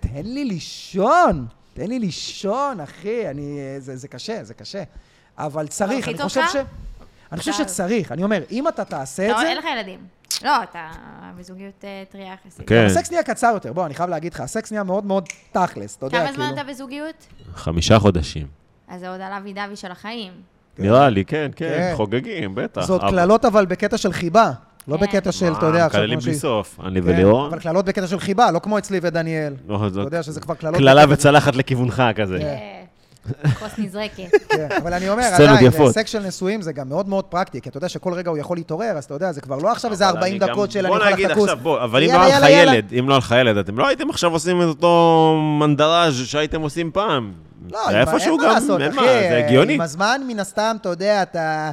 Speaker 1: תן לי לישון. תן לי לישון, אחי, אני, אה, זה, זה קשה, זה קשה. אבל צריך,
Speaker 3: הכי
Speaker 1: אני
Speaker 3: טוב
Speaker 1: חושב
Speaker 3: לך?
Speaker 1: ש... אני חושב
Speaker 3: עכשיו.
Speaker 1: שצריך, אני אומר, אם אתה תעשה את
Speaker 3: אתה-
Speaker 1: זה...
Speaker 3: אין לך ילדים. לא, אתה בזוגיות אה, טריה יחסית.
Speaker 2: כן.
Speaker 1: הסקס נהיה קצר יותר, בוא, אני חייב להגיד לך, הסקס נהיה מאוד מאוד תכלס, אתה יודע,
Speaker 3: כמה
Speaker 1: כאילו.
Speaker 3: זמן אתה בזוגיות?
Speaker 2: חמישה חודשים.
Speaker 3: אז זה עוד על אבי דבי של החיים.
Speaker 2: נראה לי, כן, כן,
Speaker 1: כן.
Speaker 2: חוגגים, בטח.
Speaker 1: זאת
Speaker 2: אבל-
Speaker 1: קללות, אבל בקטע של חיבה. לא
Speaker 3: כן.
Speaker 1: בקטע של, אתה
Speaker 2: מה,
Speaker 1: יודע, עכשיו
Speaker 2: מקללים
Speaker 1: כמו
Speaker 2: בלי
Speaker 1: שהיא-
Speaker 2: סוף, אני
Speaker 1: כן,
Speaker 2: וליאור.
Speaker 1: אבל קללות בקטע של חיבה, לא כמו אצלי ודניאל.
Speaker 2: לא,
Speaker 1: אתה
Speaker 2: זאת
Speaker 1: יודע כן. שזה כבר קללות.
Speaker 2: קללה
Speaker 1: בקטע-
Speaker 2: וצלחת לכיוונך כזה.
Speaker 3: אה, כוס נזרקת.
Speaker 1: כן, אבל אני אומר,
Speaker 2: סצנות
Speaker 1: עדיין,
Speaker 2: יפות.
Speaker 1: סקס של נשואים זה גם מאוד מאוד פרקטי, כי אתה יודע שכל רגע הוא יכול להתעורר, אז אתה יודע, זה כבר לא עכשיו איזה
Speaker 2: אבל
Speaker 1: 40
Speaker 2: אני גם-
Speaker 1: דקות של אני יכול
Speaker 2: בוא נגיד
Speaker 1: ללכת לכוס.
Speaker 2: עכשיו, בוא, אבל אם לא
Speaker 1: יאללה,
Speaker 2: היה לך
Speaker 1: יאללה, יאללה.
Speaker 2: ילד, אם לא היה לך ילד, אתם לא הייתם עכשיו עושים את אותו מנדראז' שהייתם עושים פעם.
Speaker 1: לא,
Speaker 2: זה
Speaker 1: אין מה-
Speaker 2: איפשהו
Speaker 1: אין מה
Speaker 2: גם,
Speaker 1: לעשות,
Speaker 2: אין
Speaker 1: אחי,
Speaker 2: מה, זה הגיוני.
Speaker 1: עם הזמן, מן הסתם, אתה יודע, אתה...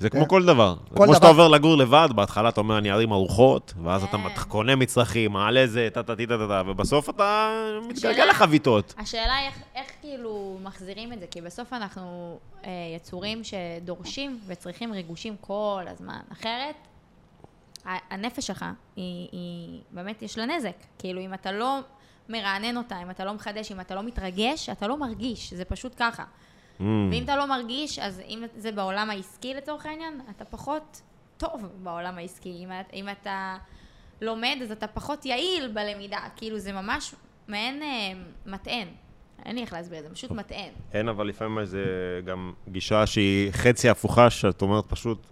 Speaker 2: זה כמו כל דבר. זה כמו
Speaker 1: דבר.
Speaker 2: שאתה עובר לגור לבד, בהתחלה אתה אומר, אני ארים ארוחות, ואז אתה
Speaker 3: כן.
Speaker 2: מת- קונה מצרכים, מעלה זה, טה טה טה טה טה, ובסוף אתה
Speaker 1: כן.
Speaker 2: מתגלגל
Speaker 3: השאלה-
Speaker 2: לחביתות.
Speaker 3: השאלה היא איך, איך כאילו מחזירים את זה, כי בסוף אנחנו אה, יצורים שדורשים וצריכים ריגושים כל הזמן. אחרת, ה- הנפש שלך, היא, היא באמת יש לה נזק. כאילו, אם אתה לא מרענן אותה, אם אתה לא מחדש, אם אתה לא מתרגש, אתה לא מרגיש, זה פשוט ככה.
Speaker 2: Mm.
Speaker 3: ואם אתה לא מרגיש, אז אם זה בעולם העסקי לצורך העניין, אתה פחות טוב בעולם העסקי. אם, את- אם אתה לומד, אז אתה פחות יעיל בלמידה. כאילו, זה ממש מעין אה, מטען. אין לי איך להסביר את זה, פשוט מטען.
Speaker 2: כן, אבל לפעמים זה גם גישה שהיא חצי הפוכה, שאת אומרת פשוט,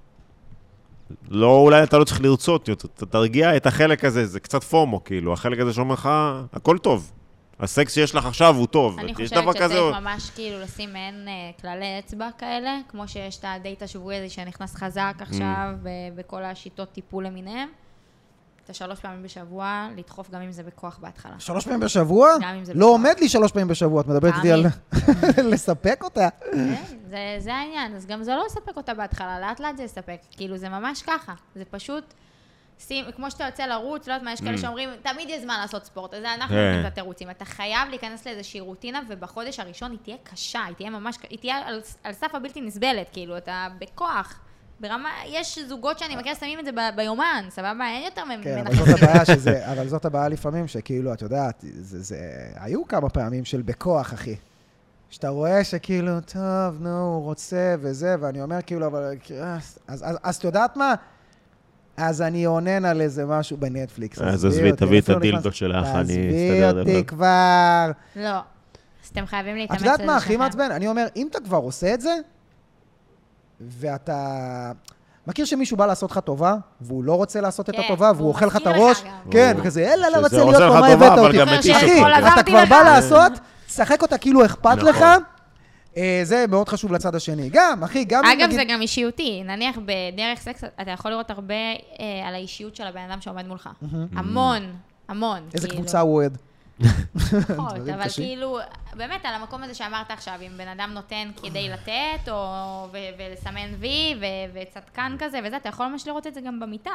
Speaker 2: לא, אולי אתה לא צריך לרצות יותר, אתה תרגיע את החלק הזה, זה קצת פומו, כאילו, החלק הזה שאומר לך, הכל טוב. הסקס שיש לך עכשיו הוא טוב.
Speaker 3: אני
Speaker 2: יש
Speaker 3: חושבת
Speaker 2: דבר כזה...
Speaker 3: שצריך ממש כאילו לשים מעין אה, כללי אצבע כאלה, כמו שיש את הדייט השבועי הזה שנכנס
Speaker 2: Mm.
Speaker 3: חזק עכשיו, ב- בכל השיטות טיפול למיניהם. את השלוש פעמים בשבוע, לדחוף גם אם זה בכוח בהתחלה.
Speaker 1: שלוש פעמים בשבוע?
Speaker 3: גם אם זה
Speaker 1: לא
Speaker 3: בכוח.
Speaker 1: עומד לי שלוש פעמים בשבוע, את מדברת איתי על... לספק אותה.
Speaker 3: כן, זה- זה העניין, אז גם זה לא יספק אותה בהתחלה, לאט לאט זה יספק. כאילו, זה ממש ככה. זה פשוט, שים, כמו שאתה יוצא לרוץ, לא יודעת מה, יש כאלה שאומרים, תמיד יש זמן לעשות ספורט, אז אנחנו
Speaker 2: כן.
Speaker 3: נותנים את התירוצים. אתה חייב להיכנס לאיזושהי רוטינה, ובחודש הראשון היא תהיה קשה, היא תהיה ממש, ק- היא תהיה על, על סף הבלתי נסבלת, כאילו, אתה בכוח. ברמה, יש זוגות שאני מכירה שמים את זה ב, ביומן, סבבה? אין יותר מ-
Speaker 1: כן, אבל
Speaker 3: מנחשים.
Speaker 1: זאת הבעיה שזה... אבל זאת הבעיה לפעמים, שכאילו, את יודעת, זה... זה- היו כמה פעמים של בכוח, אחי. שאתה רואה שכאילו, טוב, נו, הוא רוצה וזה, ואני אומר כאילו, אבל... אה, אז- אז- אז את יודעת מה? אז אני אונן על איזה משהו בנטפליקס.
Speaker 2: אז עזבי,
Speaker 1: אותי,
Speaker 2: תביאי את
Speaker 1: אפילו לא
Speaker 2: הדילדו
Speaker 1: נכנס-
Speaker 2: שלך, אני
Speaker 1: תעזבי
Speaker 2: אסתדר לבד.
Speaker 1: אותי כבר.
Speaker 3: לא. אז אתם חייבים להתאמץ
Speaker 1: את יודעת
Speaker 3: לזה
Speaker 1: מה הכי
Speaker 3: שלכם.
Speaker 1: מעצבן? אני אומר, אם אתה כבר עושה את זה, ואתה... מכיר שמישהו בא לעשות לך טובה, והוא לא רוצה לעשות את
Speaker 3: כן,
Speaker 1: הטובה, והוא
Speaker 3: הוא
Speaker 1: אוכל לך את
Speaker 3: מזכיר לך
Speaker 1: הראש,
Speaker 3: גם.
Speaker 1: כן,
Speaker 2: הוא-
Speaker 1: וכזה, אלה, לא
Speaker 2: שזה
Speaker 1: רוצה
Speaker 2: עושה
Speaker 1: להיות פה,
Speaker 2: לך
Speaker 1: מה
Speaker 2: טובה,
Speaker 1: הבאת
Speaker 2: אבל
Speaker 1: אותי?
Speaker 2: גם
Speaker 3: מתיש
Speaker 1: אחי,
Speaker 3: אותך.
Speaker 1: אתה
Speaker 3: עזרתי
Speaker 1: כבר
Speaker 3: לך.
Speaker 1: בא לעשות, שחק אותה כאילו אכפת
Speaker 2: נכון.
Speaker 1: לך. אה, זה מאוד חשוב לצד השני. גם, אחי, גם... אם
Speaker 3: אגב,
Speaker 1: נגיד-
Speaker 3: זה גם אישיותי. נניח בדרך סקס, אתה יכול לראות הרבה אה, על האישיות של הבן אדם שעומד מולך.
Speaker 2: Mm-hmm.
Speaker 3: המון, המון.
Speaker 1: איזה
Speaker 3: כאילו.
Speaker 1: קבוצה הוא אוהד.
Speaker 3: פחות,
Speaker 1: דברים
Speaker 3: אבל
Speaker 1: קשים.
Speaker 3: כאילו, באמת, על המקום הזה שאמרת עכשיו, אם בן אדם נותן כדי
Speaker 1: אה.
Speaker 3: לתת, או ו- ולסמן וי, ו- וצדקן כזה וזה, אתה יכול ממש לראות את זה גם במיטה.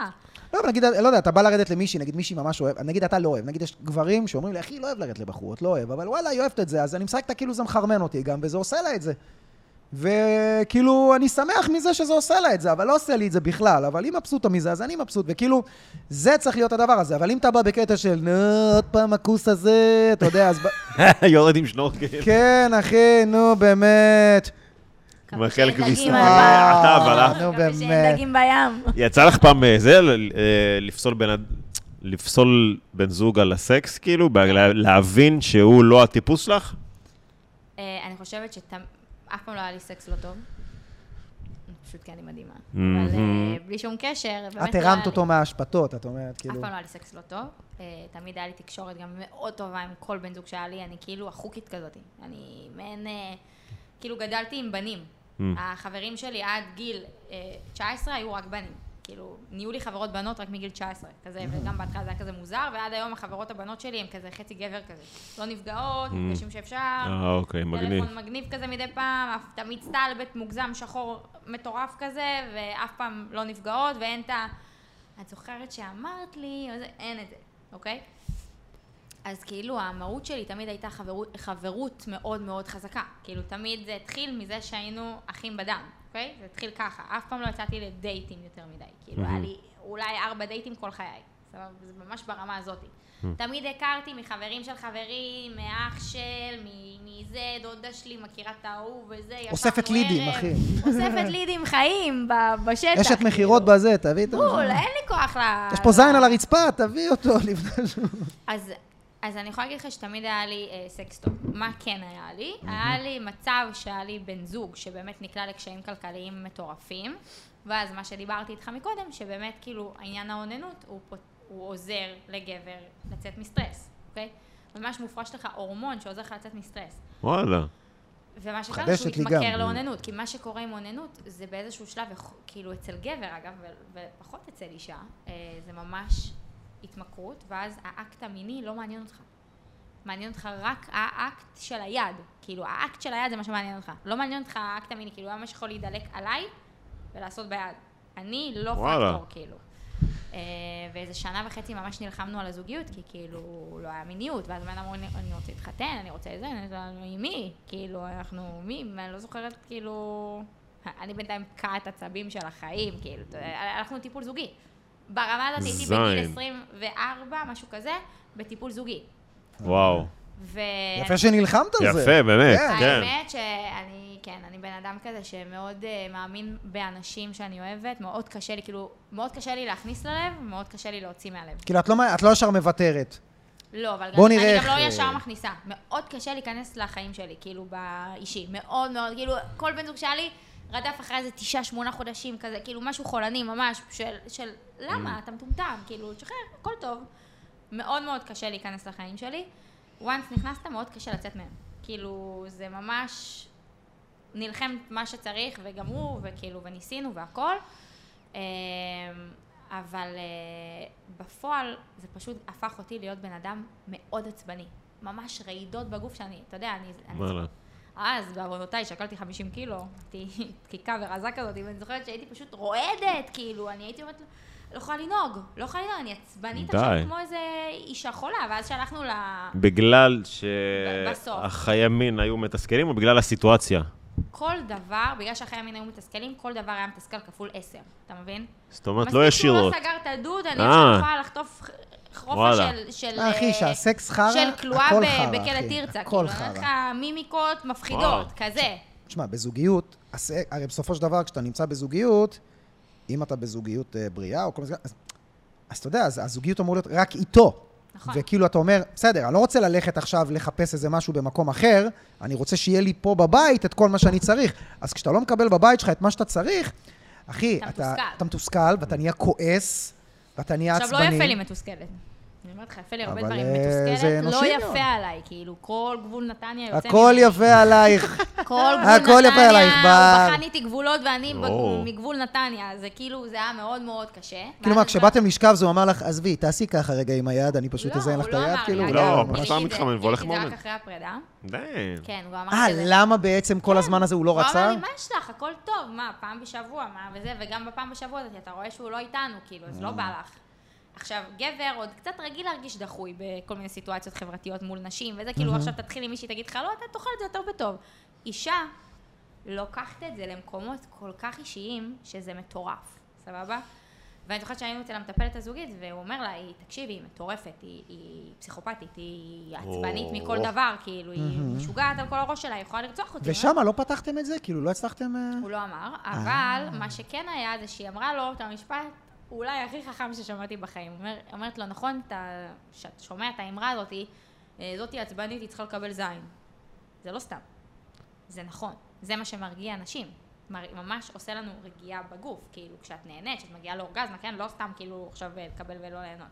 Speaker 1: לא, אבל נגיד, לא יודע, אתה בא לרדת למישהי, נגיד מישהי ממש אוהב, נגיד אתה לא אוהב, נגיד יש גברים שאומרים לי, אחי, לא אוהב לרדת לבחורות, לא אוהב, אבל וואלה, היא אוהבת את זה, אז אני משחק איתה כאילו זה מחרמן אותי גם, וזה עושה לה את זה. וכאילו, אני שמח מזה שזה עושה לה את זה, אבל לא עושה לי את זה בכלל, אבל היא מבסוטה מזה, אז אני מבסוט, וכאילו, זה צריך להיות הדבר הזה, אבל אם אתה בא בקטע של, נו, עוד פעם הכוס הזה, אתה יודע, אז... ב-
Speaker 2: יורד עם שנורקל.
Speaker 1: כן, אחי, נו, באמת.
Speaker 2: מאחל
Speaker 3: שאין
Speaker 2: כביסה.
Speaker 3: דגים על
Speaker 1: אה,
Speaker 3: הבר.
Speaker 2: אבל, אה?
Speaker 1: נו,
Speaker 3: כמה שאין
Speaker 1: באמת.
Speaker 3: דגים בים.
Speaker 2: יצא לך פעם אה, זה, ל- אה, לפסול בן אד- לפסול בן זוג על הסקס, כאילו? בה- לה- להבין שהוא לא הטיפוס שלך?
Speaker 3: אה, אני חושבת שאף פעם לא היה לי סקס לא טוב. פשוט כי אני מדהימה.
Speaker 2: מהמם.
Speaker 3: אבל אה, בלי שום קשר, באמת לא
Speaker 1: את
Speaker 3: היה לי-
Speaker 1: הרמת אותו מהאשפתות, את אומרת,
Speaker 3: אף
Speaker 1: כאילו.
Speaker 3: פעם לא היה לי סקס לא טוב. אה, תמיד היה לי תקשורת גם מאוד טובה עם כל בן זוג שהיה לי, אני כאילו החוקית כזאת. אני מעין... אה, כאילו גדלתי עם בנים. החברים שלי עד גיל אה, 19 היו רק בנים. כאילו, נהיו לי חברות בנות רק מגיל 19, כזה, וגם בהתחלה זה היה כזה מוזר, ועד היום החברות הבנות שלי הן כזה חצי גבר כזה. לא נפגעות, נפגשים שאפשר,
Speaker 2: אה, אוקיי, מגניב.
Speaker 3: טלפון מגניב כזה מדי פעם, אף- תמיד סטלבט מוגזם, שחור, מטורף כזה, ואף פעם לא נפגעות, ואין את ה... את זוכרת שאמרת לי, או זה, אין את זה, אוקיי? אז כאילו, המהות שלי תמיד הייתה חברות, חברות מאוד מאוד חזקה. כאילו, תמיד זה התחיל מזה שהיינו אחים בדם, אוקיי? זה התחיל ככה. אף פעם לא יצאתי לדייטים יותר מדי. כאילו, היה לי אולי ארבע דייטים כל חיי. סבבה? זה ממש ברמה הזאת. תמיד הכרתי מחברים של חברים, מאח של, מ- מזה, דודה שלי מכירה את ההוא וזה, ישבנו
Speaker 1: אוספת לידים,
Speaker 3: ערב.
Speaker 1: אחי.
Speaker 3: אוספת לידים חיים ב- בשטח.
Speaker 1: יש את מכירות בזה, תביא את זה.
Speaker 3: לא. כאילו. בול, אין לי כוח ל... לא,
Speaker 1: יש פה זין
Speaker 3: ל-
Speaker 1: על הרצפה, תביא אותו לפני ש...
Speaker 3: אז, אז אני יכולה להגיד לך שתמיד היה לי אה, סקס טוב. מה כן היה לי? היה לי מצב שהיה לי בן זוג שבאמת נקלע לקשיים כלכליים מטורפים, ואז מה שדיברתי איתך מקודם, שבאמת כאילו העניין האוננות הוא, פות, הוא עוזר לגבר לצאת מסטרס, אוקיי? ממש מופרש לך הורמון שעוזר לך לצאת מסטרס.
Speaker 2: וואלה.
Speaker 3: ומה שקרה
Speaker 1: חדשת
Speaker 3: שהוא
Speaker 1: לי גם.
Speaker 3: התמכר לאוננות, כי מה שקורה עם אוננות זה באיזשהו שלב, יכ- כאילו אצל גבר אגב, ו- ופחות אצל אישה, אה, זה ממש התמכרות, ואז האקט המיני לא מעניין אותך. מעניין אותך רק האקט של היד, כאילו האקט של היד זה מה שמעניין אותך. לא מעניין אותך האקט המיני, כאילו ממש יכול להידלק עליי ולעשות ביד. אני לא
Speaker 2: וואלה.
Speaker 3: פקטור, כאילו. אה, ואיזה שנה וחצי ממש נלחמנו על הזוגיות, כי כאילו לא היה מיניות, ואז בן אדם אמר, "אני- אני רוצה להתחתן, אני רוצה את זה, אני רוצה, עם מי? כאילו, אנחנו, מי? מה, אני לא זוכרת, כאילו... אני בינתיים קעת עצבים של החיים, כאילו, אתה יודע, הלכנו טיפול זוגי. ברמה הזאת הייתי בגיל
Speaker 2: זין.
Speaker 3: 24, משהו כזה, בטיפול זוגי.
Speaker 2: וואו.
Speaker 3: ו...
Speaker 1: יפה שנלחמת על זה.
Speaker 2: יפה, באמת,
Speaker 1: כן.
Speaker 2: כן.
Speaker 3: האמת שאני, כן, אני בן אדם כזה שמאוד אה, מאמין באנשים שאני אוהבת, מאוד קשה לי, כאילו, מאוד קשה לי להכניס ללב, מאוד קשה לי להוציא מהלב.
Speaker 1: כאילו, את לא, את לא ישר מוותרת.
Speaker 3: לא, אבל גם,
Speaker 1: בוא נראה
Speaker 3: אני
Speaker 1: איך,
Speaker 3: גם לא
Speaker 1: אה,
Speaker 3: ישר מכניסה. מאוד קשה להיכנס לחיים שלי, כאילו, באישי. מאוד מאוד, כאילו, כל בן זוג שהיה לי רדף אחרי איזה תשעה, שמונה חודשים כזה, כאילו, משהו חולני ממש, של, של
Speaker 1: Mm.
Speaker 3: למה, אתה מטומטם, כאילו, תשחרר, הכל טוב. מאוד מאוד קשה להיכנס לחיים שלי. once נכנסת, מאוד קשה לצאת מהם. כאילו, זה ממש נלחם מה שצריך, וגמרו, וכאילו, וניסינו והכל. אמ, אבל אה, בפועל זה פשוט הפך אותי להיות בן אדם מאוד עצבני. ממש רעידות בגוף שאני, אתה יודע, אני... אני
Speaker 2: וואלה.
Speaker 3: אז בעוונותיי שקלתי 50 קילו, הייתי דקיקה ורזה כזאת, ואני זוכרת שהייתי פשוט רועדת, כאילו, אני הייתי אומרת, לא יכולה לנהוג, לא יכולה לנהוג, אני עצבנית
Speaker 2: די.
Speaker 3: עכשיו כמו איזה אישה חולה, ואז שהלכנו ל...
Speaker 2: בגלל
Speaker 3: ב- בסוף.
Speaker 2: שהחיי מין היו מתסכלים, או בגלל הסיטואציה?
Speaker 3: כל דבר, בגלל שאחרי המין היו מתסכלים, כל דבר היה מתסכל כפול 10, אתה מבין?
Speaker 2: זאת אומרת, לא ישירות.
Speaker 3: מספיק שהוא לא סגר את הדוד, אני
Speaker 2: אה.
Speaker 3: עכשיו יכולה לחטוף חרופה
Speaker 2: וואלה.
Speaker 3: של... של
Speaker 1: אה, אחי,
Speaker 3: אה,
Speaker 1: שהסקס חרא,
Speaker 3: של כלואה
Speaker 1: הכל
Speaker 3: ב-
Speaker 1: חרא,
Speaker 3: בכלא
Speaker 1: אחי,
Speaker 3: תרצה,
Speaker 1: הכל
Speaker 3: כאילו, אני
Speaker 1: חרא.
Speaker 3: אומרת לך מימיקות מפחידות, כזה.
Speaker 1: תשמע, בזוגיות, הס- הרי בסופו של דבר, כשאתה נמצא בזוגיות, אם אתה בזוגיות אה, בריאה או כל מיני... אז, אז אתה יודע, אז הזוגיות אמור להיות רק איתו.
Speaker 3: נכון.
Speaker 1: וכאילו, אתה אומר, בסדר, אני לא רוצה ללכת עכשיו לחפש איזה משהו במקום אחר, אני רוצה שיהיה לי פה בבית את כל מה שאני צריך. אז כשאתה לא מקבל בבית שלך את מה שאתה צריך, אחי,
Speaker 3: אתה
Speaker 1: אתה,
Speaker 3: מתוסכל.
Speaker 1: אתה מתוסכל ואתה נהיה כועס, ואתה נהיה
Speaker 3: עכשיו,
Speaker 1: עצבני.
Speaker 3: לא יפה לי מתוסכלת. אני אומרת לך, יפה לי הרבה
Speaker 1: אבל,
Speaker 3: דברים.
Speaker 1: אה, זה
Speaker 3: מתוסכלת, לא
Speaker 1: אנושי
Speaker 3: יפה
Speaker 1: מאוד.
Speaker 3: עליי, כאילו, כל גבול נתניה יוצא...
Speaker 1: הכל
Speaker 3: ממני.
Speaker 1: יפה עלייך.
Speaker 3: כל
Speaker 1: הכל
Speaker 3: גבול
Speaker 1: יפה עלייך,
Speaker 3: נתניה,
Speaker 1: בר.
Speaker 3: הוא בחן איתי גבולות ואני בג-
Speaker 2: או.
Speaker 3: מגבול נתניה, זה כאילו, זה היה מאוד מאוד קשה.
Speaker 1: כאילו
Speaker 3: ואז
Speaker 1: מה,
Speaker 3: אני
Speaker 1: כשבאתם לשכב זה הוא אמר לך, עזבי, תעשי ככה רגע עם היד, אני פשוט
Speaker 3: לא,
Speaker 1: אזיין לך
Speaker 3: הוא
Speaker 1: את
Speaker 3: לא
Speaker 1: היד,
Speaker 3: אמר
Speaker 1: כאילו...
Speaker 3: לי,
Speaker 2: לא,
Speaker 3: אגב,
Speaker 2: הוא פשוט
Speaker 3: גיליתי
Speaker 2: היה
Speaker 3: את זה-
Speaker 2: מתחמם
Speaker 3: גיליתי
Speaker 2: והולך
Speaker 3: את זה רק
Speaker 2: מומן.
Speaker 3: אחרי הפרידה.
Speaker 2: די.
Speaker 3: כן, הוא אמר
Speaker 1: אה,
Speaker 3: לי את זה. כן.
Speaker 1: למה בעצם כל הזמן הזה הוא לא
Speaker 3: הוא אמר
Speaker 1: רצה?
Speaker 3: לי, מה יש לך? הכל טוב, מה, פעם בשבוע, מה, וזה, וגם בפעם בשבוע הזאת אתה רואה שהוא לא איתנו, כאילו, אז
Speaker 1: אה.
Speaker 3: לא בא לך. עכשיו, גבר עוד קצת רגיל להרגיש דחוי בכל מיני סיטואציות חברתיות מול נשים, וזה כאילו, עכשיו תתחיל עם מישהי, תגיד לך, לא, אתה תאכל את זה יותר בטוב. אישה, לוקחת את זה למקומות כל כך אישיים, שזה מטורף, סבבה? ואני זוכרת שהיינו אצל המטפלת הזוגית, והוא אומר לה, היא, תקשיבי, היא מטורפת, היא, היא פסיכופתית, היא עצבנית
Speaker 2: או.
Speaker 3: מכל דבר, כאילו, היא משוגעת על כל הראש שלה, היא יכולה לרצוח אותי.
Speaker 1: ושם לא פתחתם את זה? כאילו, לא הצלחתם... אה?
Speaker 3: הוא לא אמר, אבל מה שכן היה זה שהיא אמרה לו את המשפט אולי הכי חכם ששמעתי בחיים. אומר, אומרת לו, נכון, אתה, שאת שומע את האמרה הזאת, אה, זאתי עצבנית, היא צריכה לקבל זין. זה לא סתם. זה נכון. זה מה שמרגיע אנשים. מר- ממש עושה לנו רגיעה בגוף. כאילו, כשאת נהנית, כשאת מגיעה לאורגזמה, כן? לא סתם כאילו עכשיו אה, לקבל ולא ליהנות.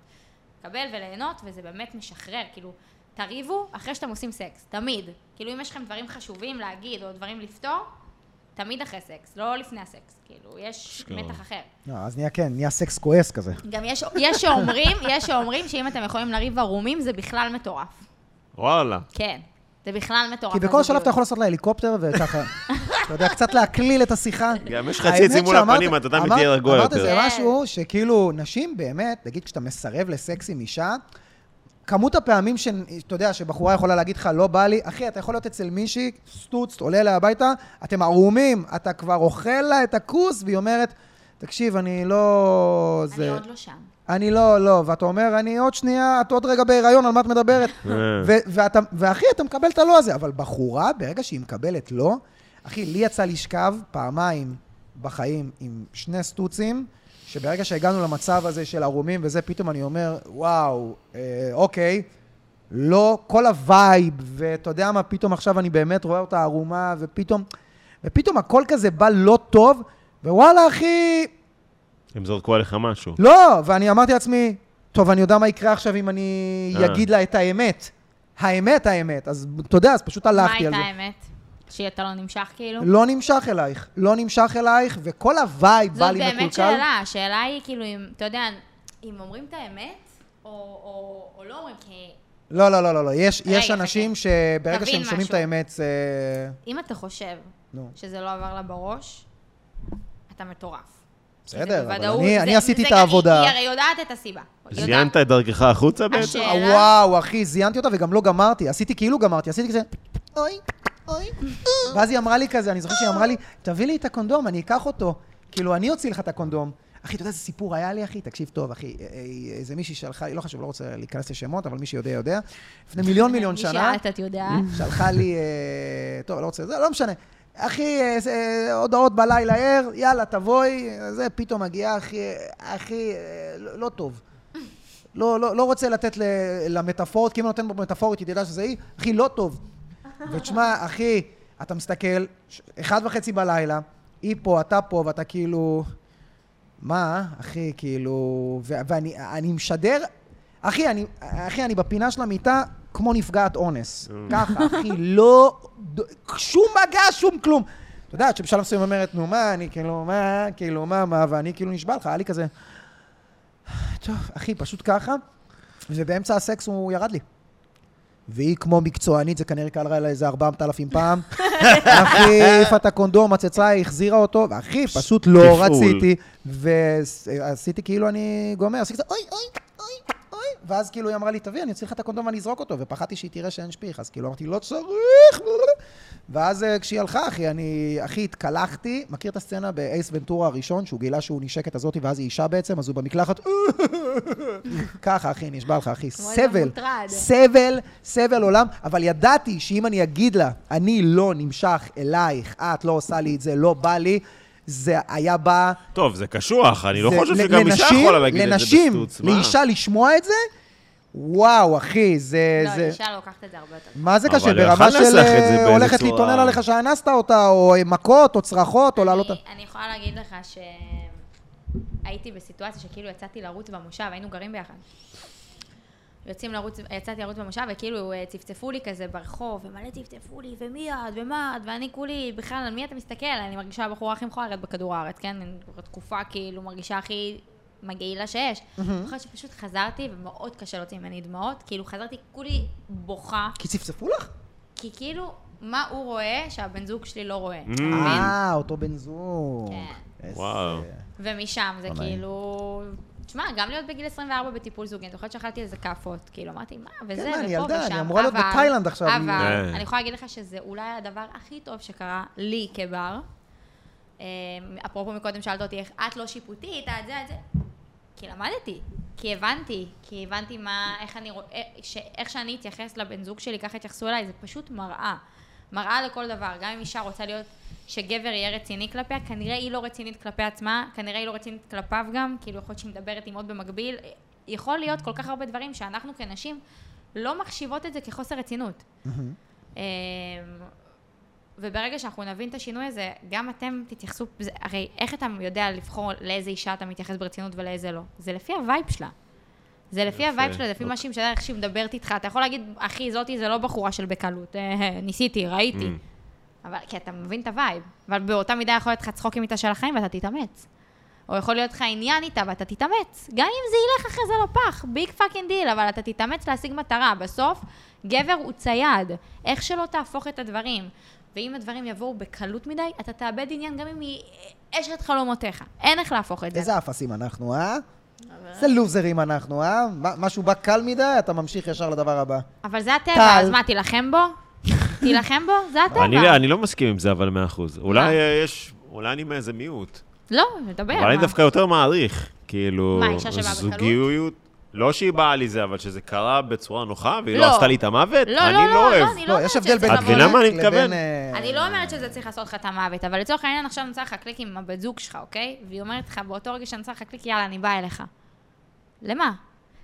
Speaker 3: לקבל וליהנות, וזה באמת משחרר. כאילו, תריבו אחרי שאתם עושים סקס. תמיד. כאילו, אם יש לכם דברים חשובים להגיד או דברים לפתור, תמיד אחרי סקס, לא לפני הסקס. כאילו, יש
Speaker 2: אשכרה.
Speaker 3: מתח אחר.
Speaker 1: לא, אז נהיה כן, נהיה סקס כועס כזה.
Speaker 3: גם יש, יש שאומרים, יש שאומרים שאם אתם יכולים לריב ערומים, זה בכלל מטורף.
Speaker 2: וואלה.
Speaker 3: כן. זה בכלל מטורף. לא
Speaker 1: כי בכל שלב
Speaker 3: הזוגיות.
Speaker 1: אתה יכול לעשות לה הליקופטר וככה, אתה יודע, קצת להקליל את השיחה.
Speaker 2: גם יש
Speaker 1: האמת
Speaker 2: חצי צימול
Speaker 1: שאמרת-
Speaker 2: הפנים, אתה יודע מי
Speaker 1: אמרת-
Speaker 2: תהיה רגוע
Speaker 1: אמרת
Speaker 2: יותר.
Speaker 1: איזה
Speaker 3: כן.
Speaker 1: משהו שכאילו, נשים באמת, נגיד כשאתה מסרב לסקס עם אישה, כמות הפעמים שאתה יודע, שבחורה יכולה להגיד לך, לא בא לי, אחי, אתה יכול להיות אצל מישהי, סטוץ, עולה אליה הביתה, אתם ערומים, אתה כבר אוכל לה את הכוס, והיא אומרת, תקשיב, אני לא...
Speaker 3: אני
Speaker 1: זה-
Speaker 3: עוד לא שם.
Speaker 1: אני לא, לא, ואתה אומר, אני עוד שנייה, את עוד רגע בהיריון, על מה את מדברת? ו- ואתה, ואחי, אתה מקבל את הלא הזה, אבל בחורה, ברגע שהיא מקבלת לא, אחי, לי יצא לשכב פעמיים בחיים עם שני סטוצים, שברגע שהגענו למצב הזה של ערומים וזה, פתאום אני אומר, וואו, אה, אוקיי, לא, כל הווייב, ואתה יודע מה, פתאום עכשיו אני באמת רואה אותה ערומה, ופתאום, ופתאום הכל כזה בא לא טוב, ווואלה, אחי,
Speaker 2: הם זרקו עליך משהו.
Speaker 1: לא, ואני אמרתי לעצמי, טוב, אני יודע מה יקרה עכשיו אם אני
Speaker 2: אה.
Speaker 1: אגיד לה את האמת. האמת, האמת. אז אתה יודע, אז פשוט
Speaker 3: מה
Speaker 1: הלכתי על
Speaker 3: הייתה
Speaker 1: זה.
Speaker 3: האמת? שאתה לא נמשך כאילו?
Speaker 1: לא נמשך אלייך, לא נמשך אלייך, וכל הווייב בא
Speaker 3: זאת
Speaker 1: לי מקולקל.
Speaker 3: באמת שאלה, השאלה היא כאילו אם, אתה יודע, אם אומרים את האמת, או, או, או לא אומרים, כי
Speaker 1: לא, לא, לא, לא, לא. יש,
Speaker 3: רגע,
Speaker 1: יש אנשים
Speaker 3: חכה.
Speaker 1: שברגע
Speaker 3: תבין
Speaker 1: שהם שומעים את
Speaker 3: משהו.
Speaker 1: האמת, אה, זה...
Speaker 3: אם אתה חושב
Speaker 1: נו.
Speaker 3: שזה לא עבר לה בראש, אתה מטורף.
Speaker 1: בסדר,
Speaker 3: זה
Speaker 1: אבל
Speaker 3: בוודאות,
Speaker 1: אני-
Speaker 3: זה-
Speaker 1: אני עשיתי
Speaker 3: זה
Speaker 1: את
Speaker 3: גם-
Speaker 1: העבודה.
Speaker 3: היא הרי יודעת את הסיבה. היא יודעת.
Speaker 2: זיינת את דרכך החוצה בעצם?
Speaker 3: השאלה-
Speaker 1: אה, וואו, אחי, זיינתי אותה וגם לא גמרתי. עשיתי כאילו גמרתי, עשיתי כזה... אוי, אוי. אה. ואז היא אמרה לי כזה, אני זוכר שהיא אמרה לי, תביא לי את הקונדום, אני אקח אותו. כאילו, אני אוציא לך את הקונדום. אחי, אתה יודע איזה סיפור היה לי, אחי? תקשיב טוב, אחי. אה, אה, איזה מישהי שלחה לי, לא חשוב, לא רוצה להיכנס לשמות, אבל מי שיודע יודע. לפני מיליון מיליון שנה.
Speaker 3: מי שאלת, את יודעת.
Speaker 1: שלחה לי, אה, טוב, לא רוצה, זה לא משנה. אחי, אה, זה, אה, הודעות בלילה ער, יאללה, תבואי, אה, זה, פתאום מגיעה, אחי, אה, אחי, אה, לא לא טוב. לא, לא, לא רוצה לתת ל, למטאפורות, כי אם אני נותן פה מטאפורית, היא תדע שזה היא, אחי, לא טוב. ותשמע, אחי, אתה מסתכל, ש- אחד וחצי בלילה, היא פה, אתה פה, ואתה כאילו... מה, אחי, כאילו... ו- ואני אני משדר... אחי, אני, אחי, אני בפינה של המיטה כמו נפגעת אונס. ככה, אחי, לא... שום מגע, שום כלום. את יודעת שבשלב מסוים אומרת, נו מה, אני כאילו, מה, כאילו, מה, מה, ואני כאילו נשבע לך, היה לי כזה... טוב, אחי, פשוט ככה, ובאמצע הסקס הוא ירד לי. והיא כמו מקצוענית, זה כנראה קרה לה איזה 4,000 פעם. אחי, העיפה את הקונדום, הצצה, החזירה אותו, ואחי, פשוט לא
Speaker 2: תפעול.
Speaker 1: רציתי. ועשיתי כאילו אני גומר, עשיתי כזה, אוי, אוי, אוי, אוי. ואז כאילו היא אמרה לי, תביא, אני אוציא לך את הקונדום ואני אזרוק אותו, ופחדתי שהיא תראה שאין שפיך, אז כאילו אמרתי, לא צריך. ואז אה, כשהיא הלכה, אחי, אני, אחי, התקלחתי, מכיר את הסצנה באייס ונטורה הראשון, שהוא גילה שהוא נשק את הזאתי, ואז היא אישה בעצם, אז הוא במקלחת, ככה, אחי, נשבע לך, אחי,
Speaker 3: כמו איזה
Speaker 1: סבל,
Speaker 3: מוטרד.
Speaker 1: סבל, סבל עולם, אבל ידעתי שאם אני אגיד לה, אני לא נמשך אלייך, את לא עושה לי את זה, לא בא לי, זה היה בא...
Speaker 2: טוב, זה קשוח, אני לא
Speaker 1: זה-
Speaker 2: חושב
Speaker 1: ל-
Speaker 2: שגם אישה
Speaker 1: לנשים-
Speaker 2: יכולה להגיד את זה
Speaker 1: לנשים,
Speaker 2: בשטוץ. מה?
Speaker 1: לאישה לשמוע את זה, וואו, אחי, זה...
Speaker 3: לא,
Speaker 1: זה-
Speaker 3: אישה לוקחת את זה הרבה יותר.
Speaker 1: מה זה
Speaker 2: אבל
Speaker 1: קשה?
Speaker 2: הוא
Speaker 1: ברמה
Speaker 2: יכול
Speaker 1: של
Speaker 2: לנסח את זה
Speaker 1: אה,
Speaker 2: באיזה
Speaker 1: הולכת
Speaker 2: צורה.
Speaker 1: להתלונן עליך שאנסת אותה, או אה, מכות, או צרחות, או לעלות...
Speaker 3: אני- אני יכולה להגיד לך שהייתי בסיטואציה שכאילו יצאתי לרוץ במושב, היינו גרים ביחד. יוצאים לרוץ, יצאתי לרוץ במושב, וכאילו אה, צפצפו לי כזה ברחוב, ומלא צפצפו לי, ומי את, ומה את, ואני כולי, בכלל, על מי אתה מסתכל? אני מרגישה הבחורה הכי מכוערת בכדור הארץ, כן? אני בתקופה כאילו מרגישה הכי מגעילה שיש. אחרי שפשוט חזרתי, ומאוד קשה להוציא ממני דמעות, כאילו חזרתי כולי בוכה,
Speaker 1: כי צפצפו לך?
Speaker 3: כי כאילו, מה הוא רואה שהבן זוג שלי לא רואה? אתה
Speaker 2: Mm.
Speaker 3: מבין?
Speaker 1: אה, אותו בן זוג.
Speaker 3: כן.
Speaker 1: איזה-
Speaker 2: וואו.
Speaker 3: ומשם זה
Speaker 1: לא נעים.
Speaker 3: כאילו... תשמע, גם להיות בגיל 24 בטיפול זוגי, אני זוכרת שאכלתי איזה כאפות, כאילו, אמרתי, מה, וזה,
Speaker 1: כן, מה,
Speaker 3: ופה
Speaker 1: אני ילדה,
Speaker 3: ושם.
Speaker 1: אני אמורה להיות
Speaker 3: אבל-
Speaker 1: בתאילנד עכשיו.
Speaker 3: אבל
Speaker 2: כן.
Speaker 3: אני יכולה להגיד לך שזה אולי הדבר הכי טוב שקרה לי כבר. אמ, אפרופו מקודם שאלת אותי איך את לא שיפוטית, את זה, את זה. כי למדתי, כי הבנתי, כי הבנתי מה, איך אני רואה, ש- איך שאני אתייחס לבן זוג שלי, ככה התייחסו אליי, זה פשוט מראה. מראה לכל דבר, גם אם אישה רוצה להיות, שגבר יהיה רציני כלפיה, כנראה היא לא רצינית כלפי עצמה, כנראה היא לא רצינית כלפיו גם, כאילו יכול להיות שהיא מדברת עם עוד במקביל, יכול להיות כל כך הרבה דברים שאנחנו כנשים לא מחשיבות את זה כחוסר רצינות. אמ, וברגע שאנחנו נבין את השינוי הזה, גם אתם תתייחסו, זה, הרי איך אתה יודע לבחור לאיזה אישה אתה מתייחס ברצינות ולאיזה לא? זה לפי הווייב שלה. זה לפי
Speaker 2: יפה.
Speaker 3: הווייב שלה, זה לפי מה
Speaker 2: אוקיי.
Speaker 3: שהיא משדרת, איך שהיא מדברת איתך. אתה יכול להגיד, אחי, זאתי זה לא בחורה של בקלות. אה, אה, ניסיתי, ראיתי.
Speaker 2: Mm.
Speaker 3: אבל, כי אתה מבין את הווייב. אבל באותה מידה יכול להיות לך צחוקים איתה של החיים ואתה תתאמץ. או יכול להיות לך עניין איתה ואתה תתאמץ. גם אם זה ילך אחרי זה לפח, ביג פאקינג דיל, אבל אתה תתאמץ להשיג מטרה. בסוף, גבר הוא צייד. איך שלא תהפוך את הדברים. ואם הדברים יבואו בקלות מדי, אתה תאבד עניין גם אם היא אשת חלומותיך. אין איך להפוך את זה.
Speaker 1: איזה אפסים אנחנו, אה? איזה לוזרים אנחנו, אה? מה- משהו בא קל מדי, אתה ממשיך ישר לדבר הבא.
Speaker 3: אבל זה הטבע,
Speaker 1: טל.
Speaker 3: אז מה, תילחם בו? תילחם בו? זה הטבע.
Speaker 2: אני, אני לא מסכים עם זה, אבל מאה אחוז.
Speaker 3: מה?
Speaker 2: אולי אה, יש, אולי אני מאיזה מיעוט.
Speaker 3: לא, מדבר.
Speaker 2: אבל אני
Speaker 3: מה?
Speaker 2: דווקא יותר מעריך. כאילו,
Speaker 3: מה, אישה שבאה בקלות?
Speaker 2: זוגיות, לא שהיא באה לי זה, אבל שזה קרה בצורה נוחה, והיא
Speaker 3: לא.
Speaker 2: לא עשתה לי את המוות,
Speaker 3: לא,
Speaker 2: אני
Speaker 3: לא,
Speaker 2: לא
Speaker 3: לא,
Speaker 2: אוהב.
Speaker 3: לא, אני לא
Speaker 1: לא,
Speaker 3: אומרת
Speaker 1: יש
Speaker 3: שזה
Speaker 1: הבדל בין...
Speaker 2: את מבינה מה אני
Speaker 1: לבין,
Speaker 2: מתכוון?
Speaker 1: אה,
Speaker 3: אני לא אומרת שזה צריך לעשות לך את המוות, אבל לצורך העניין עכשיו אני רוצה לך קליק עם הבת זוג שלך, אוקיי? והיא אומרת לך, באותו רגע שאני רוצה לך קליק, יאללה, אני באה אליך. למה?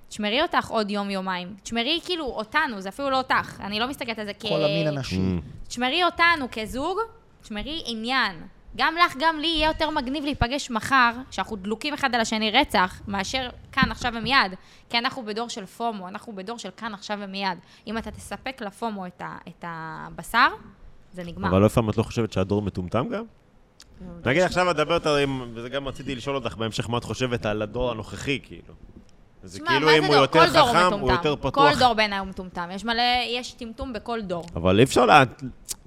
Speaker 3: תשמרי אותך עוד יום-יומיים. תשמרי כאילו אותנו, זה אפילו לא אותך. אני לא מסתכלת על זה כ...
Speaker 1: כל המין
Speaker 2: אה.
Speaker 1: הנשי.
Speaker 2: Mm.
Speaker 3: תשמרי אותנו כזוג, תשמרי עניין. גם לך, גם לי, יהיה יותר מגניב להיפגש מחר, שאנחנו דלוקים אחד על השני רצח, מאשר כאן, עכשיו ומיד. כי אנחנו בדור של פומו, אנחנו בדור של כאן, עכשיו ומיד. אם אתה תספק לפומו את, ה, את הבשר, זה נגמר.
Speaker 2: אבל לא פעם את לא חושבת שהדור מטומטם גם?
Speaker 3: לא,
Speaker 2: נגיד עכשיו את מדברת הרי, עם- וזה גם רציתי לשאול אותך בהמשך, מה את חושבת על הדור הנוכחי, כאילו. זה
Speaker 3: תשמע,
Speaker 2: כאילו
Speaker 3: מה
Speaker 2: אם
Speaker 3: זה
Speaker 2: הוא
Speaker 3: דור?
Speaker 2: יותר
Speaker 3: כל דור
Speaker 2: חכם, הוא
Speaker 3: מטומטם.
Speaker 2: יותר
Speaker 3: כל
Speaker 2: פתוח.
Speaker 3: דור בעיניי הוא מטומטם. יש מלא, יש טמטום בכל דור.
Speaker 2: אבל אי אפשר לה...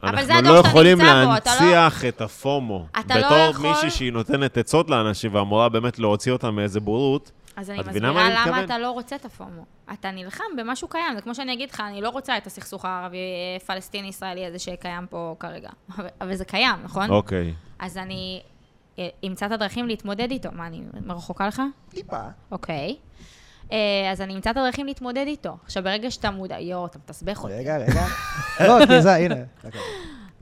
Speaker 3: זה
Speaker 2: אנחנו
Speaker 3: הדור
Speaker 2: לא
Speaker 3: שאתה
Speaker 2: יכולים
Speaker 3: נמצא בו, אתה לא-
Speaker 2: להנציח את הפומו.
Speaker 3: אתה לא
Speaker 2: בתור
Speaker 3: יכול-
Speaker 2: מישהי שהיא נותנת עצות לאנשים ואמורה באמת להוציא אותם מאיזה בורות,
Speaker 3: אז אני
Speaker 2: את מבינה מה
Speaker 3: מסבירה
Speaker 2: אני
Speaker 3: למה
Speaker 2: מתכוון?
Speaker 3: אתה לא רוצה את הפומו. אתה נלחם במשהו קיים, זה כמו שאני אגיד לך, אני לא רוצה את הסכסוך הערבי-פלסטיני-ישראלי הזה שקיים פה כרגע. אבל זה קיים, נכון?
Speaker 2: אוקיי.
Speaker 3: אז אני אה, אמצא את הדרכים להתמודד איתו. מה, אני רחוקה לך?
Speaker 1: טיפה.
Speaker 3: אוקיי. אה, אז אני אמצא את הדרכים להתמודד איתו. עכשיו, ברגע שאתה מודע... יואו, אתה מתסבך אותי.
Speaker 1: רגע, רגע. לא, כי זה, הנה.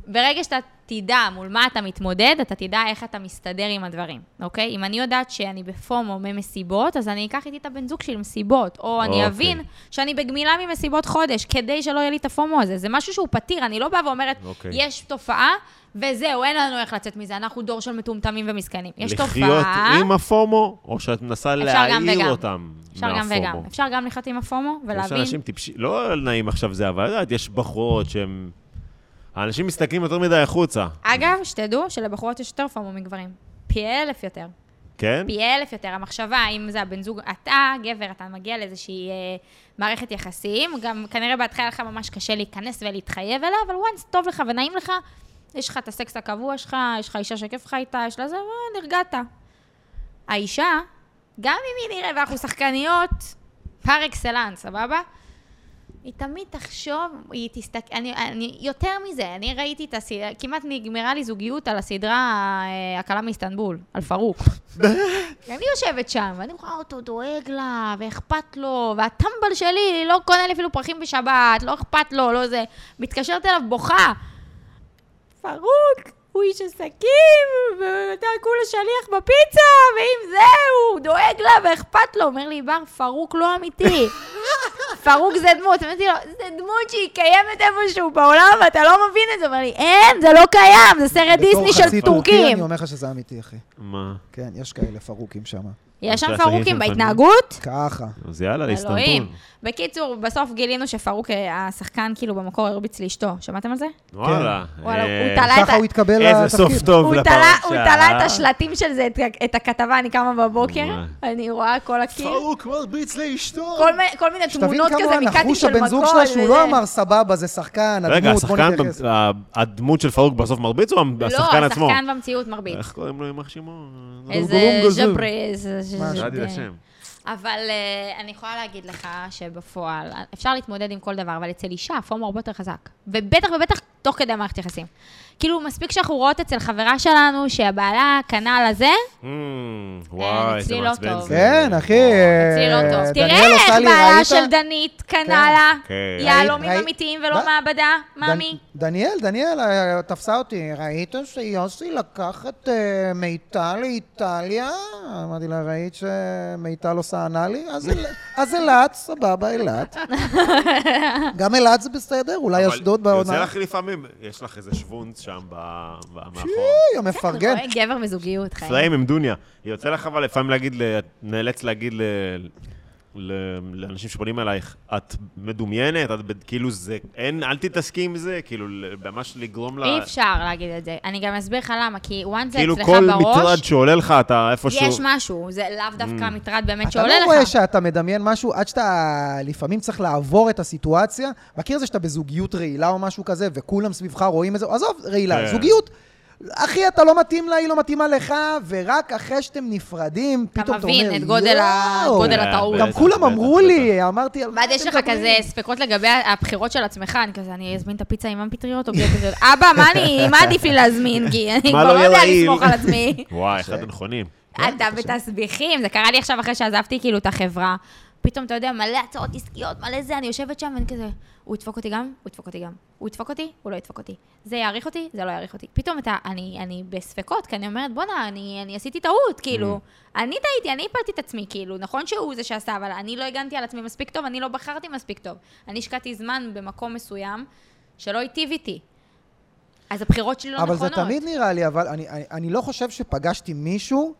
Speaker 3: ברגע שאתה תדע מול מה אתה מתמודד, אתה תדע איך אתה מסתדר עם הדברים, אוקיי? אם אני יודעת שאני בפומו ממסיבות, אז אני אקח איתי את הבן זוג שלי למסיבות, או אני
Speaker 2: אוקיי.
Speaker 3: אבין שאני בגמילה ממסיבות חודש, כדי שלא יהיה לי את הפומו הזה. זה משהו שהוא פתיר, אני לא באה ואומרת,
Speaker 2: אוקיי.
Speaker 3: יש תופעה, וזהו, אין לנו איך לצאת מזה, אנחנו דור של מטומטמים ומסכנים. יש
Speaker 2: לחיות
Speaker 3: תופעה...
Speaker 2: עם הפומו, או שאת מנסה
Speaker 3: אפשר גם
Speaker 2: להעיר
Speaker 3: וגם.
Speaker 2: אותם
Speaker 3: אפשר גם וגם.
Speaker 2: מהפומו.
Speaker 3: אפשר גם לחיות עם הפומו,
Speaker 2: יש
Speaker 3: ולהבין...
Speaker 2: אנשים טיפשים, לא נעים עכשיו זה, אבל את יודעת, יש בחורות שהן... האנשים מסתכלים יותר מדי החוצה,
Speaker 3: אגב, שתדעו שלבחורות יש יותר פומו מגברים. פי אלף יותר.
Speaker 2: כן?
Speaker 3: פי אלף יותר. המחשבה, אם זה הבן זוג, אתה, גבר, אתה מגיע לאיזושהי אה, מערכת יחסים, גם כנראה בהתחלה לך ממש קשה להיכנס ולהתחייב אליה, אבל once טוב לך ונעים לך, יש לך את הסקס הקבוע שלך, יש לך אישה שכיף לך איתה, יש לה זה, אה, נרגעת. האישה, גם אם היא נראה, ואנחנו שחקניות, פר אקסלנס, סבבה? היא תמיד תחשוב, היא תסתכל, אני, אני, יותר מזה, אני ראיתי את הסדרה, כמעט נגמרה לי זוגיות על הסדרה אה, "הכלה מאיסטנבול", על פרוק. אני יושבת שם, ואני רואה אותו דואג לה, ואכפת לו, והטמבל שלי לא קונה לי אפילו פרחים בשבת, לא אכפת לו, לא זה. מתקשרת אליו בוכה. פרוק, הוא איש עסקים, ואתה כולה שליח בפיצה, ואם זה, הוא דואג לה ואכפת לו. אומר לי, בר, פרוק לא אמיתי. פרוק זה דמות. אמרתי לו, זה דמות שהיא קיימת איפשהו בעולם, ואתה לא מבין את זה. אומר לי, אין, זה לא קיים, זה סרט דיסני של
Speaker 1: אני
Speaker 3: טורקים.
Speaker 1: אומר לך שזה אמיתי, אחי.
Speaker 2: מה?
Speaker 1: כן, יש כאלה פרוקים שם.
Speaker 3: יש שם
Speaker 2: זה עסקים של
Speaker 3: פרוקים
Speaker 2: פנים.
Speaker 3: בהתנהגות?
Speaker 1: ככה.
Speaker 2: אז יאללה,
Speaker 3: אלוהים.
Speaker 2: לאיסטנבול.
Speaker 3: בקיצור, בסוף גילינו שפרוק, אה, השחקן, כאילו, במקור הרביץ לאשתו. שמעתם על זה?
Speaker 2: וואלה.
Speaker 3: וואלה,
Speaker 2: אה,
Speaker 3: הוא תלה את
Speaker 1: ככה
Speaker 3: ה-
Speaker 1: הוא התקבל לתפקיד.
Speaker 2: איזה סוף טוב
Speaker 3: הוא
Speaker 2: לפרשה.
Speaker 3: תלה- הוא תלה את השלטים של זה, את ה- את הכתבה, אני קמה בבוקר,
Speaker 2: וואי.
Speaker 3: אני רואה כל הקיר,
Speaker 2: פרוק מרביץ לאשתו.
Speaker 3: כל מיני- כל מיני
Speaker 1: שתבין
Speaker 3: תמונות כזה
Speaker 1: כמה
Speaker 3: מקאטים
Speaker 1: נחוש
Speaker 3: של
Speaker 1: הבן
Speaker 3: מכות.
Speaker 1: זוג שלה שהוא לא
Speaker 3: וזה.
Speaker 1: אמר סבבה, זה שחקן,
Speaker 2: רגע,
Speaker 1: הדמות, בוא
Speaker 2: השחקן,
Speaker 1: נתייחס.
Speaker 2: ה- הדמות של פרוק בסוף מרביץ או
Speaker 3: לא,
Speaker 2: השחקן עצמו?
Speaker 3: השחקן במציאות
Speaker 1: אה,
Speaker 3: מרביץ.
Speaker 2: איך קוראים לו, יימח שמו?
Speaker 3: איזה ז'פרי, כן. איזה...
Speaker 1: מה,
Speaker 2: שאלתי את השם.
Speaker 3: אבל אה, אני יכולה להגיד לך שבפועל, אפשר להתמודד עם כל דבר, אבל אצל אישה הפומו הרבה יותר חזק. ובטח ובטח תוך כדי מערכת יחסים. כאילו, מספיק שאנחנו רואות אצל חברה שלנו שהבעלה קנה על הזה,
Speaker 1: אה,
Speaker 2: Mm, וואי, זה
Speaker 3: אצלי לא
Speaker 2: מעצבן
Speaker 3: טוב.
Speaker 2: זה.
Speaker 1: כן, אחי. אה,
Speaker 3: אצלי לא טוב. תראה
Speaker 1: דניאל
Speaker 3: איך
Speaker 1: עושה לי,
Speaker 3: בעלה
Speaker 1: ראית?
Speaker 3: של דנית
Speaker 1: כן.
Speaker 3: קנה לה
Speaker 2: כן.
Speaker 3: יהלומים
Speaker 1: ראי-
Speaker 3: אמיתיים ולא
Speaker 1: מה?
Speaker 3: מעבדה,
Speaker 1: דנ-
Speaker 3: מאמי.
Speaker 1: דניאל, דניאל, אה, תפסה אותי. ראית שיוסי לקח את אה, מיטל לאיטליה? אמרתי לה, ראית שמיטל עושה אנאלי? אז אל- אז אילת, סבבה, אילת. גם אילת זה בסדר, אולי
Speaker 2: אבל
Speaker 1: אשדוד בעונה.
Speaker 2: יוצא לך לפעמים, יש לך איזה שוונץ שם ב- ב- מאחור.
Speaker 1: אוי, המפרגן.
Speaker 3: רואה גבר בזוגיות, חיים.
Speaker 2: פריים עם דוניה. יוצא לך אבל לפעמים להגיד, ל- את נאלץ להגיד ל... ל- לאנשים שפונים אלייך, את מדומיינת, את בד- כאילו זה, אין, אל תתעסקי עם זה, כאילו ל- ממש לגרום לה,
Speaker 3: אי אפשר להגיד את זה. אני גם אסביר לך למה, כי once זה
Speaker 2: כאילו
Speaker 3: אצלך
Speaker 2: כל
Speaker 3: בראש,
Speaker 2: מטרד Mm. שעולה לך, אתה איפשהו,
Speaker 3: יש משהו. זה לאו דווקא המטרד באמת
Speaker 1: אתה
Speaker 3: שעולה
Speaker 1: לא
Speaker 3: לך.
Speaker 1: רואה שאתה מדמיין משהו עד שאתה לפעמים צריך לעבור את הסיטואציה. מכיר את זה שאתה בזוגיות רעילה או משהו כזה, וכולם סביבך רואים את זה? עזוב, רעילה,
Speaker 2: כן.
Speaker 1: זוגיות. אחי, אתה לא מתאים לה, היא לא מתאימה לך, ורק אחרי שאתם נפרדים,
Speaker 3: אתה
Speaker 1: פתאום אתה אומר,
Speaker 3: מבין את גודל ה-
Speaker 1: "יואו".
Speaker 3: גודל
Speaker 2: אה,
Speaker 3: הטעות.
Speaker 1: גם
Speaker 2: בטח,
Speaker 1: כולם
Speaker 2: בטח,
Speaker 1: אמרו
Speaker 2: בטח.
Speaker 1: לי, אמרתי, על מה
Speaker 3: ואז
Speaker 1: אתם
Speaker 3: יש לך
Speaker 1: מדברים?"
Speaker 3: כזה ספקות לגבי הבחירות של עצמך, אני כזה, אני אזמין את הפיצה עם המפטריות או בלי הפטריות? אבא, מה אני, מה עדיף לי להזמין? כי אני
Speaker 2: מה
Speaker 3: כבר
Speaker 2: לא
Speaker 3: לא יודע
Speaker 2: יהיה
Speaker 3: לסמוך
Speaker 2: לעיל?
Speaker 3: על עצמי.
Speaker 2: וואי, אחד הנכונים.
Speaker 1: כן,
Speaker 3: אתה בתסביכים, זה קרה לי עכשיו אחרי שעזבתי כאילו את החברה. פתאום, אתה יודע, מלא הצעות עסקיות, מלא זה, אני יושבת שם ואני כזה, הוא ידפוק אותי גם, הוא ידפוק אותי גם. הוא ידפוק אותי, הוא לא ידפוק אותי. זה יעריך אותי, זה לא יעריך אותי. פתאום אתה, אני, אני בספקות, כי אני אומרת, בואנה, אני, אני עשיתי טעות, כאילו.
Speaker 1: Mm.
Speaker 3: אני טעיתי, אני הפלתי את עצמי, כאילו. נכון שהוא זה שעשה, אבל אני לא הגנתי על עצמי מספיק טוב, אני לא בחרתי מספיק טוב. אני השקעתי זמן במקום מסוים שלא היטיב איתי. אז הבחירות שלי לא
Speaker 1: אבל
Speaker 3: נכונות.
Speaker 1: זה תמיד נראה לי, אבל אני, אני, אני לא חושב שפגשתי מישהו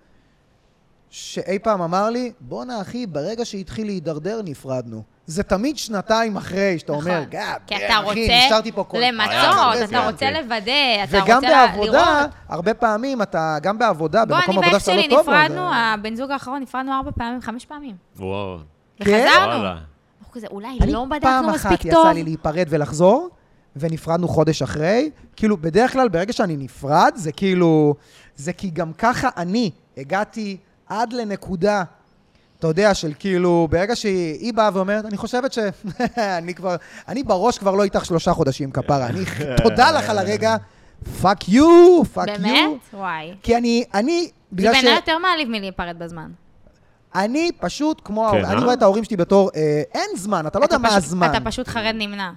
Speaker 1: שאי פעם אמר לי, בואנה אחי, ברגע שהתחיל להידרדר, נפרדנו. זה תמיד שנתיים אחרי, שאתה
Speaker 3: נכון.
Speaker 1: אומר, גאב, אה,
Speaker 3: כי אתה
Speaker 1: אחי,
Speaker 3: רוצה
Speaker 1: נשארתי פה כל...
Speaker 2: היה,
Speaker 3: למצות,
Speaker 2: זה
Speaker 3: אתה רוצה
Speaker 2: הבנתי.
Speaker 3: לוודא, אתה
Speaker 1: וגם
Speaker 3: רוצה לה- לראות.
Speaker 1: בעבודה, הרבה פעמים אתה, גם בעבודה,
Speaker 3: בוא, אני
Speaker 1: במקום עבודה
Speaker 3: ואח
Speaker 1: שאתה לא
Speaker 3: שלי
Speaker 1: טוב, בו,
Speaker 3: נפרדנו,
Speaker 1: זה-
Speaker 3: הבן זוג האחרון נפרדנו ארבע פעמים, חמש פעמים.
Speaker 2: וואו.
Speaker 1: כן?
Speaker 3: וחזרנו.
Speaker 2: וואלה.
Speaker 3: אנחנו כזה, אולי
Speaker 1: אני
Speaker 3: לא
Speaker 1: פעם
Speaker 3: בדקנו
Speaker 1: אחת
Speaker 3: מספיק
Speaker 1: יצא
Speaker 3: טוב.
Speaker 1: לי להיפרד ולחזור, ונפרדנו חודש אחרי. כאילו, בדרך כלל, ברגע שאני נפרד, זה כאילו... זה כי גם ככה אני הגעתי עד לנקודה, אתה יודע, של כאילו, ברגע שהיא באה ואומרת, אני חושבת ש... אני כבר... אני בראש כבר לא איתך שלושה חודשים, כפרה. אני... תודה לך על הרגע. פאק יו, פאק יו.
Speaker 3: באמת? וואי.
Speaker 1: כי אני... אני...
Speaker 3: זה
Speaker 1: בגלל ש...
Speaker 3: בעיניי יותר מעליב מלהיפרד בזמן.
Speaker 1: אני פשוט כמו...
Speaker 2: כן,
Speaker 1: ההורים. אני
Speaker 2: אה?
Speaker 1: רואה את ההורים שלי בתור... אה, אין זמן, אתה לא
Speaker 3: אתה
Speaker 1: יודע מה
Speaker 3: פשוט-
Speaker 1: הזמן.
Speaker 3: אתה פשוט חרד נמנע.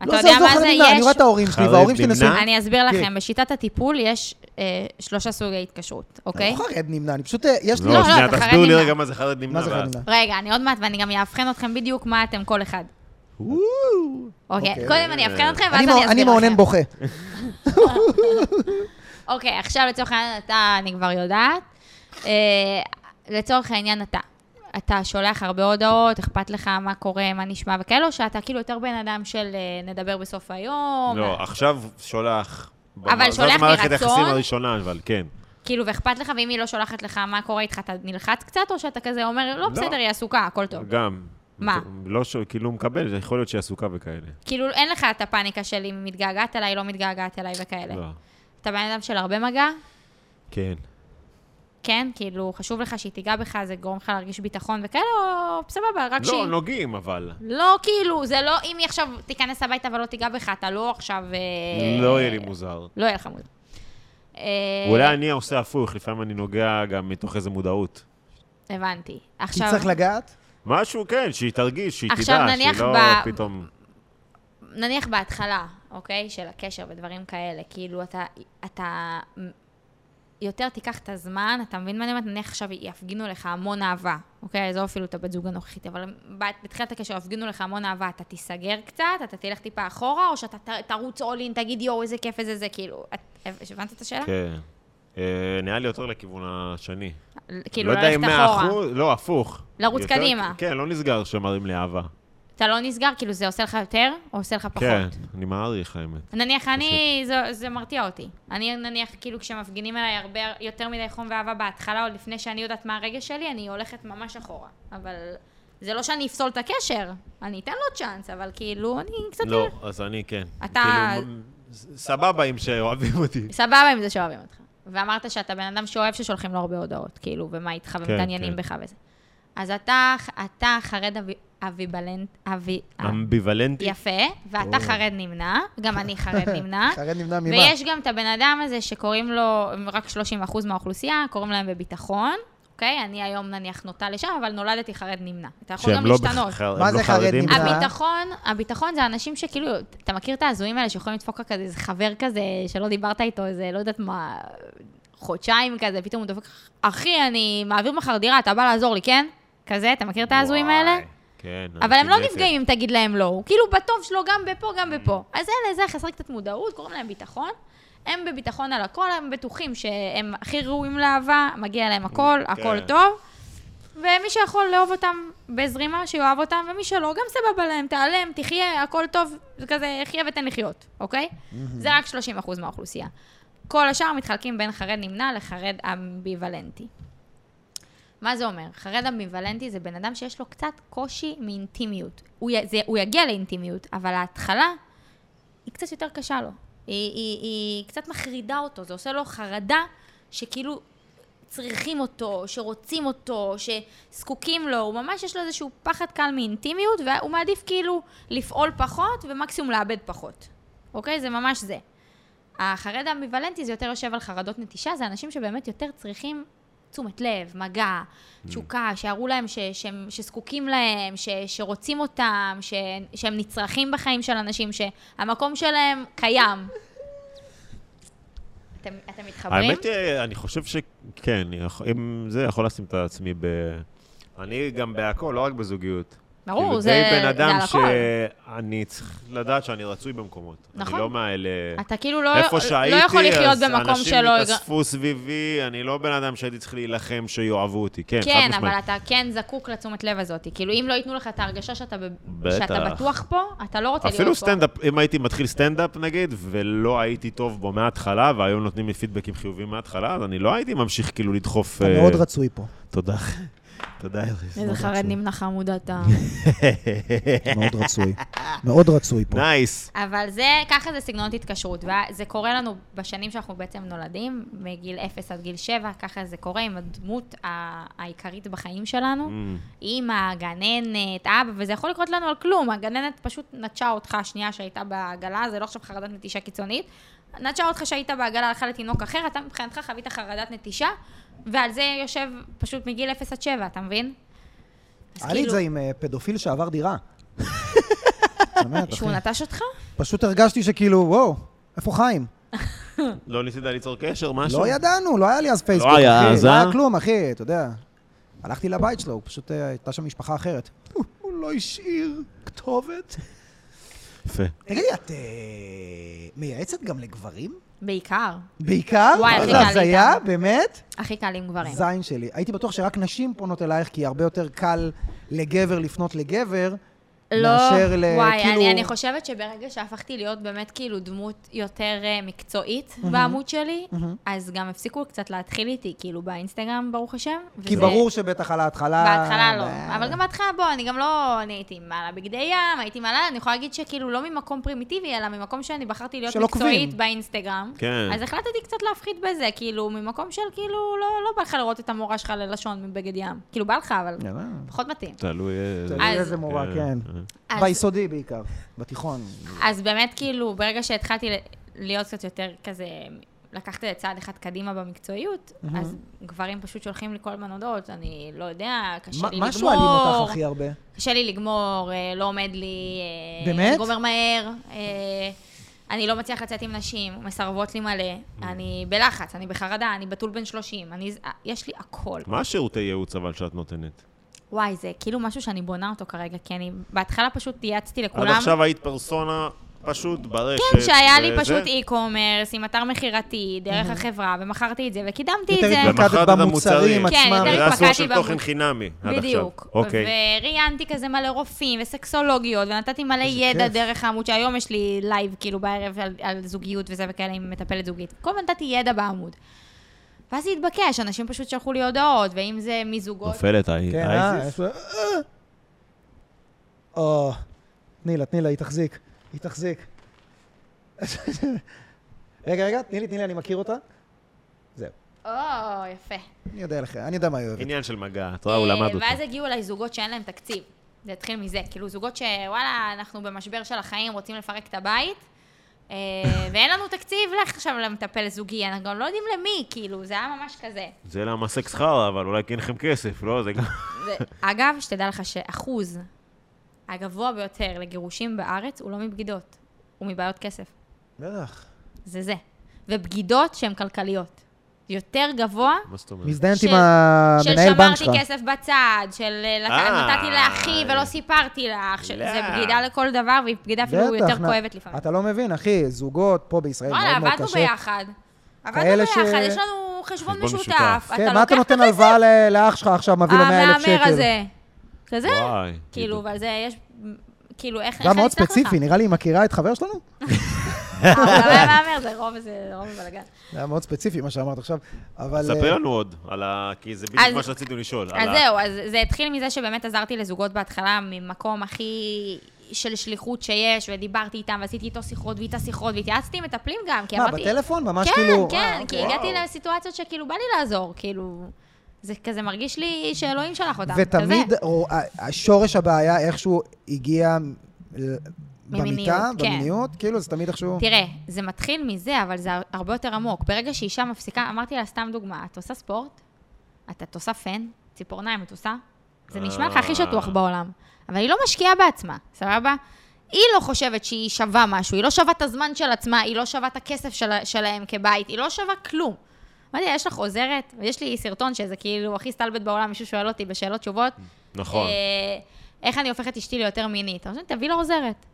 Speaker 1: לא
Speaker 3: אתה יודע
Speaker 1: זלזול
Speaker 3: מה זה?
Speaker 1: חלילה, אני רואה
Speaker 3: יש...
Speaker 1: את ההורים שלי,
Speaker 2: חרב
Speaker 1: וההורים שלי
Speaker 2: נמנע?
Speaker 1: נשואים.
Speaker 2: אה?
Speaker 3: אני אסביר
Speaker 1: כן.
Speaker 3: לכם, בשיטת הטיפול יש אה, שלושה סוגי התקשרות,
Speaker 1: אני
Speaker 3: אוקיי?
Speaker 1: לא חרד נמנע, אני פשוט, אה, יש לי...
Speaker 3: לא,
Speaker 2: לא, שנייה,
Speaker 3: אתה חרד
Speaker 2: תסבירו לי
Speaker 3: נמנע.
Speaker 2: רגע מה זה חרד נמנע.
Speaker 1: מה זה חרד
Speaker 2: ואז-
Speaker 1: נמנע?
Speaker 3: רגע, אני עוד מעט, ואני גם אאבחן אתכם בדיוק מה אתם, כל אחד. אוקיי,
Speaker 1: אוקיי.
Speaker 3: קודם אני אאבחן אתכם, ואז
Speaker 1: אני מע-
Speaker 3: לא, אני אסביר לכם.
Speaker 1: אני מעונן בוכה.
Speaker 3: אוקיי, עכשיו לצורך העניין אתה, אני כבר יודעת. אה, לצורך העניין אתה. אתה שולח הרבה הודעות, אכפת לך מה קורה, מה נשמע וכאלה, או שאתה כאילו יותר בן אדם של אה, נדבר בסוף היום.
Speaker 2: לא, עכשיו שולח.
Speaker 3: אבל שולח
Speaker 2: זאת מערכת
Speaker 3: מרצון?
Speaker 2: היחסים הראשונה, אבל כן.
Speaker 3: כאילו, ואכפת לך, ואם היא לא שולחת לך מה קורה איתך, אתה נלחץ קצת, או שאתה כזה אומר, לא,
Speaker 2: לא.
Speaker 3: בסדר, היא עסוקה, הכל טוב.
Speaker 2: גם.
Speaker 3: מה?
Speaker 2: לא, ש- כאילו הוא מקבל, זה יכול להיות שהיא עסוקה וכאלה.
Speaker 3: כאילו, אין לך את הפאניקה של אם היא מתגעגעת אליי, לא מתגעגעת אליי וכאלה.
Speaker 2: לא.
Speaker 3: אתה בן אדם של הרבה מגע,
Speaker 2: כן.
Speaker 3: כן? כאילו, חשוב לך שהיא תיגע בך, זה גורם לך להרגיש ביטחון וכאלה, או סבבה, רק שהיא...
Speaker 2: לא, נוגעים, אבל.
Speaker 3: לא, כאילו, זה לא אם היא עכשיו תיכנס הביתה ולא תיגע בך, אתה לא עכשיו... אה,
Speaker 2: לא יהיה לי מוזר.
Speaker 3: לא יהיה לך מוזר. אה,
Speaker 2: אולי אני עושה הפוך, לפעמים אני נוגע גם מתוך איזו מודעות.
Speaker 3: הבנתי.
Speaker 1: כי
Speaker 3: עכשיו,
Speaker 1: צריך לגעת?
Speaker 2: משהו, כן, שהיא תרגיש, שהיא
Speaker 3: עכשיו
Speaker 2: תדע, שהיא
Speaker 3: נניח
Speaker 2: לא
Speaker 3: ב-
Speaker 2: פתאום...
Speaker 3: נניח בהתחלה, אוקיי? של הקשר ודברים כאלה, כאילו, אתה... אתה יותר תיקח את הזמן, אתה מבין מה אני אומרת? נניח עכשיו יפגינו לך המון אהבה, אוקיי? עזוב אפילו את הבת זוג הנוכחית, אבל בת- בתחילת הקשר יפגינו לך המון אהבה, אתה תיסגר קצת, אתה תלך טיפה אחורה, או שאתה ת- תרוץ all in, תגיד יואו, איזה כיף, איזה זה, כאילו... את- הבנת את השאלה?
Speaker 2: כן. אה, נראה לי יותר לכיוון השני.
Speaker 3: כאילו,
Speaker 2: לא יודע
Speaker 3: ללכת
Speaker 2: אם
Speaker 3: אחורה.
Speaker 2: 100%, לא, הפוך.
Speaker 3: לרוץ
Speaker 2: יותר-
Speaker 3: קדימה.
Speaker 2: כן, לא נסגר שמראים לי אהבה.
Speaker 3: אתה לא נסגר, כאילו זה עושה לך יותר, או עושה לך פחות?
Speaker 2: כן, אני מעריך, האמת.
Speaker 3: נניח אני, זה, זה מרתיע אותי. אני נניח, כאילו כשמפגינים עליי הרבה יותר מדי חום ואהבה בהתחלה, עוד לפני שאני יודעת מה הרגש שלי, אני הולכת ממש אחורה. אבל זה לא שאני אפסול את הקשר, אני אתן לו צ'אנס, אבל כאילו, אני קצת...
Speaker 2: לא, אז אני כן.
Speaker 3: אתה-
Speaker 2: כאילו, מ- ס- סבבה עם שאוהבים אותי.
Speaker 3: סבבה עם זה שאוהבים אותך. ואמרת שאתה בן אדם שאוהב ששולחים לו הרבה הודעות, כאילו, ומה איתך, ומתעניינים
Speaker 2: כן.
Speaker 3: בך וזה. אז אתה, אתה חרד אבי- אביבלנט, אבי...
Speaker 2: אמביוולנטי?
Speaker 3: יפה, ואתה חרד נמנע, גם אני חרד נמנע.
Speaker 1: חרד נמנע ממה?
Speaker 3: ויש גם את הבן אדם הזה שקוראים לו, הם רק 30% מהאוכלוסייה, קוראים להם בביטחון, אוקיי? אני היום נניח נוטה לשם, אבל נולדתי חרד נמנע. אתה יכול גם אה,
Speaker 2: שהם לא
Speaker 3: להשתנות.
Speaker 2: בח- הם
Speaker 1: מה
Speaker 2: לא
Speaker 1: זה חרד
Speaker 2: חרדים?
Speaker 1: נמנע?
Speaker 3: הביטחון, הביטחון זה אנשים שכאילו, אתה מכיר את ההזויים האלה שיכולים לדפוק לך כזה, איזה חבר כזה, שלא דיברת איתו איזה, לא יודעת מה, חודשיים כזה, פתאום הוא דופק, לך, אחי, אני מעביר מחר דירה, אתה בא לעזור לי, כן? כזה, אתה מכיר את ההזויים
Speaker 2: וואי,
Speaker 3: האלה?
Speaker 2: כן.
Speaker 3: אבל הם לא
Speaker 2: אנשים
Speaker 3: נפגעים אם תגיד להם לא. הוא כאילו בטוב שלו גם בפה, גם בפה. אז אלה, זה חסר קצת מודעות, קוראים להם ביטחון. הם בביטחון על הכל, הם בטוחים שהם הכי ראויים לאהבה, מגיע להם הכל, הכל
Speaker 2: כן.
Speaker 3: טוב. ומי שיכול לאהוב אותם בזרימה, שיאהב אותם, ומי שלא, גם סבבה להם, תיעלם, תחיה, הכל טוב, זה כזה, חיה ותן לחיות, אוקיי? זה רק 30% מהאוכלוסייה. כל השאר מתחלקים בין חרד נמנע לחרד אמביוולנטי. מה זה אומר? חרד אמביוולנטי זה בן אדם שיש לו קצת קושי מאינטימיות. הוא, י, זה, הוא יגיע לאינטימיות, אבל ההתחלה היא קצת יותר קשה לו. היא, היא, היא קצת מחרידה אותו, זה עושה לו חרדה שכאילו צריכים אותו, שרוצים אותו, שזקוקים לו, הוא ממש יש לו איזשהו פחד קל מאינטימיות, והוא מעדיף כאילו לפעול פחות ומקסימום לאבד פחות. אוקיי? זה ממש זה. החרד האמביוולנטי זה יותר יושב על חרדות נטישה, זה אנשים שבאמת יותר צריכים תשומת לב, מגע, תשוקה, שיראו להם ש, שהם, שזקוקים להם, ש, שרוצים אותם, ש, שהם נצרכים בחיים של אנשים, שהמקום שלהם קיים. אתם, אתם מתחברים?
Speaker 2: האמת, אה, אני חושב שכן, יכ- אם זה יכול לשים את עצמי ב... אני גם בהכל, לא רק בזוגיות.
Speaker 3: ברור,
Speaker 2: כאילו,
Speaker 3: זה-
Speaker 2: די בן
Speaker 3: זה
Speaker 2: אדם
Speaker 3: על הכל.
Speaker 2: שאני צריך לדעת שאני רצוי במקומות.
Speaker 3: נכון.
Speaker 2: אני לא מהאלה...
Speaker 3: אתה כאילו לא,
Speaker 2: איפה שהייתי,
Speaker 3: לא יכול לחיות
Speaker 2: אז
Speaker 3: במקום
Speaker 2: אנשים
Speaker 3: שלא...
Speaker 2: התאספו סביבי, אני לא בן אדם שהייתי צריך להילחם שיאהבו אותי. כן, חד
Speaker 3: כן, אבל
Speaker 2: משמעית.
Speaker 3: אתה כן זקוק לתשומת לב הזאת. כאילו, אם לא ייתנו לך את ההרגשה שאתה, ב...
Speaker 2: בטח.
Speaker 3: שאתה בטוח פה, אתה לא רוצה להיות פה.
Speaker 2: אפילו סטנדאפ, אם הייתי מתחיל סטנדאפ נגיד, ולא הייתי טוב בו מההתחלה, והיו נותנים לי פידבקים חיוביים מההתחלה, אז אני לא הייתי ממשיך כאילו לדחוף...
Speaker 1: אתה
Speaker 2: אה,
Speaker 1: מאוד רצוי פה.
Speaker 2: תודה, תודה, ארז.
Speaker 3: איזה חרד נמנע חמוד אתה.
Speaker 1: מאוד רצוי. מאוד רצוי פה.
Speaker 2: נייס.
Speaker 3: אבל זה, ככה זה סגנון התקשרות, וזה קורה לנו בשנים שאנחנו בעצם נולדים, מגיל 0 עד גיל 7, ככה זה קורה עם הדמות ה- העיקרית בחיים
Speaker 2: Mm.
Speaker 3: שלנו, אימא, גננת, אבא, וזה יכול לקרות לנו על כלום, הגננת פשוט נטשה אותך השנייה שהייתה בעגלה, זה לא עכשיו חרדת נטישה קיצונית, נטשה אותך שהיית בעגלה, הלכה לתינוק אחר, אתה מבחינתך חווית חרדת נטישה, ועל זה יושב פשוט מגיל 0 עד 7, אתה מבין? אז כאילו,
Speaker 1: היה לי את זה עם אה, פדופיל שעבר דירה. באמת, אחי.
Speaker 4: שהוא נטש אותך?
Speaker 1: פשוט הרגשתי שכאילו, וואו, איפה חיים?
Speaker 2: לא ניסית ליצור קשר, משהו?
Speaker 1: לא ידענו, לא היה לי אז פייסבוק,
Speaker 2: היה
Speaker 1: אחי.
Speaker 2: אז,
Speaker 1: לא היה
Speaker 2: אה?
Speaker 1: כלום, אחי, אתה יודע. הלכתי לבית שלו, הוא פשוט, אה, הייתה שם משפחה אחרת. הוא לא השאיר כתובת.
Speaker 2: יפה.
Speaker 1: תגידי, את אה, מייעצת גם לגברים?
Speaker 3: בעיקר.
Speaker 1: בעיקר?
Speaker 3: וואי, הכי
Speaker 1: זה
Speaker 3: קל לי
Speaker 1: הזיה,
Speaker 3: איתם. כן.
Speaker 1: באמת?
Speaker 3: הכי קל עם גברים.
Speaker 1: זין שלי. הייתי בטוח שרק נשים פונות אלייך, כי הרבה יותר קל לגבר לפנות לגבר,
Speaker 3: לא,
Speaker 1: מאשר ל...
Speaker 3: וואי,
Speaker 1: כאילו...
Speaker 3: אני, אני חושבת שברגע שהפכתי להיות באמת כאילו דמות יותר אה, מקצועית בעמוד שלי, אז גם הפסיקו קצת להתחיל איתי, כאילו באינסטגרם, ברוך השם.
Speaker 1: כי
Speaker 3: וזה-
Speaker 1: ברור שבטח על ההתחלה...
Speaker 3: בהתחלה
Speaker 1: אה,
Speaker 3: לא, אבל גם בהתחלה, בוא, אני גם לא, אני הייתי מעלה בגדי ים, הייתי מעלה, אני יכולה להגיד שכאילו לא ממקום פרימיטיבי, אלא ממקום שאני בחרתי להיות
Speaker 1: של עוקבים.
Speaker 3: מקצועית באינסטגרם.
Speaker 2: כן.
Speaker 3: אז החלטתי קצת להפחית בזה, כאילו, ממקום של כאילו, לא לא בא לך לראות את המורה שלך ללשון מבגד ים. כאילו, בא לך, אבל
Speaker 1: יאללה.
Speaker 3: פחות מתאים.
Speaker 2: תלוי אה, איזה...
Speaker 1: תלוי
Speaker 3: אז-
Speaker 1: איזה מורה, כן.
Speaker 2: אה.
Speaker 3: אז-
Speaker 1: ביסודי בעיקר, בתיכון.
Speaker 3: אז באמת, כאילו, ברגע שהתחלתי ל- להיות קצת יותר כזה, לקחת את זה צעד אחד קדימה במקצועיות, אז גברים פשוט שולחים לי כל הזמן הודעות, אני לא יודע, קשה
Speaker 1: מה-
Speaker 3: לי לגמור.
Speaker 1: מה שואלים אותך הכי הרבה?
Speaker 3: קשה לי לגמור, אה, לא עומד לי, אה,
Speaker 1: באמת?
Speaker 3: אני גומר מהר, אה, אני לא מצליח לצאת עם נשים, מסרבות לי מלא, אני בלחץ, אני בחרדה, אני בתול בן 30, אני, ז- אה, יש לי הכל.
Speaker 2: מה השירותי ייעוץ אבל שאת נותנת?
Speaker 3: וואי, זה כאילו משהו שאני בונה אותו כרגע, כי אני בהתחלה פשוט דייצתי לכולם.
Speaker 2: עד עכשיו היית פרסונה פשוט ברשת.
Speaker 3: כן, שהיה לי
Speaker 2: וזה.
Speaker 3: פשוט אי-קומרס עם אתר מכירתי, דרך החברה, ומכרתי את זה, וקידמתי את
Speaker 1: יותר
Speaker 3: זה.
Speaker 1: התמקדת
Speaker 2: ומכרת את
Speaker 1: במוצרים
Speaker 2: המוצרים. אה,
Speaker 1: עצמם.
Speaker 3: כן, יותר
Speaker 2: זה הסוג של
Speaker 3: התמקדתי
Speaker 2: תוכן
Speaker 3: בעמוד.
Speaker 2: חינמי עד עכשיו.
Speaker 3: בדיוק.
Speaker 2: אוקיי.
Speaker 3: וראיינתי כזה מלא רופאים וסקסולוגיות, ונתתי מלא
Speaker 1: איזה
Speaker 3: ידע
Speaker 1: כיף.
Speaker 3: דרך העמוד, שהיום יש לי לייב כאילו בערב על, על זוגיות וזה וכאלה עם מטפלת זוגית. כל הזמן נתתי ידע בעמוד. ואז זה התבקש, אנשים פשוט שלחו לי הודעות, ואם זה מזוגות...
Speaker 2: נופלת אי-
Speaker 1: כן, אה?
Speaker 2: אייזיס?
Speaker 1: איפה- אה. או, תני לה, תני לה, היא תחזיק. היא תחזיק. רגע, רגע, תני לי, תני לי, אני מכיר אותה. זהו.
Speaker 3: או, יפה.
Speaker 1: אני יודע לך, אני יודע מה היא אוהבת.
Speaker 2: עניין של מגע, את רואה, אה, הוא למד אותו.
Speaker 3: אה, ואז הגיעו אליי זוגות שאין להם תקציב. זה התחיל מזה. כאילו, זוגות שוואלה, אנחנו במשבר של החיים, רוצים לפרק את הבית, אה, ואין לנו תקציב, לך עכשיו למטפל זוגי, אנחנו גם לא יודעים למי, כאילו, זה היה ממש כזה.
Speaker 2: זה למה סקס חרא, אבל אולי כי אין לכם כסף, לא? זה גם...
Speaker 3: זה- אגב, שתדע לך שאחוז הגבוה ביותר לגירושים בארץ הוא לא מבגידות, הוא מבעיות כסף.
Speaker 1: בטח.
Speaker 3: זה זה. ובגידות שהן כלכליות. יותר גבוה
Speaker 2: מה זאת אומרת?
Speaker 1: מזדיינת
Speaker 3: של-
Speaker 1: עם המנהל בנק שלך.
Speaker 3: של שמרתי כסף בצד, של אה, לק-
Speaker 2: אה.
Speaker 3: נתתי לאחי ולא סיפרתי לך, של- זה
Speaker 2: לא.
Speaker 3: בגידה לכל דבר, והיא בגידה אפילו יותר
Speaker 1: בטח, נ-
Speaker 3: כואבת לפעמים.
Speaker 1: אתה לא מבין, אחי, זוגות פה בישראל מאוד
Speaker 3: וואלה,
Speaker 1: מאוד
Speaker 3: עבדנו
Speaker 1: קשה.
Speaker 3: ביחד. עבדנו
Speaker 1: כאלה ש-
Speaker 3: ביחד, יש לנו חשבון
Speaker 2: חשבון
Speaker 3: משותף.
Speaker 2: משותף.
Speaker 1: כן, מה אתה
Speaker 3: לוקח
Speaker 1: נותן
Speaker 3: את
Speaker 1: הלוואה ל- לאח שלך עכשיו, מביא לו 100,000 שקל?
Speaker 3: המהמר הזה. כזה,
Speaker 2: וואי.
Speaker 3: כאילו, ועל זה יש... כאילו, איך איך
Speaker 1: גם
Speaker 3: אני
Speaker 1: מאוד
Speaker 3: אסלח לך?
Speaker 1: ספציפי, נראה לי היא מכירה את חבר שלנו?
Speaker 3: אה, אבל המהמר זה רוב, זה רוב בלאגן.
Speaker 1: זה היה מאוד ספציפי מה שאמרת עכשיו, אבל...
Speaker 2: ספרי
Speaker 1: אה,
Speaker 2: לנו עוד, על ה... כי זה
Speaker 3: אז-
Speaker 2: בדיוק מה שרצינו לשאול. על
Speaker 3: אז
Speaker 2: ה-
Speaker 3: זהו, אז זה התחיל מזה שבאמת עזרתי לזוגות בהתחלה ממקום הכי של שליחות שיש, ודיברתי איתם, ועשיתי איתו שיחות ואיתה שיחות, והתייעצתי עם מטפלים גם, כי
Speaker 1: מה,
Speaker 3: אמרתי...
Speaker 1: בטלפון? ממש
Speaker 3: כן,
Speaker 1: כאילו... אה,
Speaker 3: כן, כי
Speaker 1: אוקיי.
Speaker 3: הגעתי לסיטואציות שכאילו בא לי לעזור, כאילו... זה כזה מרגיש לי שאלוהים שלח אותם,
Speaker 1: ותמיד
Speaker 3: כזה.
Speaker 1: או, ה- השורש הבעיה איכשהו הגיע ל- במיטה,
Speaker 3: כן.
Speaker 1: במיניות, כאילו זה תמיד איכשהו...
Speaker 3: תראה, זה מתחיל מזה, אבל זה הרבה יותר עמוק. ברגע שאישה מפסיקה, אמרתי לה, סתם דוגמה, את עושה ספורט? את, את עושה פן? ציפורניים את עושה? זה נשמע לך הכי שטוח בעולם. אבל היא לא משקיעה בעצמה, סבבה? היא לא חושבת שהיא שווה משהו, היא לא שווה את הזמן של עצמה, היא לא שווה את הכסף של, שלהם כבית, היא לא שווה כלום. אמרתי לה, יש לך עוזרת? ויש לי סרטון שזה כאילו הכי סטלבט בעולם, מישהו שואל אותי בשאלות תשובות.
Speaker 2: נכון.
Speaker 3: אה, איך אני הופכת אשתי ליותר מינית? אמרתי, תביא לה עוזרת.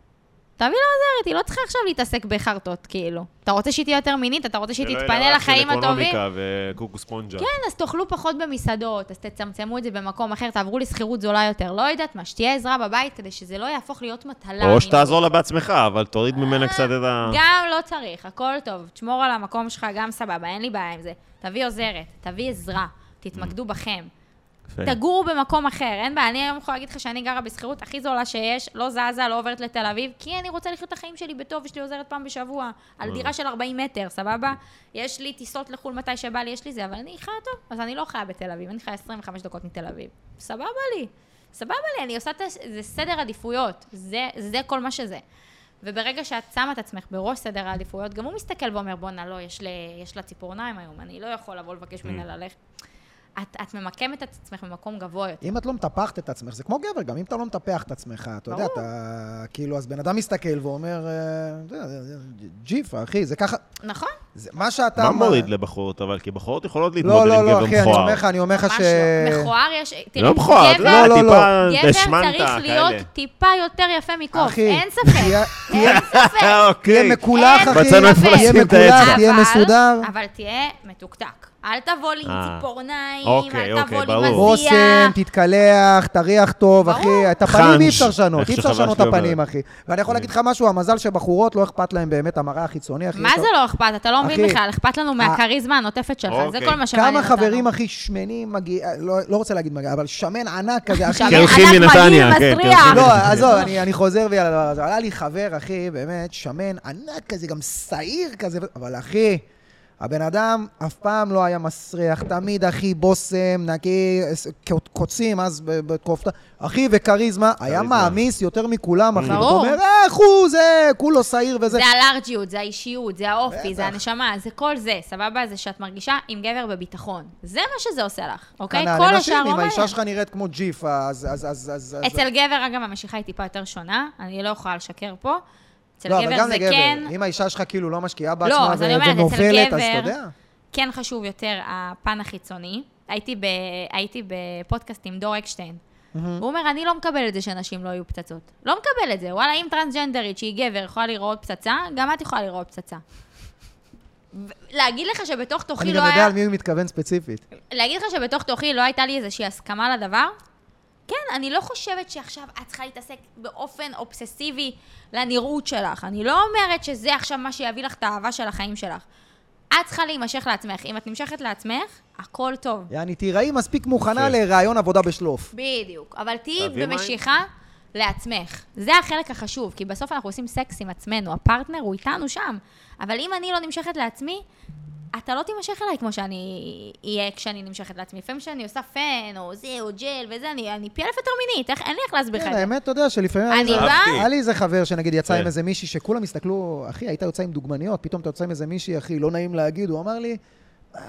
Speaker 3: תביא לה עוזרת, היא לא צריכה עכשיו להתעסק בחרטות, כאילו. אתה רוצה שהיא תהיה יותר מינית, אתה רוצה
Speaker 2: שלא
Speaker 3: שהיא
Speaker 2: יהיה
Speaker 3: תתפנה
Speaker 2: לה
Speaker 3: לחיים
Speaker 2: רעש של
Speaker 3: הטובים?
Speaker 2: אקונומיקה וקוקו ספונג'ה.
Speaker 3: כן, אז תאכלו פחות במסעדות, אז תצמצמו את זה במקום אחר, תעברו לשכירות זולה יותר. לא יודעת מה, שתהיה עזרה בבית כדי שזה לא יהפוך להיות מטלה.
Speaker 2: או
Speaker 3: מינית.
Speaker 2: שתעזור לה בעצמך, אבל תוריד ממנה קצת את ה...
Speaker 3: לא- אה, גם לא צריך, הכל טוב. תשמור על המקום שלך, גם סבבה, אין לי בעיה עם זה. תביא עוזרת, תביא עזרה, תתמקדו בכם.
Speaker 2: יפה.
Speaker 3: תגורו במקום אחר, אין בעיה. אני היום יכולה להגיד לך שאני גרה בשכירות הכי זולה שיש, לא זזה, לא עוברת לתל אביב, כי אני רוצה לחיות את החיים שלי בטוב, יש לי עוזרת פעם בשבוע, על דירה של 40 מטר, סבבה? יש לי טיסות לחו"ל מתי שבא לי, יש לי זה, אבל אני חיה טוב, אז אני לא חיה בתל אביב, אני חיה 25 דקות מתל אביב. סבבה לי, סבבה לי, אני עושה את הס- זה סדר עדיפויות, זה, זה כל מה שזה. וברגע שאת שמה את עצמך בראש סדר העדיפויות, גם הוא מסתכל ואומר, בואנה, לא, יש, ל, יש לה ציפורניים היום, אני לא יכול לבוא לבקש ממנה ללכת. את, את ממקמת את עצמך במקום גבוה יותר.
Speaker 1: אם את לא מטפחת את עצמך, זה כמו גבר גם, אם אתה לא מטפח את עצמך, אתה יודע,
Speaker 3: ברור.
Speaker 1: אתה... כאילו, אז בן אדם מסתכל ואומר, אה, אתה יודע, זה- זה- ג'יפה, אחי, זה ככה...
Speaker 3: נכון?
Speaker 1: זה מה שאתה...
Speaker 2: מה
Speaker 1: אמר-
Speaker 2: מוריד לבחורות, אבל? כי בחורות יכולות
Speaker 1: לא,
Speaker 2: להתמודד עם
Speaker 1: לא, לא,
Speaker 2: גבר
Speaker 1: אחי, אני אומר
Speaker 2: מכוער.
Speaker 1: לך, אני אומר לך
Speaker 3: ממש
Speaker 1: ש...
Speaker 3: לא. מכוער יש...
Speaker 2: זה
Speaker 3: תראה,
Speaker 2: לא מכוער, את
Speaker 3: גבר-
Speaker 2: יודעת,
Speaker 1: לא, לא,
Speaker 2: טיפה
Speaker 3: גבר
Speaker 2: דשמנטה,
Speaker 3: צריך
Speaker 2: כאלה.
Speaker 3: להיות טיפה יותר יפה מקוף,
Speaker 1: אחי,
Speaker 3: אין ספק.
Speaker 1: תהיה-
Speaker 3: אין ספק.
Speaker 2: אה,
Speaker 1: תהיה
Speaker 2: אוקיי.
Speaker 1: מקולח,
Speaker 3: אין
Speaker 1: אחי,
Speaker 2: מצאנו איפה
Speaker 1: תהיה
Speaker 2: לשים את
Speaker 1: מקולח,
Speaker 2: האצבע.
Speaker 1: תהיה
Speaker 3: אבל-
Speaker 1: מסודר.
Speaker 3: אבל תהיה מתוקתק. אל תבוא לי עם
Speaker 2: אה.
Speaker 3: ציפורניים,
Speaker 2: אוקיי,
Speaker 3: אל
Speaker 2: אוקיי,
Speaker 3: תבוא לי
Speaker 2: ברור.
Speaker 3: עם הזיעה.
Speaker 1: בושם, תתקלח, תריח טוב,
Speaker 3: ברור.
Speaker 1: אחי. את הפנים
Speaker 2: חנש,
Speaker 1: אי אפשר לשנות,
Speaker 2: איך
Speaker 1: אי אפשר
Speaker 2: שחברה
Speaker 1: לשנות את
Speaker 2: שלי
Speaker 1: הפנים,
Speaker 2: אומרת.
Speaker 1: אחי. ואני יכול להגיד לך משהו, המזל שבחורות לא אכפת להם באמת המראה החיצוני, אחי.
Speaker 3: מה
Speaker 1: יש
Speaker 3: זה
Speaker 1: לו-
Speaker 3: לא אכפת? אתה לא מבין
Speaker 1: אחי, אה,
Speaker 3: בכלל, אכפת לנו מהכריזמה הנוטפת שלך, זה
Speaker 2: אוקיי.
Speaker 3: כל מה שמעניין
Speaker 1: כמה
Speaker 3: אותנו.
Speaker 1: חברים, אחי, שמנים מגיע... לא לא רוצה להגיד מגיע, אבל שמן ענק כזה, אחי.
Speaker 3: שמן
Speaker 2: קרחים
Speaker 3: ענק
Speaker 2: מנתניה,
Speaker 3: מגעיל,
Speaker 2: כן,
Speaker 3: מסריח.
Speaker 2: קרחים.
Speaker 1: לא, עזוב, אני, אני חוזר בי על הדבר הזה. עלה לי חבר, אחי, באמת, שמן, ענק כזה, גם שעיר כזה, אבל אחי, הבן אדם אף פעם לא היה מסריח, תמיד, אחי, בושם, נקי, ס- ק- קוצים, אז ב- בתקופתה. אחי, וכריזמה, היה
Speaker 2: כריזמה.
Speaker 1: מעמיס יותר מכולם, אחי.
Speaker 3: ברור.
Speaker 1: אתה אומר, איך הוא זה, כולו שעיר וזה.
Speaker 3: זה הלארג'יות, זה האישיות, זה האופי, זה
Speaker 1: בטח.
Speaker 3: הנשמה, זה כל זה, סבבה? זה שאת מרגישה עם גבר בביטחון. זה מה שזה עושה לך, אוקיי?
Speaker 1: כנ"ל
Speaker 3: כל
Speaker 1: לנשים,
Speaker 3: השאר לא
Speaker 1: אם
Speaker 3: מעניין.
Speaker 1: האישה שלך נראית כמו ג'יפה, אז... אז, אז, אז אז-
Speaker 3: אצל גבר, אגב, המשיכה היא טיפה יותר שונה, אני לא יכולה לשקר פה. אצל
Speaker 1: לא, אבל
Speaker 3: גבר
Speaker 1: גם
Speaker 3: זה
Speaker 1: לגבר.
Speaker 3: כן...
Speaker 1: אם האישה שלך כאילו לא משקיעה
Speaker 3: לא,
Speaker 1: בעצמה
Speaker 3: אז אני
Speaker 1: ו-
Speaker 3: אומרת, אצל
Speaker 1: ונופלת, אז אתה
Speaker 3: גבר,
Speaker 1: יודע.
Speaker 3: כן חשוב יותר הפן החיצוני. הייתי, ב, הייתי בפודקאסט עם דור אקשטיין. הוא אומר, אני לא מקבל את זה שנשים לא יהיו פצצות. לא מקבל את זה. וואלה, אם טרנסג'נדרית שהיא גבר יכולה להיראות פצצה, גם את יכולה להיראות פצצה. ו- להגיד לך שבתוך
Speaker 1: אני
Speaker 3: תוכי לא
Speaker 1: גם
Speaker 3: היה...
Speaker 1: יודע על מי הוא מתכוון ספציפית.
Speaker 3: להגיד לך שבתוך תוכי לא הייתה לי איזושהי הסכמה לדבר? כן, אני לא חושבת שעכשיו את צריכה להתעסק באופן אובססיבי לנראות שלך. אני לא אומרת שזה עכשיו מה שיביא לך את האהבה של החיים שלך. את צריכה להימשך לעצמך. אם את נמשכת לעצמך, הכל טוב.
Speaker 1: יעני, תיראי מספיק מוכנה
Speaker 2: יפה.
Speaker 1: לראיון עבודה בשלוף.
Speaker 3: בדיוק. אבל תהיי
Speaker 2: תביא מים.
Speaker 3: במשיכה לעצמך. זה החלק החשוב, כי בסוף אנחנו עושים סקס עם עצמנו, הפרטנר הוא איתנו שם. אבל אם אני לא נמשכת לעצמי, אתה לא תימשך אליי כמו שאני אהיה כשאני נמשכת לעצמי. לפעמים כשאני עושה פן, או זה, או ג'ל, וזה, אני, אני פי אלף יותר מינית, איך, אין לי איך להסביר לך
Speaker 1: כן,
Speaker 3: את זה.
Speaker 1: האמת, אתה יודע שלפעמים... היה לי
Speaker 3: אני
Speaker 1: איזה-
Speaker 3: באה-
Speaker 1: היה לי איזה חבר שנגיד יצא
Speaker 2: כן.
Speaker 1: עם איזה מישהי, שכולם הסתכלו, אחי, היית יוצא עם דוגמניות, פתאום אתה יוצא עם איזה מישהי, אחי, לא נעים להגיד, הוא אמר לי,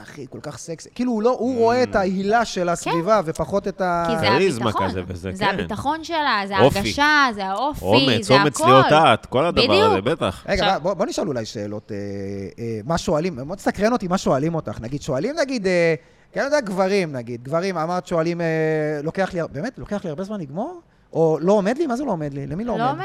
Speaker 1: אחי, כל כך סקסי. כאילו, הוא לא- הוא
Speaker 2: Mm.
Speaker 1: רואה את ההילה של הסביבה, ופחות את ה...
Speaker 3: כן. כי זה
Speaker 2: כריזמה
Speaker 3: הביטחון.
Speaker 2: כזה וזה,
Speaker 3: זה
Speaker 2: כן.
Speaker 3: הביטחון שלה, זה
Speaker 2: אופי.
Speaker 3: ההרגשה, זה האופי,
Speaker 2: אומץ,
Speaker 3: זה הכל.
Speaker 2: אומץ להיות את, כל הדבר הזה,
Speaker 3: בדיוק.
Speaker 2: בטח.
Speaker 1: רגע,
Speaker 3: עכשיו-
Speaker 1: בוא- בוא נשאל אולי שאלות, אה, אה, מה שואלים, מאוד תסקרן אותי מה שואלים אותך, נגיד, שואלים נגיד, אה, כי אני יודע, גברים נגיד, גברים, אמרת שואלים, אה, לוקח לי, הר- באמת, לוקח לי הרבה זמן לגמור? או לא עומד לי? מה זה לא עומד לי? למי לא עומד?
Speaker 3: לא עומד.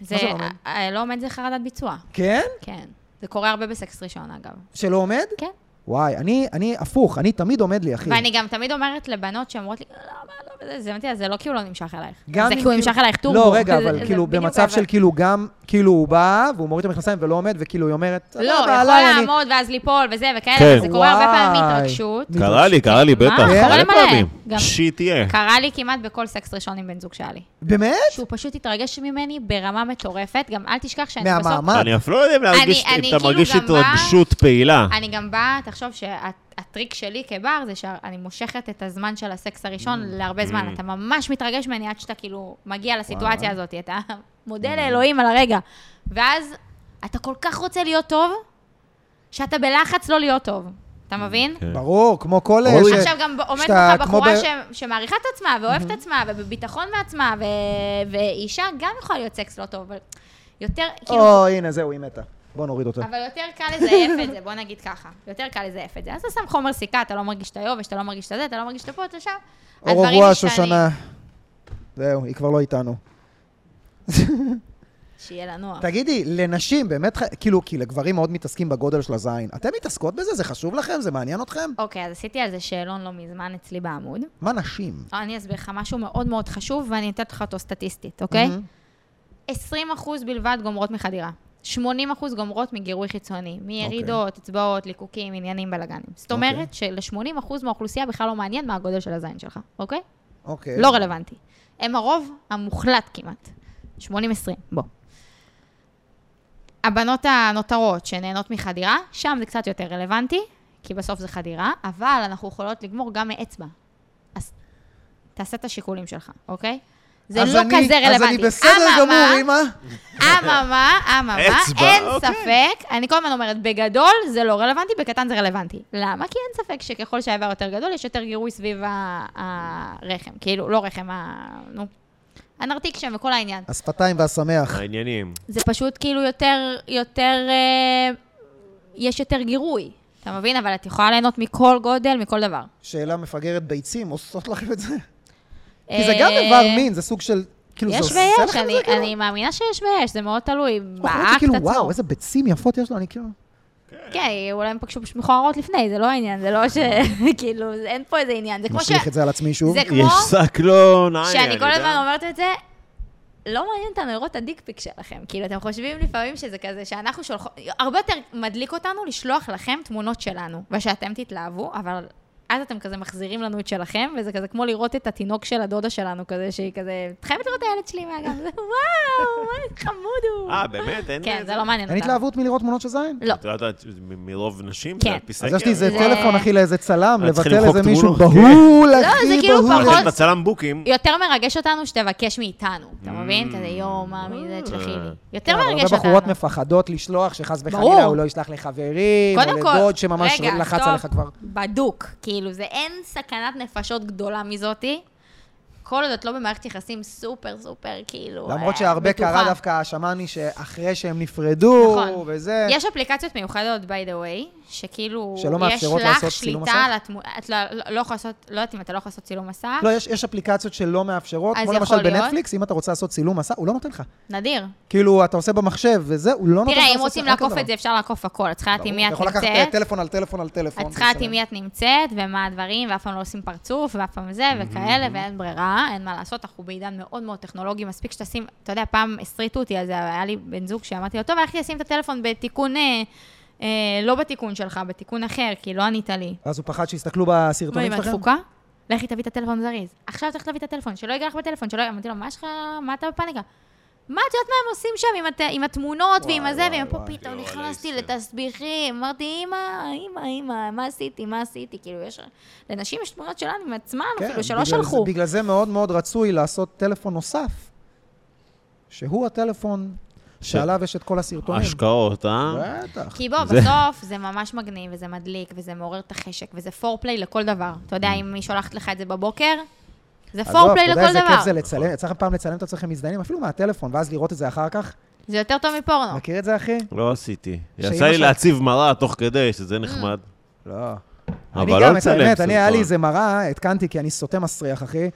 Speaker 3: זה,
Speaker 1: זה לא עומד?
Speaker 3: אה, לא עומד זה חרדת ביצוע,
Speaker 1: כן?
Speaker 3: כן. זה קורה הרבה בסקס ראשון, אגב.
Speaker 1: שלא עומד?
Speaker 3: כן.
Speaker 1: וואי, אני, אני הפוך, אני תמיד עומד לי, אחי.
Speaker 3: ואני גם תמיד אומרת לבנות שאומרות לי, לא, מה, לא, וזה, זה אמרתי לה, זה לא כי הוא לא נמשך אלייך.
Speaker 1: גם
Speaker 3: זה
Speaker 1: אם
Speaker 3: כי
Speaker 1: כאילו-
Speaker 3: הוא נמשך אלייך טורבו.
Speaker 1: לא, רגע,
Speaker 3: זה-
Speaker 1: אבל
Speaker 3: זה
Speaker 1: כאילו,
Speaker 3: בדיוק
Speaker 1: במצב של
Speaker 3: ההבדל.
Speaker 1: כאילו גם, כאילו הוא בא, והוא מוריד את המכנסיים ולא עומד, וכאילו היא אומרת,
Speaker 3: לא,
Speaker 1: כאילו, "סבבה,
Speaker 3: יכול
Speaker 1: עליי, אני-"
Speaker 3: לעמוד ואז ליפול וזה וכאלה,
Speaker 2: כן.
Speaker 3: אבל זה קורה הרבה פעמים
Speaker 1: וואי.
Speaker 3: התרגשות.
Speaker 1: מ-
Speaker 2: קרה לי, קרה לי,
Speaker 3: מה?
Speaker 2: בטח.
Speaker 1: קרה
Speaker 2: הרבה
Speaker 3: למלא.
Speaker 2: פעמים.
Speaker 3: גם-
Speaker 2: שיט יהיה.
Speaker 3: קרה לי כמעט בכל סקס ראשון עם בן זוג שהיה לי.
Speaker 1: באמת?
Speaker 3: שהוא פשוט התרגש ממני ברמה מטורפת, גם אל תשכח שאני בסוף...
Speaker 1: מהמעמד?
Speaker 2: אני אפילו לא יודע אם להרגיש-
Speaker 3: אני- אני
Speaker 2: אם אתה
Speaker 3: כאילו
Speaker 2: מרגיש
Speaker 3: גם באה-
Speaker 2: התרגשות פעילה.
Speaker 3: אני גם באה, תחשוב שהטריק שלי כבר זה שאני מושכת את הזמן של הסקס הראשון להרבה זמן. אתה ממש מתרגש ממני עד שאתה כאילו מגיע לסיטואציה הזאת. אתה מודה לאלוהים על הרגע. ואז אתה כל כך רוצה להיות טוב, שאתה בלחץ לא להיות טוב. אתה מבין?
Speaker 2: כן.
Speaker 1: ברור, כמו כל... אה, ש-
Speaker 3: עכשיו גם עומדת
Speaker 1: שאתה
Speaker 3: לך
Speaker 1: כמו
Speaker 3: בחורה
Speaker 1: ב-
Speaker 3: ש- שמעריכה את עצמה, ואוהבת עצמה, ובביטחון מעצמה, ו- ואישה גם יכולה להיות סקס לא טוב, אבל יותר, כאילו,
Speaker 1: או, הנה, זהו, היא מתה. בוא נוריד אותה.
Speaker 3: אבל יותר קל לזייף את זה, בוא נגיד ככה. יותר קל לזייף את זה. אז אתה שם חומר סיכה, אתה לא מרגיש את היובש, אתה לא מרגיש את זה, אתה לא מרגיש את הפה, אתה שם.
Speaker 1: אור
Speaker 3: הדברים
Speaker 1: רוע,
Speaker 3: משתנים.
Speaker 1: שושנה. זהו, היא כבר לא איתנו.
Speaker 3: שיהיה לנוח.
Speaker 1: תגידי, לנשים באמת, ח- כאילו, כי לגברים מאוד מתעסקים בגודל של הזין. אתם מתעסקות בזה? זה חשוב לכם? זה מעניין אתכם?
Speaker 3: אוקיי, אז עשיתי על זה שאלון לא מזמן אצלי בעמוד.
Speaker 1: מה נשים?
Speaker 3: אני אסביר לך משהו מאוד מאוד חשוב, ואני אתן לך אותו סטטיסטית, אוקיי? 20% בלבד גומרות מחדירה. 80% גומרות מגירוי חיצוני, מירידות, אצבעות, ליקוקים, עניינים, בלאגנים. זאת
Speaker 1: אוקיי.
Speaker 3: אומרת של-80% מהאוכלוסייה בכלל לא מעניין מה הגודל של הזין שלך, אוקיי?
Speaker 1: אוקיי.
Speaker 3: לא רלוונטי. הם הרוב המוחלט כמעט. 80-20, בוא. הבנות הנותרות שנהנות מחדירה, שם זה קצת יותר רלוונטי, כי בסוף זה חדירה, אבל אנחנו יכולות לגמור גם מאצבע. אז תעשה את השיקולים שלך, אוקיי? זה
Speaker 1: אז
Speaker 3: לא
Speaker 1: אני-
Speaker 3: כזה רלוונטי.
Speaker 1: אז אני בסדר
Speaker 3: אממה,
Speaker 1: גמור, אמא.
Speaker 3: אממה, אממה,
Speaker 2: אצבע,
Speaker 3: אין
Speaker 2: אוקיי.
Speaker 3: ספק, אני כל הזמן אומרת, בגדול זה לא רלוונטי, בקטן זה רלוונטי. למה? כי אין ספק שככל שהאיבר יותר גדול, יש יותר גירוי סביב ה- הרחם. כאילו, לא רחם, ה... נו. הנרתיק שם וכל העניין.
Speaker 1: השפתיים והשמח.
Speaker 2: העניינים.
Speaker 3: זה פשוט כאילו יותר, יותר, אה, יש יותר גירוי. אתה מבין? אבל את יכולה ליהנות מכל גודל, מכל דבר.
Speaker 1: שאלה מפגרת ביצים, עושות לכם את זה? כי זה גם איבר
Speaker 3: אה,
Speaker 1: מין, זה סוג של... כאילו, זה
Speaker 3: יש
Speaker 1: עושה לכם את
Speaker 3: ויש,
Speaker 1: זה,
Speaker 3: אני-
Speaker 1: כאילו?
Speaker 3: אני מאמינה שיש ויש, זה מאוד תלוי
Speaker 1: אנחנו
Speaker 3: באקט
Speaker 1: ראיתי
Speaker 3: עצמו.
Speaker 1: כאילו, וואו, איזה ביצים יפות יש לו, אני כאילו...
Speaker 3: כן, אולי הם פגשו פשוט מכוערות לפני, זה לא העניין, זה לא ש... כאילו, זה- אין פה איזה עניין. זה כמו ש...
Speaker 1: משליך את זה על עצמי שוב.
Speaker 3: זה כמו
Speaker 2: יש שק לא
Speaker 1: אה,
Speaker 2: נעים,
Speaker 3: שאני כל הזמן אומרת את זה, לא מעניין אותנו לראות את הדיקפיק שלכם. כאילו, אתם חושבים לפעמים שזה כזה, שאנחנו שולחות... הרבה יותר מדליק אותנו לשלוח לכם תמונות שלנו, ושאתם תתלהבו, אבל... אז אתם כזה מחזירים לנו את שלכם, וזה כזה כמו לראות את התינוק של הדודה שלנו, כזה שהיא כזה, את חייבת לראות את הילד שלי מהגן, זה וואו, איזה חמוד הוא.
Speaker 2: אה, באמת? אין...
Speaker 3: כן, זה לא מעניין
Speaker 1: אין
Speaker 3: אותנו.
Speaker 1: התלהבות מלראות תמונות של זין?
Speaker 3: לא.
Speaker 2: את יודעת, את- מ- מרוב נשים?
Speaker 3: כן.
Speaker 2: זה על פי סקר.
Speaker 1: אז יש לי איזה
Speaker 3: זה-
Speaker 1: טלפון, אחי, לאיזה צלם,
Speaker 2: אה, צריכים
Speaker 1: לבטל
Speaker 2: למחוק
Speaker 1: איזה מישהו
Speaker 2: תמונות, כן.
Speaker 1: בהול,
Speaker 3: זה
Speaker 1: אחי,
Speaker 3: כאילו
Speaker 1: בהול.
Speaker 3: פחות-
Speaker 2: אחרי שאתה צלם בוקים,
Speaker 3: יותר מרגש אותנו שתבקש מאיתנו, אתה מבין? כזה יואו, מאמי, זה תשלחי לי. יותר
Speaker 1: כן, אבל
Speaker 3: מרגש
Speaker 1: הרבה בחורות
Speaker 3: אותנו.
Speaker 1: מפחדות לשלוח, שחס
Speaker 3: ברור.
Speaker 1: וחלילה הוא לא ישלח לחברים, או
Speaker 3: קודם כל,
Speaker 1: לדוד שממש
Speaker 3: רגע,
Speaker 1: לחץ
Speaker 3: סטופ,
Speaker 1: עליך כבר.
Speaker 3: בדוק. כאילו, זה אין סכנת נפשות גדולה מזאתי. כל עוד את לא במערכת יחסים סופר סופר, כאילו,
Speaker 1: למרות
Speaker 3: אה,
Speaker 1: שהרבה
Speaker 3: בטוחה.
Speaker 1: קרה דווקא, שמעני שאחרי שהם נפרדו,
Speaker 3: נכון.
Speaker 1: וזה...
Speaker 3: יש אפליקציות מיוחדות, by the way, שכאילו,
Speaker 1: שלא מאפשרות
Speaker 3: יש לך
Speaker 1: לעשות צילום
Speaker 3: שליטה
Speaker 1: מסך?
Speaker 3: על התמונה, את לא, לא, לא יכולה לעשות, לא יודעת אם אתה לא יכול לעשות צילום מסך,
Speaker 1: לא, יש, יש אפליקציות שלא מאפשרות,
Speaker 3: אז
Speaker 1: כמו
Speaker 3: יכול
Speaker 1: למשל
Speaker 3: להיות.
Speaker 1: בנטפליקס, אם אתה רוצה לעשות צילום מסע, הוא לא נותן לך.
Speaker 3: נדיר.
Speaker 1: כאילו, אתה עושה במחשב וזה, הוא לא נותן לך
Speaker 3: תראה, אם
Speaker 1: לעשות
Speaker 3: רוצים
Speaker 1: שום
Speaker 3: לעקוף
Speaker 1: דבר.
Speaker 3: את זה, אפשר לעקוף הכל. את צריכה לדעת עם
Speaker 1: ברור,
Speaker 3: מי את
Speaker 1: אתה יכול לקחת
Speaker 3: נמצאת.
Speaker 1: אה, טלפון על טלפון על טלפון.
Speaker 3: את צריכה לדעת
Speaker 1: בסדר.
Speaker 3: עם מי את נמצאת, ומה הדברים, ואף פעם לא עושים פרצוף, ואף פעם זה, וכאלה, ואין ברירה, אין מה לעשות, אנחנו בעידן מאוד מאוד טכנולוגי, מספיק שתשים, אתה יודע, פעם הסריטו אותי על זה, היה לי בן זוג שאמרתי לו, טוב, הלכתי לשים את הטלפון בתיקון, אה, אה, לא בתיקון שלך, בתיקון אחר, כי לא ענית לי.
Speaker 1: אז הוא פחד שיסתכלו
Speaker 3: מה,
Speaker 1: בסרטונים
Speaker 3: עם
Speaker 1: שלכם?
Speaker 3: התפוקה? לכי תביא את הטלפון זריז. עכשיו צריך להביא את הטלפון, שלא ייגע לך בטלפון, שלא ייגע... אמרתי לו, מה יש לך, מה אתה בפאניקה? מה, את יודעת מה הם עושים שם עם, הת... עם התמונות
Speaker 1: וואי,
Speaker 3: ועם הזה,
Speaker 1: וואי,
Speaker 3: ועם פה
Speaker 1: וואי. לא,
Speaker 3: פתאום
Speaker 2: יואו,
Speaker 3: נכנסתי
Speaker 2: אלייסטר.
Speaker 3: לתסביכים, אמרתי, אמא, אמא, אמא, מה עשיתי, מה עשיתי? כאילו, יש... לנשים יש תמונות שלנו עם עצמן,
Speaker 1: כן,
Speaker 3: אפילו
Speaker 1: בגלל
Speaker 3: שלא
Speaker 1: זה-
Speaker 3: שלחו.
Speaker 1: בגלל זה מאוד מאוד רצוי לעשות טלפון נוסף, שהוא הטלפון שעליו יש את כל הסרטונים.
Speaker 2: השקעות, אה?
Speaker 1: בטח.
Speaker 3: כי בוא,
Speaker 2: זה-
Speaker 3: בסוף זה ממש מגניב, וזה מדליק, וזה מעורר את החשק, וזה פורפליי לכל דבר. אתה יודע, אם היא שולחת לך את זה בבוקר, זה פורפליי
Speaker 1: עזוב, אתה יודע
Speaker 3: לכל
Speaker 1: איזה כיף זה
Speaker 3: דבר.
Speaker 1: לצלם, יצא לכם פעם לצלם את עצמכם מזדיינים, אפילו מהטלפון, ואז לראות את זה אחר כך.
Speaker 3: זה יותר טוב מפורנו.
Speaker 1: מכיר את זה, אחי?
Speaker 2: לא עשיתי.
Speaker 1: שאמא
Speaker 2: יצא לי
Speaker 1: שלך-
Speaker 2: להציב מראה תוך כדי, שזה נחמד.
Speaker 3: Mm.
Speaker 1: לא.
Speaker 2: אבל
Speaker 1: אני
Speaker 2: לא
Speaker 1: גם, את
Speaker 2: לצלם
Speaker 1: האמת, אני, היה לי
Speaker 2: סרטון.
Speaker 1: איזה מראה, התקנתי כי אני סוטה מסריח, אחי.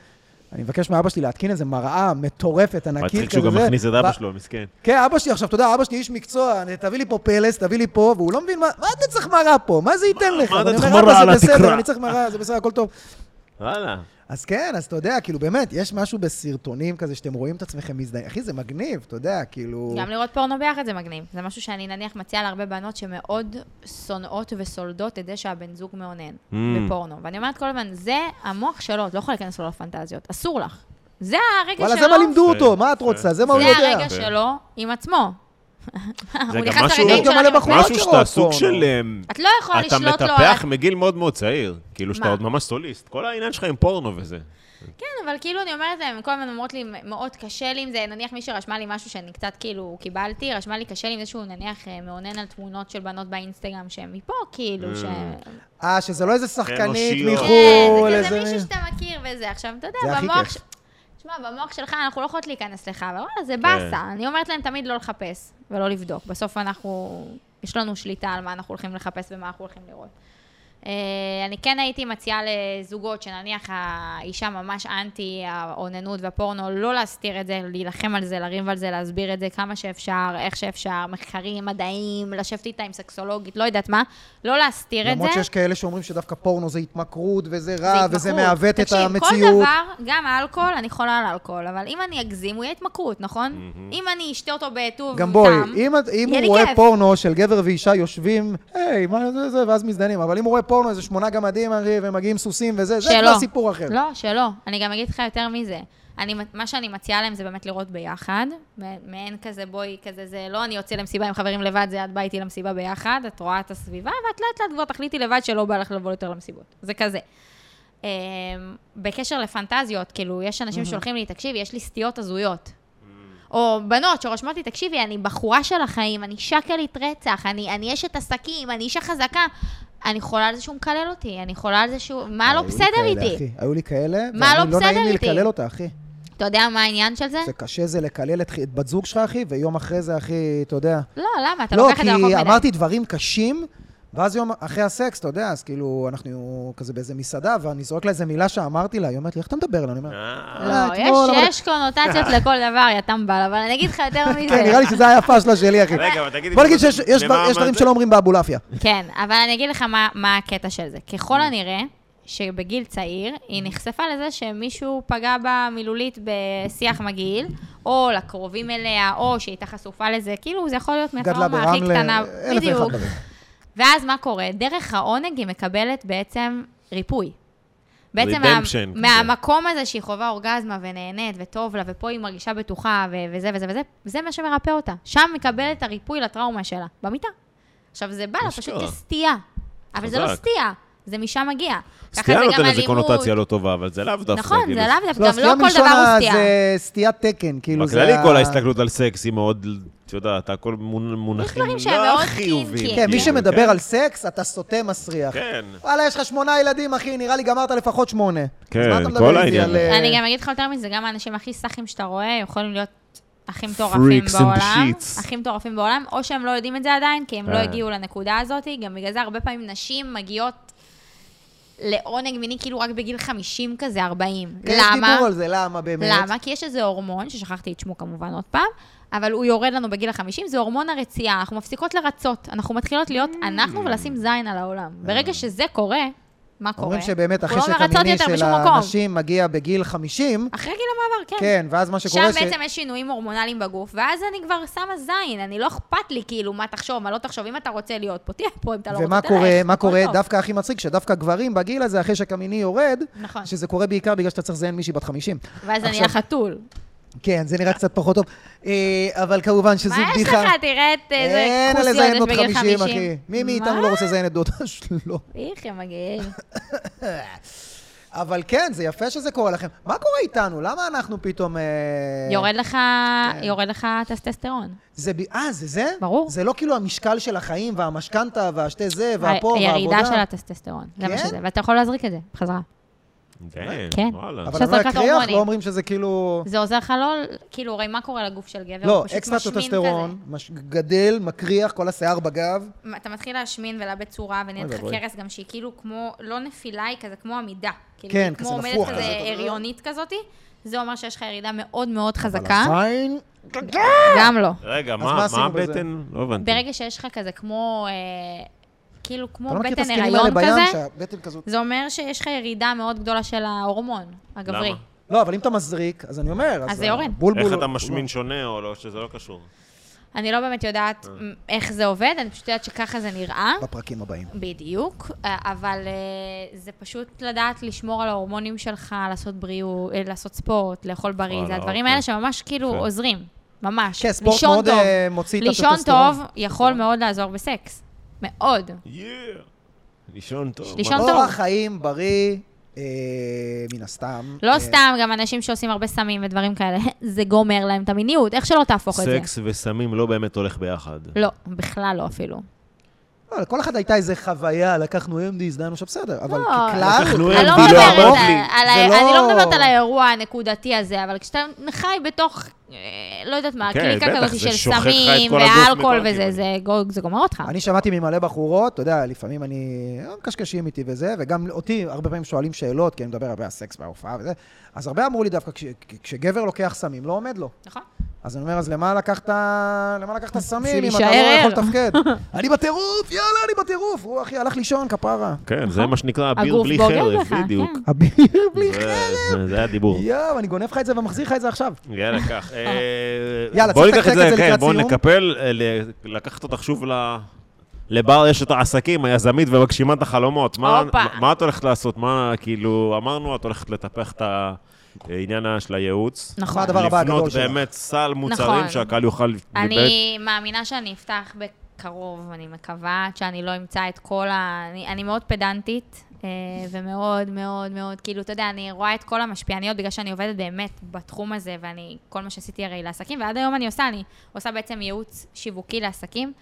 Speaker 1: אני מבקש מאבא שלי להתקין איזה מראה מטורפת, ענקית כזה.
Speaker 2: מצחיק שהוא גם
Speaker 1: זה.
Speaker 2: מכניס את אבא
Speaker 1: ב-
Speaker 2: שלו, מסכן.
Speaker 1: כן, אבא שלי עכשיו, אתה יודע, אבא שלי איש מקצוע, אני- תביא לי פה פלס, תביא לי פה, והוא לא מבין מה, מה אתה צריך מראה פה? מה זה ייתן לך?
Speaker 2: מה אתה
Speaker 1: ואני
Speaker 2: צריך
Speaker 1: אומר, "אבא,
Speaker 2: מראה
Speaker 1: זה
Speaker 2: על
Speaker 1: בסדר,
Speaker 2: התקרה?"
Speaker 1: אני צריך מראה, זה בסדר, הכל טוב. לא
Speaker 2: וואלה.
Speaker 1: אז כן, אז אתה יודע, כאילו, באמת, יש משהו בסרטונים כזה, שאתם רואים את עצמכם מזדהים. אחי, זה מגניב, אתה יודע, כאילו...
Speaker 3: גם לראות פורנו ביחד זה מגניב. זה משהו שאני נניח מציעה להרבה בנות שמאוד שונאות וסולדות את זה שהבן זוג מאונן
Speaker 2: Mm.
Speaker 3: בפורנו. ואני אומרת כל הזמן, זה המוח שלו, את לא יכולה להיכנס לו לפנטזיות, אסור לך. זה הרגע
Speaker 1: וואלה,
Speaker 3: שלו.
Speaker 1: זה מה לימדו אותו,
Speaker 2: יפה,
Speaker 1: מה את
Speaker 2: יפה.
Speaker 1: רוצה? זה מה הוא
Speaker 3: זה
Speaker 1: יודע.
Speaker 3: הרגע שלו עם עצמו.
Speaker 2: זה
Speaker 3: הוא
Speaker 2: גם
Speaker 3: נכנס
Speaker 2: משהו-
Speaker 3: לרגעים
Speaker 2: יש גם
Speaker 3: שלנו
Speaker 1: מלא
Speaker 3: עם עצמו.
Speaker 1: בחורות.
Speaker 2: משהו שאתה
Speaker 1: לראות
Speaker 2: סוג
Speaker 1: פורנו.
Speaker 2: של... אמ,
Speaker 3: את לא יכולה
Speaker 2: אתה
Speaker 3: לשלוט לו על...
Speaker 2: מטפח מגיל מאוד מאוד צעיר. כאילו שאתה
Speaker 3: מה?
Speaker 2: עוד ממש סוליסט. כל העניין שלך עם פורנו וזה.
Speaker 3: כן, אבל כאילו אני אומרת להם, כל הזמן אומרות לי, מאוד קשה לי עם זה, נניח מישהי רשמה לי משהו שאני קצת כאילו קיבלתי, רשמה לי קשה לי עם זה שהוא נניח אה, מאונן על תמונות של בנות באינסטגרם שהן מפה,
Speaker 2: Mm.
Speaker 3: כאילו, ש...
Speaker 1: אה, שזה לא איזה שחקנית
Speaker 2: אנושיות.
Speaker 1: מחו"ל,
Speaker 3: כן, זה
Speaker 1: איזה...
Speaker 3: כזה מישהו
Speaker 1: מי-
Speaker 3: שאתה מכיר וזה. עכשיו, אתה
Speaker 1: זה
Speaker 3: יודע,
Speaker 1: הכי
Speaker 3: במוח...
Speaker 1: כיף.
Speaker 3: ש- תשמע, במוח שלך אנחנו לא יכולות להיכנס לך, אבל וואלה,
Speaker 1: כן.
Speaker 3: זה באסה. אני אומרת להם תמיד לא לחפש ולא לבדוק. בסוף אנחנו... יש לנו שליטה על מה אנחנו הולכים לחפש ומה אנחנו הולכים לראות. אה, אני כן הייתי מציעה לזוגות שנניח האישה ממש אנטי האוננות והפורנו, לא להסתיר את זה, להילחם על זה, לריב על זה, להסביר את זה כמה שאפשר, איך שאפשר, מחקרים, מדעים, לשבת איתה עם סקסולוגית, לא יודעת מה, לא להסתיר את זה.
Speaker 1: למרות שיש כאלה שאומרים שדווקא פורנו זה התמכרות, וזה רע, אה, וזה
Speaker 3: התמכרות.
Speaker 1: מעוות את
Speaker 3: תקשיב, כל
Speaker 1: המציאות.
Speaker 3: דבר, גם האלכוהול, אני חולה על אלכוהול, אבל אם אני אגזים, הוא יהיה התמכרות, נכון? אם אני אשתה אותו בטוב
Speaker 1: גם בואי,
Speaker 3: טעם,
Speaker 1: אם את- אם
Speaker 3: יהיה
Speaker 1: הוא
Speaker 3: לי
Speaker 1: רואה
Speaker 3: כיף.
Speaker 1: פורנו של גבר ואישה יושבים, היי, מה זה זה, ואז מזדיינים, אבל אם הוא רואה פורנו, איזה שמונה גמדים, הרי, ומגיעים סוסים וזה, זה
Speaker 3: שלא.
Speaker 1: כבר סיפור אחר.
Speaker 3: לא, שלא. אני גם אגיד לך יותר מזה. אני, מה שאני מציעה להם זה באמת לראות ביחד. מ- מעין כזה, בואי, כזה, זה לא אני יוצא למסיבה עם חברים לבד, זה את באה איתי למסיבה ביחד, את רואה את הסביבה, ואת לאט לאט כבר תחליטי לבד שלא בא לך לבוא יותר למסיבות. זה כזה. אמ, בקשר לפנטזיות, כאילו, יש אנשים ששולחים לי, תקשיבי, יש לי סטיות הזויות. או בנות שרושמות לי, תקשיבי, אני בחורה של החיים, אני שקלית רצח, אני, אני אשת עסקים, אני אישה חזקה. אני חולה על זה שהוא מקלל אותי, אני חולה על זה שהוא... מה לא
Speaker 1: היו לי
Speaker 3: בסדר
Speaker 1: כאלה,
Speaker 3: איתי?
Speaker 1: אחי, היו לי כאלה,
Speaker 3: מה
Speaker 1: ואני
Speaker 3: לא בסדר
Speaker 1: נעים לי
Speaker 3: איתי?
Speaker 1: לקלל אותה, אחי.
Speaker 3: אתה יודע מה העניין של זה?
Speaker 1: זה קשה זה לקלל את, את בת זוג שלך, אחי, ויום אחרי זה, אחי, אתה יודע.
Speaker 3: לא, למה? אתה
Speaker 1: לא,
Speaker 3: לוקח את זה
Speaker 1: כי
Speaker 3: רחוק מדי.
Speaker 1: אמרתי דברים קשים, ואז יום אחרי הסקס, אתה יודע, אז כאילו, אנחנו כזה באיזה מסעדה, ואני זורק לה איזה מילה שאמרתי לה, היא אומרת לי, איך אתה מדבר אליי? אני אומר,
Speaker 2: אה,
Speaker 3: לא,
Speaker 1: אתמול
Speaker 3: יש,
Speaker 1: אמרתי-
Speaker 3: יש קונוטציות לכל דבר, יא טמבל, אבל אני אגיד לך יותר
Speaker 1: כן, נראה
Speaker 3: מזה.
Speaker 1: לי שזה היפה שלה שלי, אחי.
Speaker 2: רגע, אבל תגידי...
Speaker 1: בוא נגיד שיש יש
Speaker 2: למה-
Speaker 1: דבר- יש
Speaker 2: מה
Speaker 1: דברים
Speaker 2: זה?
Speaker 1: שלא אומרים באבולעפיה.
Speaker 3: כן, אבל אני אגיד לך מה- מה הקטע של זה. ככל הנראה, שבגיל צעיר, היא נחשפה לזה שמישהו פגע בה מילולית בשיח מגעיל, או לקרובים אליה, או שהיא הייתה חשופה לזה, כאילו, זה יכול להיות
Speaker 1: גדלה
Speaker 3: מהטראומה הכי
Speaker 1: ברמלה,
Speaker 3: קטנה.
Speaker 1: אלף ואחד
Speaker 3: בדיוק.
Speaker 1: דברים.
Speaker 3: ואז מה קורה? דרך העונג היא מקבלת בעצם ריפוי. בעצם מה,
Speaker 2: Redemption כזה.
Speaker 3: מהמקום הזה שהיא חווה אורגזמה ונהנית וטוב לה, ופה היא מרגישה בטוחה ו- וזה וזה וזה, זה מה שמרפא אותה. שם מקבלת את הריפוי לטראומה שלה, במיטה. עכשיו, זה בא לה פשוט
Speaker 2: אשכרה.
Speaker 3: כסטייה. אבל זה לא
Speaker 2: חזק.
Speaker 3: סטייה, זה משם מגיע. ככה
Speaker 2: סטייה
Speaker 3: זה גם
Speaker 2: נותן לזה
Speaker 3: אלימות.
Speaker 2: קונוטציה לא טובה, אבל זה לאו דווקא.
Speaker 3: נכון,
Speaker 2: כאילו,
Speaker 3: זה לאו דווקא,
Speaker 1: לא,
Speaker 3: גם לא
Speaker 1: סטייה
Speaker 3: כל
Speaker 1: מלשון
Speaker 3: דבר הוא
Speaker 1: ה-
Speaker 3: סטייה.
Speaker 1: זה סטיית תקן, כאילו זה...
Speaker 2: בכללי
Speaker 1: ה-
Speaker 2: כל ההסתכלות על סקס היא מאוד, את יודעת, הכל מונ- מונחים
Speaker 3: דברים שהם
Speaker 2: לא
Speaker 3: מאוד
Speaker 2: חיוביים.
Speaker 3: קינקי.
Speaker 1: כן, מי
Speaker 2: כאילו,
Speaker 1: שמדבר
Speaker 2: כן.
Speaker 1: על סקס, אתה סוטה מסריח.
Speaker 2: כן.
Speaker 1: וואלה, יש לך שמונה ילדים, אחי, נראה לי גמרת לפחות שמונה. אז
Speaker 2: כן,
Speaker 1: מה אתה מדבר
Speaker 2: כל
Speaker 1: איתי
Speaker 2: העניין.
Speaker 1: על, אה,
Speaker 3: אני גם אגיד לך יותר מזה, גם האנשים הכי סאחים שאתה רואה, יכולים להיות הכי מטורפים
Speaker 2: Freaks and
Speaker 3: בעולם.
Speaker 2: shits.
Speaker 3: הכי מטורפים בעולם, או שהם לא יודעים את זה עדיין, כי הם לא
Speaker 2: אה.
Speaker 3: הגיעו לנקודה הזאת. גם בגלל זה הרבה פעמים נשים מגיעות לעונג מיני כאילו רק בגיל 50 כזה, 40.
Speaker 1: כן, אה, יש
Speaker 3: למה?
Speaker 1: דיבור על זה, למה באמת?
Speaker 3: למה? כי יש איזה הורמון, ששכחתי את שמו כמובן עוד פעם, אבל הוא יורד לנו בגיל החמישים, זה הורמון הרצייה, אנחנו מפסיקות לרצות, אנחנו מתחילות להיות
Speaker 1: Mm.
Speaker 3: אנחנו ולשים זין על העולם. ברגע שזה קורה, מה קורה?
Speaker 1: אה. אומרים שבאמת
Speaker 3: אנחנו
Speaker 1: החשק
Speaker 3: לא מרצות
Speaker 1: המיני
Speaker 3: יותר
Speaker 1: של
Speaker 3: בשום מקום.
Speaker 1: האנשים מגיע בגיל 50,
Speaker 3: אחרי גיל המעבר, כן.
Speaker 1: כן, ואז מה
Speaker 3: שם
Speaker 1: שקורה ש...
Speaker 3: בעצם יש שינויים הורמונליים בגוף, ואז אני כבר שמה זין, אני לא אכפת לי כאילו מה תחשוב, מה לא תחשוב, אם אתה רוצה להיות פה, תהיה פה, אם אתה לא רוצה,
Speaker 1: ומה
Speaker 3: תלך,
Speaker 1: קורה, מה
Speaker 3: הכל
Speaker 1: קורה,
Speaker 3: טוב.
Speaker 1: דווקא הכי מצחיק, שדווקא גברים בגיל הזה, החשק המיני יורד,
Speaker 3: נכון.
Speaker 1: שזה קורה בעיקר בגלל שאתה צריך לזיין מישהי בת 50.
Speaker 3: ואז אני
Speaker 1: עכשיו-
Speaker 3: אהיה חתול.
Speaker 1: כן, זה נראה קצת פחות טוב. אה, אבל כמובן שזו
Speaker 3: מה
Speaker 1: בדיחה.
Speaker 3: יש לך? תראה את איזה
Speaker 1: אין
Speaker 3: כוס
Speaker 1: על לזיין
Speaker 3: יונש
Speaker 1: בנות
Speaker 3: בגיל
Speaker 1: 50,
Speaker 3: 50.
Speaker 1: אחי. מי מאיתנו
Speaker 3: מה?
Speaker 1: לא רוצה לזיין את דודה שלו?
Speaker 3: איך הם מגעיל.
Speaker 1: אבל כן, זה יפה שזה קורה לכם. מה קורה איתנו? למה אנחנו פתאום... אה, כן.
Speaker 3: יורד לך, יורד לך טסטסטרון.
Speaker 1: זה ב- אה, זה זה?
Speaker 3: ברור.
Speaker 1: זה לא כאילו המשקל של החיים והמשכנתה והשתי זה והפה והעבודה?
Speaker 3: הירידה של הטסטסטרון, זה מה
Speaker 1: כן? אוקיי.
Speaker 3: שזה, ואתה יכול להזריק את זה, בחזרה.
Speaker 2: כן,
Speaker 3: כן.
Speaker 2: וואלה.
Speaker 1: אבל
Speaker 3: של
Speaker 1: אני לא
Speaker 3: הזרקת
Speaker 1: אקריח,
Speaker 3: הורמונים.
Speaker 1: לא אומרים שזה כאילו...
Speaker 3: זה עוזר לך לא, כאילו, הרי מה קורה לגוף של גבר?
Speaker 1: לא,
Speaker 3: הוא פשוט
Speaker 1: אקסטרה
Speaker 3: משמין
Speaker 1: טסטסטרון, מש- גדל, מקריח, כל השיער בגב.
Speaker 3: כזה. אתה מתחיל להשמין ולאבד צורה, ונהיית
Speaker 1: אוי
Speaker 3: לך
Speaker 1: ואבוי.
Speaker 3: קרס גם שהיא כאילו כמו, לא נפילה, היא כזה כמו עמידה. כאילו,
Speaker 1: כן,
Speaker 3: היא
Speaker 1: כזה
Speaker 3: כמו
Speaker 1: נפוח
Speaker 3: עומדת
Speaker 1: כזה,
Speaker 3: כזה
Speaker 1: אתה אומר.
Speaker 3: הריונית כזאתי, זה אומר שיש לך ירידה מאוד מאוד חזקה.
Speaker 1: עין.
Speaker 3: גם לא.
Speaker 2: רגע,
Speaker 1: מה
Speaker 2: מה מה
Speaker 1: עשינו בזה?
Speaker 2: הבטן? לא הבנתי.
Speaker 3: ברגע שיש לך כזה כמו, אה, כאילו, כמו
Speaker 1: אתה לא מכיר את
Speaker 3: בטן
Speaker 1: הסקינים האלה
Speaker 3: הריון
Speaker 1: בים,
Speaker 3: כזה,
Speaker 1: שהבטן כזאת...
Speaker 3: זה אומר שיש לך ירידה מאוד גדולה של ההורמון הגברי.
Speaker 2: למה?
Speaker 1: לא, אבל אם אתה מזריק, אז אני אומר...
Speaker 3: אז זה יורד.
Speaker 1: הבולבול-
Speaker 2: איך אתה משמין שונה או לא, שזה לא קשור?
Speaker 3: אני לא באמת יודעת מ- איך זה עובד, אני פשוט יודעת שככה זה נראה.
Speaker 1: לא- בפרקים הבאים.
Speaker 3: בדיוק, אה, אבל אה, זה פשוט לדעת לשמור על ההורמונים שלך, לעשות בריאות, אה, לעשות ספורט, לאכול בריא, זה
Speaker 2: וואלה,
Speaker 3: הדברים
Speaker 2: אוקיי.
Speaker 3: האלה שממש כאילו
Speaker 2: יפה.
Speaker 3: עוזרים, ממש.
Speaker 1: כן, ספורט
Speaker 3: לישון
Speaker 1: מאוד
Speaker 3: טוב.
Speaker 1: אה, מוציא את
Speaker 3: לישון
Speaker 1: הטסטוסטרון.
Speaker 3: טוב יכול מאוד לעזור בסקס, מאוד.
Speaker 2: יאה. לישון טוב.
Speaker 3: לישון
Speaker 2: מה-
Speaker 3: טוב.
Speaker 1: אורח חיים בריא, אה, מן הסתם.
Speaker 3: לא
Speaker 1: אה,
Speaker 3: סתם, גם אנשים שעושים הרבה סמים ודברים כאלה, זה גומר להם את המיניות, איך שלא תהפוך את זה.
Speaker 2: סקס וסמים לא באמת הולך ביחד.
Speaker 3: לא, בכלל לא אפילו.
Speaker 1: לא, לכל אחד הייתה איזה חוויה, לקחנו MD, הזדיינו שם בסדר, אבל
Speaker 3: לא,
Speaker 1: ככלל...
Speaker 2: לקחנו
Speaker 1: זה
Speaker 3: אני לא
Speaker 2: לא
Speaker 3: מדברת
Speaker 1: הרוב.
Speaker 2: אמרו
Speaker 3: על-
Speaker 2: לי.
Speaker 3: על
Speaker 1: זה
Speaker 3: ה- אני
Speaker 1: לא-
Speaker 3: לא מדברת על האירוע הנקודתי הזה, אבל כשאתה חי בתוך, אה, לא יודעת מה,
Speaker 2: כן,
Speaker 3: קליקה
Speaker 2: בטח,
Speaker 3: כזאת
Speaker 2: זה
Speaker 3: של
Speaker 2: שוחק לך את
Speaker 3: סמים
Speaker 2: כל הגוף
Speaker 3: ואלכוהול
Speaker 2: מכל
Speaker 3: וזה,
Speaker 2: הכיוונים.
Speaker 3: זה גו- זה גומר אותך.
Speaker 1: אני שמעתי ממלא בחורות, אתה יודע, לפעמים אני... הם מקשקשים איתי וזה, וגם אותי הרבה פעמים שואלים שאלות, כי אני מדבר הרבה על סקס וההופעה וזה, אז הרבה אמרו לי דווקא, כש- כש- כשגבר לוקח סמים, לא עומד לו.
Speaker 3: נכון?
Speaker 1: אז אני אומר, אז למה לקחת, למה לקחת סמים
Speaker 3: בשביל
Speaker 1: אם אתה לא
Speaker 3: להישאר
Speaker 1: יכול
Speaker 3: ער.
Speaker 1: לתפקד? אני בטירוף, יאללה, אני בטירוף. הוא אחי, הלך לישון, כפרה.
Speaker 2: כן, זה מה שנקרא
Speaker 3: נכון. הגוף
Speaker 2: אביר בלי
Speaker 3: בוגד
Speaker 2: חרב,
Speaker 3: בך,
Speaker 2: בדיוק.
Speaker 3: כן.
Speaker 1: אביר בלי...
Speaker 2: זה- זה- זה הדיבור.
Speaker 1: יואו, אני גונב לך את זה ומחזיר לך את זה עכשיו.
Speaker 2: יאללה, קח. אה,
Speaker 1: יאללה,
Speaker 2: בוא
Speaker 1: צריך
Speaker 2: ניקח
Speaker 1: לתקתק את זה
Speaker 2: כן,
Speaker 1: לקראת
Speaker 2: בוא
Speaker 1: סיום.
Speaker 2: נקפל, אה, ל- לקחת אותך שוב ל... לבר יש את העסקים, היזמית ומגשימה את החלומות. מה,
Speaker 3: הופה.
Speaker 2: מה- מה את הולכת לעשות? מה, כאילו, אמרנו, את הולכת לטפח את העניין של הייעוץ.
Speaker 1: מה
Speaker 3: נכון.
Speaker 1: הדבר הבא הגדול
Speaker 2: לבנות
Speaker 1: שלך?
Speaker 2: באמת סל מוצרים
Speaker 3: נכון.
Speaker 2: שהקהל יוכל... באמת-
Speaker 3: אני מאמינה שאני אפתח בקרוב, אני מקווה עד שאני לא אמצא את כל ה... אני- אני מאוד פדנטית, אה, ומאוד מאוד מאוד, כאילו, אתה יודע, אני רואה את כל המשפיעניות, בגלל שאני עובדת באמת בתחום הזה, ואני, כל מה שעשיתי הרי לעסקים, ועד היום אני עושה, אני עושה בעצם ייעוץ שיווקי לעסקים,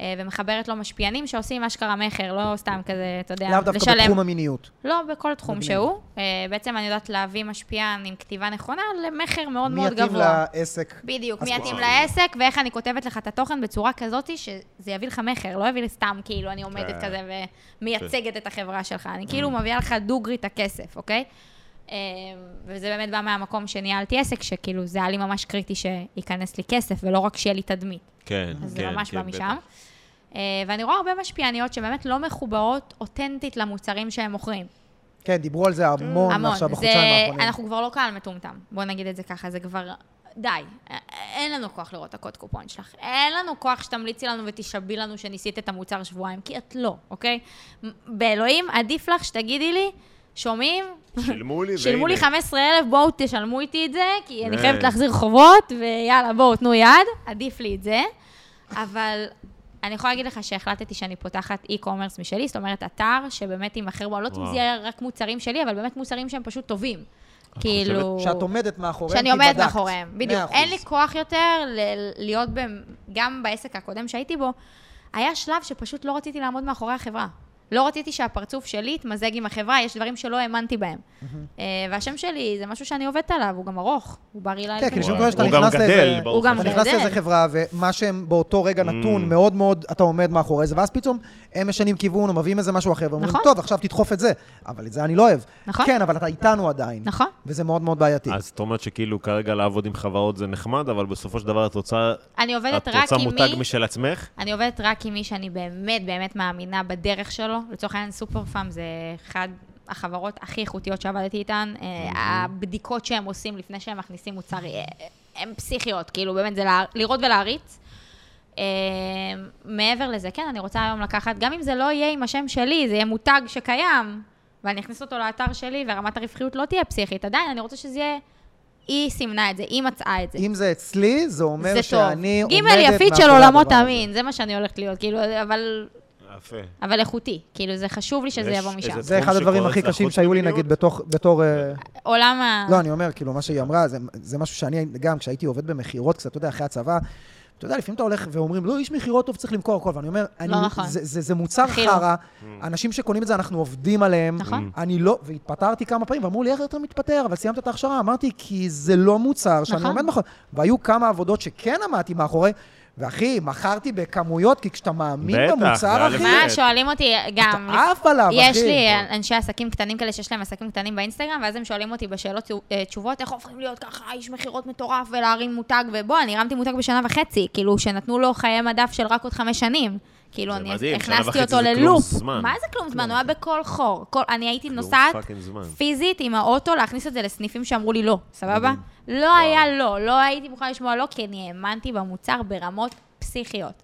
Speaker 3: אה, ומחברת לו משפיענים שעושים אשכרה מכר, לא סתם כזה, אתה יודע,
Speaker 1: לאו דווקא
Speaker 3: לשלם.
Speaker 1: בתחום המיניות.
Speaker 3: לא, בכל תחום
Speaker 1: מגניב.
Speaker 3: שהוא. אה, בעצם אני יודעת להביא משפיען עם כתיבה נכונה למכר מאוד
Speaker 1: מי
Speaker 3: מאוד
Speaker 1: יתאים
Speaker 3: גבוה.
Speaker 1: לעסק?
Speaker 3: בדיוק,
Speaker 1: אז
Speaker 3: מי
Speaker 1: וואו.
Speaker 3: יתאים לעסק, ואיך אני כותבת לך את התוכן בצורה כזאת שזה יביא לך מכר, לא יביא לי סתם כאילו אני עומדת
Speaker 2: כן. Mm.
Speaker 3: כזה ומייצגת את החברה שלך, אני כאילו מביאה לך דוגרי את הכסף, אוקיי? אה, וזה באמת בא מהמקום שניהלתי עסק, שכאילו זה היה לי ממש קריטי שייכנס לי כסף, ולא רק שיהיה לי תדמית.
Speaker 2: כן,
Speaker 3: אז זה
Speaker 2: כן,
Speaker 3: ממש
Speaker 2: כן,
Speaker 3: בא
Speaker 2: בטח.
Speaker 3: משם. אה, ואני רואה הרבה משפיעניות שבאמת לא מחוברות אותנטית למוצרים שהם מוכרים.
Speaker 1: כן, דיברו על זה המון
Speaker 3: המון.
Speaker 1: עכשיו
Speaker 3: זה,
Speaker 1: בחודשיים האחרונים.
Speaker 3: אנחנו כבר לא קהל מטומטם, בוא נגיד את זה ככה, זה כבר... די, א- אין לנו כוח לראות את הקוד קופון שלך. אין לנו כוח שתמליצי לנו ותשבי לנו שניסית את המוצר שבועיים, כי את לא, אוקיי? מ- באלוהים, עדיף לך שתגידי לי, שומעים?
Speaker 2: שילמו לי,
Speaker 3: שילמו לי
Speaker 2: והנה.
Speaker 3: 15,000, בואו תשלמו איתי את זה, כי אני
Speaker 2: כן.
Speaker 3: חייבת להחזיר חובות, ויאללה, בואו, תנו יד, עדיף לי את זה. אבל אני יכולה להגיד לך שהחלטתי שאני פותחת e-commerce משלי, זאת אומרת, אתר שבאמת יימכר בו, אני לא יודעת אם
Speaker 2: וואו.
Speaker 3: זה יהיה רק מוצרים שלי, אבל באמת מוצרים שהם פשוט טובים.
Speaker 2: חושבת-
Speaker 3: כאילו...
Speaker 1: שאת עומדת מאחוריהם,
Speaker 3: שאני
Speaker 1: כי
Speaker 3: עומדת
Speaker 1: בדקת.
Speaker 3: מאחוריהם, בדיוק.
Speaker 1: מאה אחוז.
Speaker 3: אין לי כוח יותר ל- להיות, במ- גם בעסק הקודם שהייתי בו, היה שלב שפשוט לא רציתי לעמוד מאחורי החברה. לא רציתי שהפרצוף שלי יתמזג עם החברה, יש דברים שלא האמנתי בהם. אה, והשם שלי זה משהו שאני עובדת עליו, הוא גם ארוך, הוא בריא
Speaker 1: כן,
Speaker 3: לאלף.
Speaker 1: כי
Speaker 2: הוא-
Speaker 1: לשם
Speaker 3: שנים.
Speaker 1: כבר שאתה
Speaker 2: הוא גם
Speaker 1: נכנס לאיזה...
Speaker 2: גדל, ברוך
Speaker 3: גם
Speaker 1: אתה
Speaker 3: גדל.
Speaker 1: נכנס לאיזה חברה, ומה שהם באותו
Speaker 2: Mm.
Speaker 1: רגע נתון, מאוד מאוד אתה עומד מאחורי זה, ואז פתאום הם משנים כיוון, או מביאים איזה משהו אחר, ואומרים,
Speaker 3: נכון.
Speaker 1: טוב, עכשיו תדחוף את זה. אבל את זה אני לא אוהב.
Speaker 3: נכון.
Speaker 1: כן, אבל אתה איתנו עדיין.
Speaker 3: נכון.
Speaker 1: וזה מאוד מאוד בעייתי.
Speaker 2: אז זאת אומרת שכאילו כרגע לעבוד עם חברות זה נחמד, אבל בסופו של דבר את רוצה...
Speaker 3: אני עובדת
Speaker 2: את
Speaker 3: רק
Speaker 2: רוצה
Speaker 3: עם
Speaker 2: מותג
Speaker 3: מי...
Speaker 2: משל עצמך?
Speaker 3: אני עובדת רק עם מי שאני באמת באמת מאמינה בדרך שלו. לצורך העניין, סופר פארם זה אחד החברות הכי איכותיות שעבדתי איתן. אה, הבדיקות שהם עושים לפני שהם מכניסים מוצר, אה, הן פסיכיות, כאילו, באמת, זה לה- לראות ולהריץ. אה, מעבר לזה, כן, אני רוצה היום לקחת, גם אם זה לא יהיה עם השם שלי, זה יהיה מותג שקיים, ואני אכניס אותו לאתר שלי, ורמת הרווחיות לא תהיה פסיכית. עדיין, אני רוצה שזה יהיה... היא סימנה את זה, היא מצאה את זה.
Speaker 1: אם זה אצלי, זה אומר
Speaker 3: זה טוב.
Speaker 1: שאני עומדת מאחורי
Speaker 3: גימל יפית של
Speaker 1: הדבר
Speaker 3: עולמות
Speaker 1: הזה.
Speaker 3: אמין, זה מה שאני הולכת להיות, כאילו, אבל,
Speaker 2: יפה.
Speaker 3: אבל איכותי. כאילו, זה חשוב לי שזה
Speaker 2: יש
Speaker 3: יבוא משם.
Speaker 2: איזה-
Speaker 1: זה אחד
Speaker 2: תחום
Speaker 1: הדברים הכי
Speaker 2: שקורץ
Speaker 1: קשים
Speaker 2: לחוץ
Speaker 1: שהיו לי,
Speaker 2: ממיניות?
Speaker 1: נגיד, בתוך- בתור... אה,
Speaker 3: עולם ה...
Speaker 1: לא, אני אומר, כאילו, מה שהיא אמרה, זה, זה משהו שאני גם, כשהייתי עובד במכירות קצת, אתה יודע, אחרי הצבא, אתה יודע, לפעמים אתה הולך ואומרים, לא, איש מכירות טוב צריך למכור הכל, ואני אומר, אני,
Speaker 3: נכון.
Speaker 1: זה, זה, זה מוצר
Speaker 3: הכי לא.
Speaker 1: חרא,
Speaker 2: Mm.
Speaker 1: אנשים שקונים את זה, אנחנו עובדים עליהם.
Speaker 3: נכון.
Speaker 1: אני לא, והתפטרתי כמה פעמים, ואמרו לי, איך אתה מתפטר, אבל סיימת את ההכשרה. אמרתי, כי זה לא מוצר שאני
Speaker 3: נכון.
Speaker 1: עומד מאחורי. והיו כמה עבודות שכן עמדתי מאחורי, ואחי, מכרתי בכמויות, כי כשאתה מאמין
Speaker 2: בטח, זה
Speaker 1: במוצר,
Speaker 2: היה
Speaker 1: אחי,
Speaker 2: לפני.
Speaker 3: מה, שואלים אותי גם...
Speaker 1: אתה עף עליו, אחי.
Speaker 3: יש לי אנשי עסקים קטנים כאלה שיש להם עסקים קטנים באינסטגרם, ואז הם שואלים אותי בשאלות אה, תשובות, איך הופכים להיות ככה איש מכירות מטורף ולהרים מותג, ובוא, אני הרמתי מותג בשנה וחצי, כאילו, שנתנו לו חיי מדף של רק עוד חמש שנים. כאילו,
Speaker 2: זה
Speaker 3: אני
Speaker 2: מדהים, שנה
Speaker 3: הכנסתי
Speaker 2: וחצי
Speaker 3: אותו
Speaker 2: זה כלום
Speaker 3: ללופ.
Speaker 2: זמן.
Speaker 3: מה זה כלום זמן? הוא היה בכל חור. כל- אני הייתי
Speaker 2: כן. כלום
Speaker 3: נוסעת
Speaker 2: פאקינג זמן.
Speaker 3: פיזית עם האוטו, להכניס את זה לסניפים שאמרו לי לא, סבבה? לא היה לא, לא הייתי מוכנה לשמוע לא, כי אני האמנתי במוצר ברמות פסיכיות.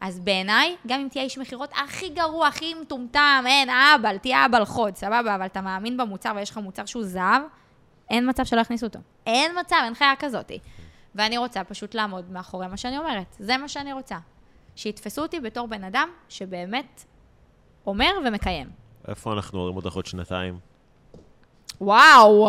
Speaker 3: אז בעיניי, גם אם תהיה איש מכירות הכי גרוע, הכי מטומטם, אין, אהבל, תהיה אהבל חוד, סבבה, אבל אתה מאמין במוצר ויש לך מוצר שהוא זהב, אין מצב שלא יכניסו אותו. אין מצב, אין חיה כזאתי. ואני רוצה פשוט לעמוד מאחורי מה שאני אומרת. זה מה שאני רוצה. שיתפסו אותי בתור בן אדם שבאמת אומר ומקיים.
Speaker 2: איפה אנחנו הורים אותך עוד שנתיים?
Speaker 3: וואו!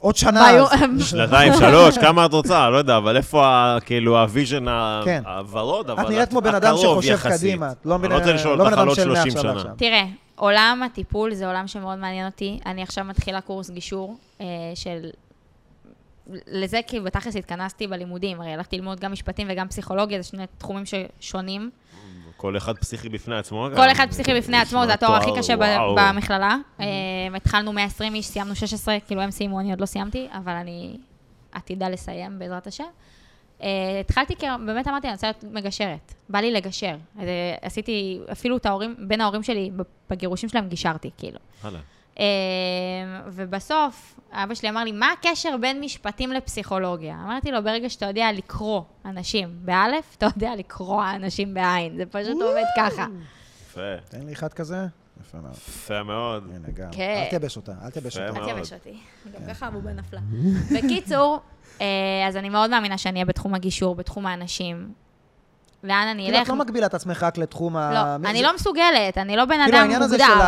Speaker 1: עוד שנה.
Speaker 3: ביום-
Speaker 1: אז-
Speaker 2: שנתיים, שלוש, כמה את רוצה? לא יודע, אבל איפה ה- כאילו הוויז'ן ה-
Speaker 1: כן.
Speaker 2: הוורוד, אבל
Speaker 1: את נראית כמו בן אדם
Speaker 2: הקרוב
Speaker 1: שחושב
Speaker 2: יחסית.
Speaker 1: קדימה. את לא
Speaker 2: אני
Speaker 1: בן-
Speaker 2: רוצה לשאול
Speaker 1: לא
Speaker 2: אותך
Speaker 1: בן אדם
Speaker 2: על עוד
Speaker 1: של
Speaker 2: 30
Speaker 1: מעכשיו
Speaker 2: שנה.
Speaker 1: לעכשיו.
Speaker 3: תראה, עולם הטיפול זה עולם שמאוד מעניין אותי. אני עכשיו מתחילה קורס גישור אה, של... לזה כי בתכלס התכנסתי בלימודים, הרי הלכתי ללמוד גם משפטים וגם פסיכולוגיה, זה שני תחומים ששונים.
Speaker 2: כל אחד פסיכי בפני עצמו. גם.
Speaker 3: כל אחד פסיכי
Speaker 2: נשמע
Speaker 3: בפני עצמו, זה התואר הכי
Speaker 2: תואר,
Speaker 3: קשה ב-
Speaker 2: וואו.
Speaker 3: במכללה. אה, התחלנו 120 איש, סיימנו 16, כאילו הם סיימו, אני עוד לא סיימתי, אבל אני עתידה לסיים בעזרת השם. אה, התחלתי, כי באמת אמרתי, אני רוצה להיות מגשרת. בא לי לגשר. אז, אה, עשיתי, אפילו את ההורים, בין ההורים שלי, בגירושים שלהם גישרתי, כאילו.
Speaker 2: הלאה.
Speaker 3: אמ, ובסוף, אבא שלי אמר לי, מה הקשר בין משפטים לפסיכולוגיה? אמרתי לו, ברגע שאתה יודע לקרוא אנשים באלף, אתה יודע לקרוא אנשים בעין. זה פשוט עובד ככה.
Speaker 2: יפה,
Speaker 1: תן לי אחד כזה. יפה מאוד.
Speaker 2: יפה מאוד.
Speaker 1: הנה, גם.
Speaker 3: כן.
Speaker 1: אל תייבש אותה, אל תייבש
Speaker 2: יפה
Speaker 1: אותה.
Speaker 3: אל
Speaker 2: מאוד.
Speaker 3: תייבש אותי. גם
Speaker 1: כן.
Speaker 3: ככה הבובה נפלה. בקיצור, אה, אז אני מאוד מאמינה שאני אהיה בתחום הגישור, בתחום האנשים. לאן אני
Speaker 1: כאילו,
Speaker 3: אלך.
Speaker 1: את לא מגבילה את עצמך רק לתחום ה...
Speaker 3: לא,
Speaker 1: מי-
Speaker 3: אני
Speaker 1: זה-
Speaker 3: לא מסוגלת, אני לא בן
Speaker 1: כאילו,
Speaker 3: אדם
Speaker 1: העניין הזה של
Speaker 3: מוגדר.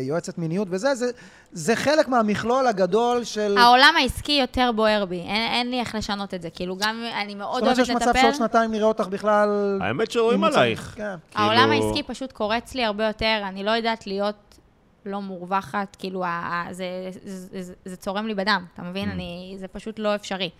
Speaker 1: היועצת מיניות וזה, זה- זה חלק מהמכלול הגדול של...
Speaker 3: העולם העסקי יותר בוער בי, אין אין לי איך לשנות את זה. כאילו, גם אני מאוד אוהבת
Speaker 1: זאת אומרת שיש מצב
Speaker 3: לטפל.
Speaker 1: שעוד שנתיים נראה אותך בכלל...
Speaker 2: האמת שרואים
Speaker 1: עם מוצרים.
Speaker 2: עלייך.
Speaker 1: כן.
Speaker 3: העולם
Speaker 2: כאילו-
Speaker 3: העסקי פשוט קורץ לי הרבה יותר, אני לא יודעת להיות לא מורווחת, כאילו, ה- ה- זה- זה- זה- זה צורם לי בדם, אתה מבין?
Speaker 1: Mm.
Speaker 3: אני, זה פשוט לא אפשרי.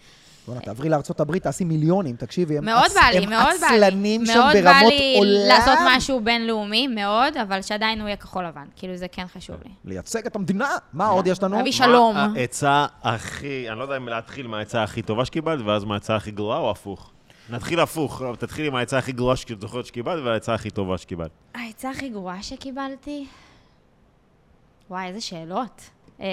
Speaker 1: בוא'נה, תעברי לארה"ב, תעשי מיליונים, תקשיבי. הם
Speaker 3: מאוד
Speaker 1: עצ-
Speaker 3: בא לי,
Speaker 1: הם
Speaker 3: מאוד בא לי.
Speaker 1: עצלנים שם
Speaker 3: מאוד בא
Speaker 1: ברמות
Speaker 3: לי
Speaker 1: עולם.
Speaker 3: לעשות משהו בינלאומי, מאוד, אבל שעדיין הוא יהיה כחול לבן, כאילו, זה כן חשוב לי.
Speaker 1: לייצג את המדינה. מה עוד יש לנו?
Speaker 3: אבישי- שלום.
Speaker 2: מה העצה הכי, אני לא יודע אם להתחיל מהעצה הכי טובה שקיבלת, ואז מהעצה הכי גרועה או הפוך. נתחיל הפוך, תתחיל עם העצה הכי גרועה שאת זוכרת שקיבלת, והעצה הכי טובה שקיבלת.
Speaker 3: העצה הכי גרועה שקיבלתי? וואי, איזה שאלות. אה,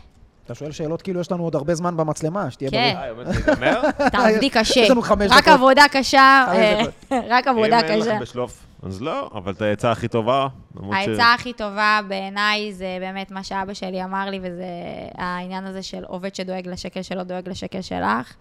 Speaker 1: אתה שואל שאלות כאילו יש לנו עוד הרבה זמן במצלמה, שתהיה
Speaker 3: כן.
Speaker 1: בריא.
Speaker 2: אה, באמת, זה ייגמר?
Speaker 3: תעבדי קשה.
Speaker 1: יש לנו חמש
Speaker 3: רק
Speaker 1: דקות.
Speaker 3: עבודה קשה,
Speaker 1: חמש
Speaker 3: אה,
Speaker 1: דקות.
Speaker 3: רק עבודה
Speaker 2: אם אין
Speaker 3: קשה.
Speaker 2: לך בשלוף, אז לא, אבל את העצה הכי טובה, למרות ש...
Speaker 3: העצה הכי טובה בעיניי זה באמת מה שאבא שלי אמר לי, וזה העניין הזה של עובד שדואג לשקל שלו, דואג לשקל שלך.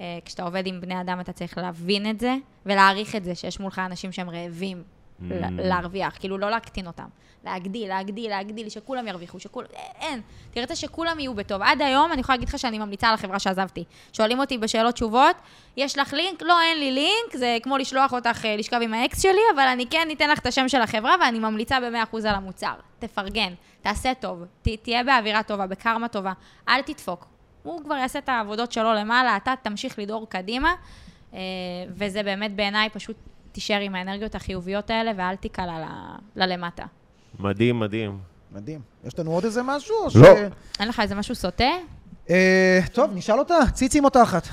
Speaker 3: אה, כשאתה עובד עם בני אדם, אתה צריך להבין את זה, ולהעריך את זה שיש מולך אנשים שהם רעבים ל- להרוויח, כאילו לא להקטין אותם. להגדיל, להגדיל, להגדיל, שכולם ירוויחו, שכולם... אין. תראה שכולם יהיו בטוב. עד היום אני יכולה להגיד לך שאני ממליצה על החברה שעזבתי. שואלים אותי בשאלות תשובות, יש לך לינק? לא, אין לי לינק, זה כמו לשלוח אותך אה, לשכב עם האקס שלי, אבל אני כן אתן לך את השם של החברה ואני ממליצה ב-100% על המוצר. תפרגן, תעשה טוב, ת, תהיה באווירה טובה, בקרמה טובה, אל תדפוק. הוא כבר יעשה את העבודות שלו למעלה, אתה תמשיך לדהור קדימה, אה, וזה באמת בעיניי פשוט תישאר עם האנרגיות החיוביות האלה ואל תיקלע ל- ללמטה.
Speaker 2: מדהים, מדהים.
Speaker 1: מדהים. יש לנו עוד איזה משהו? או ש-
Speaker 2: לא.
Speaker 3: אין לך איזה משהו סוטה?
Speaker 1: אה, טוב, נשאל אותה, ציצים או תחת.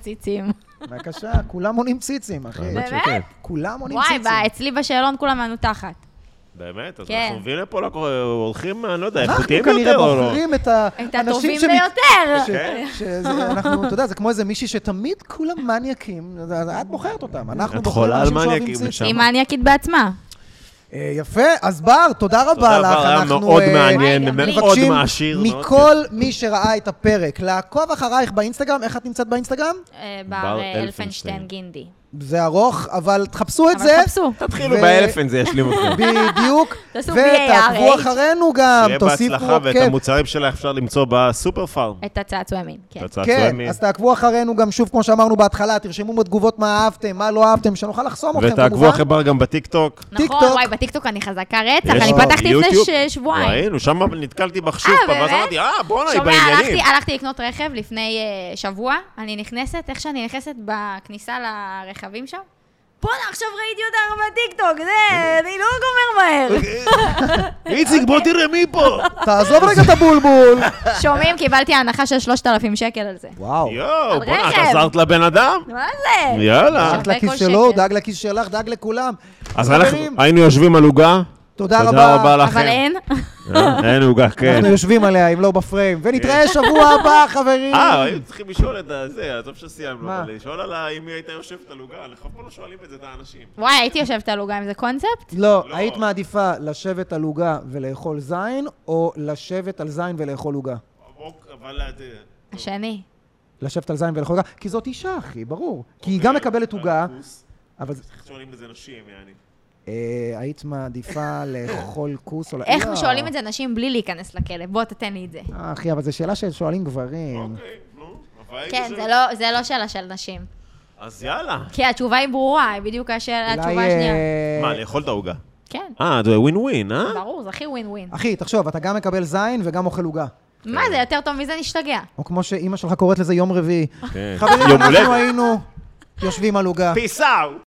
Speaker 3: ציצים.
Speaker 1: בבקשה, כולם עונים ציצים,
Speaker 3: כן.
Speaker 1: אחי.
Speaker 2: האמת שכן.
Speaker 1: כולם עונים
Speaker 3: וואי,
Speaker 1: ציצים.
Speaker 3: ב- אצלי בשאלון כולם ענו תחת.
Speaker 2: באמת? אז
Speaker 3: כן.
Speaker 2: אנחנו מביאים לפה, לא קורה, הולכים, אני לא יודע,
Speaker 1: אנחנו
Speaker 2: איכותיים
Speaker 1: כנראה
Speaker 2: יותר או לא?
Speaker 1: בוחרים את האנשים
Speaker 3: את הטובים
Speaker 1: שמת-
Speaker 3: ביותר.
Speaker 2: כן.
Speaker 1: ש- שזה- אנחנו, אתה יודע, זה כמו איזה מישהי שתמיד כולם מניאקים, אז- אז את בוחרת אותם, אנחנו
Speaker 2: את
Speaker 1: בוחרים
Speaker 2: חולה על
Speaker 1: אנשים שאוהבים
Speaker 2: מניאקים,
Speaker 1: ציצים.
Speaker 2: נשמה.
Speaker 3: היא מניאקית בעצמה.
Speaker 1: אה, יפה, אז בר, תודה רבה לך.
Speaker 2: תודה רבה, היה
Speaker 1: אנחנו,
Speaker 2: מאוד
Speaker 1: אה,
Speaker 2: מעניין,
Speaker 3: וואי, גם לי.
Speaker 2: מאוד
Speaker 1: מבקשים
Speaker 2: מעשיר. מאוד
Speaker 1: מכל מי שראה את הפרק, לעקוב אחרייך באינסטגרם, איך את נמצאת באינסטגרם?
Speaker 3: אה,
Speaker 2: בר
Speaker 3: בר אה,
Speaker 2: אלפנשטיין.
Speaker 3: אלפנשטיין גינדי.
Speaker 1: זה ארוך, אבל תחפשו את
Speaker 3: אבל
Speaker 1: זה.
Speaker 3: חפשו.
Speaker 2: תתחילו
Speaker 1: ו-
Speaker 2: באלפן, כאילו זה ישלים אתכם.
Speaker 1: בדיוק.
Speaker 3: תעשו
Speaker 1: ותעקבו
Speaker 3: VARH.
Speaker 1: אחרינו גם,
Speaker 2: שיהיה
Speaker 1: תוסיפו...
Speaker 2: בהצלחה, ואת
Speaker 1: כן.
Speaker 2: המוצרים שלה אפשר למצוא בסופר פארם.
Speaker 3: את הצעצוע מין, כן.
Speaker 2: בצעצועי
Speaker 1: כן,
Speaker 2: מין.
Speaker 1: אז תעקבו אחרינו גם שוב, כמו שאמרנו בהתחלה, תרשמו בתגובות מה אהבתם, מה לא אהבתם, שנוכל לחסום אתכם, כמובן.
Speaker 2: ותעקבו אחרי בר גם בטיקטוק.
Speaker 3: נכון,
Speaker 1: טיקטוק.
Speaker 3: וואי, בטיקטוק אני חזקה רצח,
Speaker 2: יש
Speaker 3: אני
Speaker 2: לו
Speaker 3: פתחתי
Speaker 2: יוטיוב.
Speaker 3: לפני ש- שבועיים.
Speaker 2: ראינו, שם נתקלתי בך שוב
Speaker 3: אה,
Speaker 2: פעם, ואז
Speaker 3: באמת?
Speaker 2: אמרתי, אה, בואנה, היא
Speaker 3: שומע, הלכתי,
Speaker 2: בעניינים.
Speaker 3: הלכתי לקנות רכב לפני אה, שבוע, אני נכנסת, איך שאני נכנסת בכניסה לרכבים שם, בואנה, עכשיו ראיתי אותך בטיקטוק, זה, אני לא גומר מהר.
Speaker 2: איציק, בוא תראה מי פה.
Speaker 1: תעזוב רגע את הבולבול.
Speaker 3: שומעים, קיבלתי הנחה של 3,000 שקל על זה.
Speaker 1: וואו.
Speaker 2: יואו,
Speaker 3: על
Speaker 2: בואנה, את
Speaker 3: רכב.
Speaker 2: עזרת לבן אדם?
Speaker 3: מה זה?
Speaker 2: יאללה.
Speaker 1: דאגת
Speaker 3: שווה
Speaker 1: לכיס
Speaker 3: כל
Speaker 1: שלו, הוא
Speaker 3: שקל.
Speaker 1: דאג לכיס שלך, דאג לכולם.
Speaker 2: אז אנחנו אה,
Speaker 1: חברים,
Speaker 2: היינו יושבים על עוגה.
Speaker 1: תודה
Speaker 2: תודה רבה
Speaker 1: רבה.
Speaker 2: לכם.
Speaker 3: אבל אין.
Speaker 2: אה, אין עוגה, כן.
Speaker 1: אנחנו יושבים עליה, אם לא בפריים. ונתראה שבוע הבא, חברים.
Speaker 2: אה, היו צריכים לשאול את הזה, טוב שסיימנו,
Speaker 1: מה?
Speaker 2: אבל לשאול על ה- אם היא הייתה יושבת על עוגה, אנחנו אף פעם לא שואלים את זה את האנשים.
Speaker 3: וואי, הייתי יושבת על עוגה עם זה קונספט?
Speaker 1: לא,
Speaker 2: לא.
Speaker 1: היית מעדיפה לשבת על עוגה ולאכול זין, או לשבת על זין ולאכול עוגה?
Speaker 2: אבל אה,
Speaker 3: השני.
Speaker 1: לשבת על זין ולאכול עוגה? כי זאת אישה, אחי, ברור. כי היא גם מקבלת עוגה,
Speaker 2: כוס,
Speaker 1: אבל...
Speaker 2: שואלים את זה נשים, יעני.
Speaker 1: אה, היית מעדיפה לאכול כוס או... לא-
Speaker 3: איך
Speaker 1: לא.
Speaker 3: שואלים את זה נשים בלי להיכנס לכלא? בוא, תתן לי את זה.
Speaker 1: אה, אחי, אבל זו שאלה ששואלים גברים.
Speaker 2: אוקיי, נו. אבל הייתי
Speaker 3: כן,
Speaker 2: שם.
Speaker 3: זה לא- זה לא שאלה של נשים.
Speaker 2: אז יאללה.
Speaker 3: כי התשובה היא ברורה, היא בדיוק השאלה, התשובה
Speaker 1: אולי...
Speaker 3: השנייה.
Speaker 1: אה,
Speaker 2: מה, לאכול את העוגה?
Speaker 3: כן,
Speaker 2: אה, זה ווין ווין, אה?
Speaker 3: ברור, זה הכי ווין ווין.
Speaker 1: אחי, תחשוב, אתה גם מקבל זין וגם אוכל עוגה.
Speaker 3: מה זה, יותר טוב מזה נשתגע.
Speaker 1: או כמו שאימא שלך קוראת לזה יום רביעי.
Speaker 2: כן.
Speaker 1: חברים,
Speaker 2: יום הולדת.
Speaker 1: אנחנו היינו יושבים על עוגה.
Speaker 2: Peace out!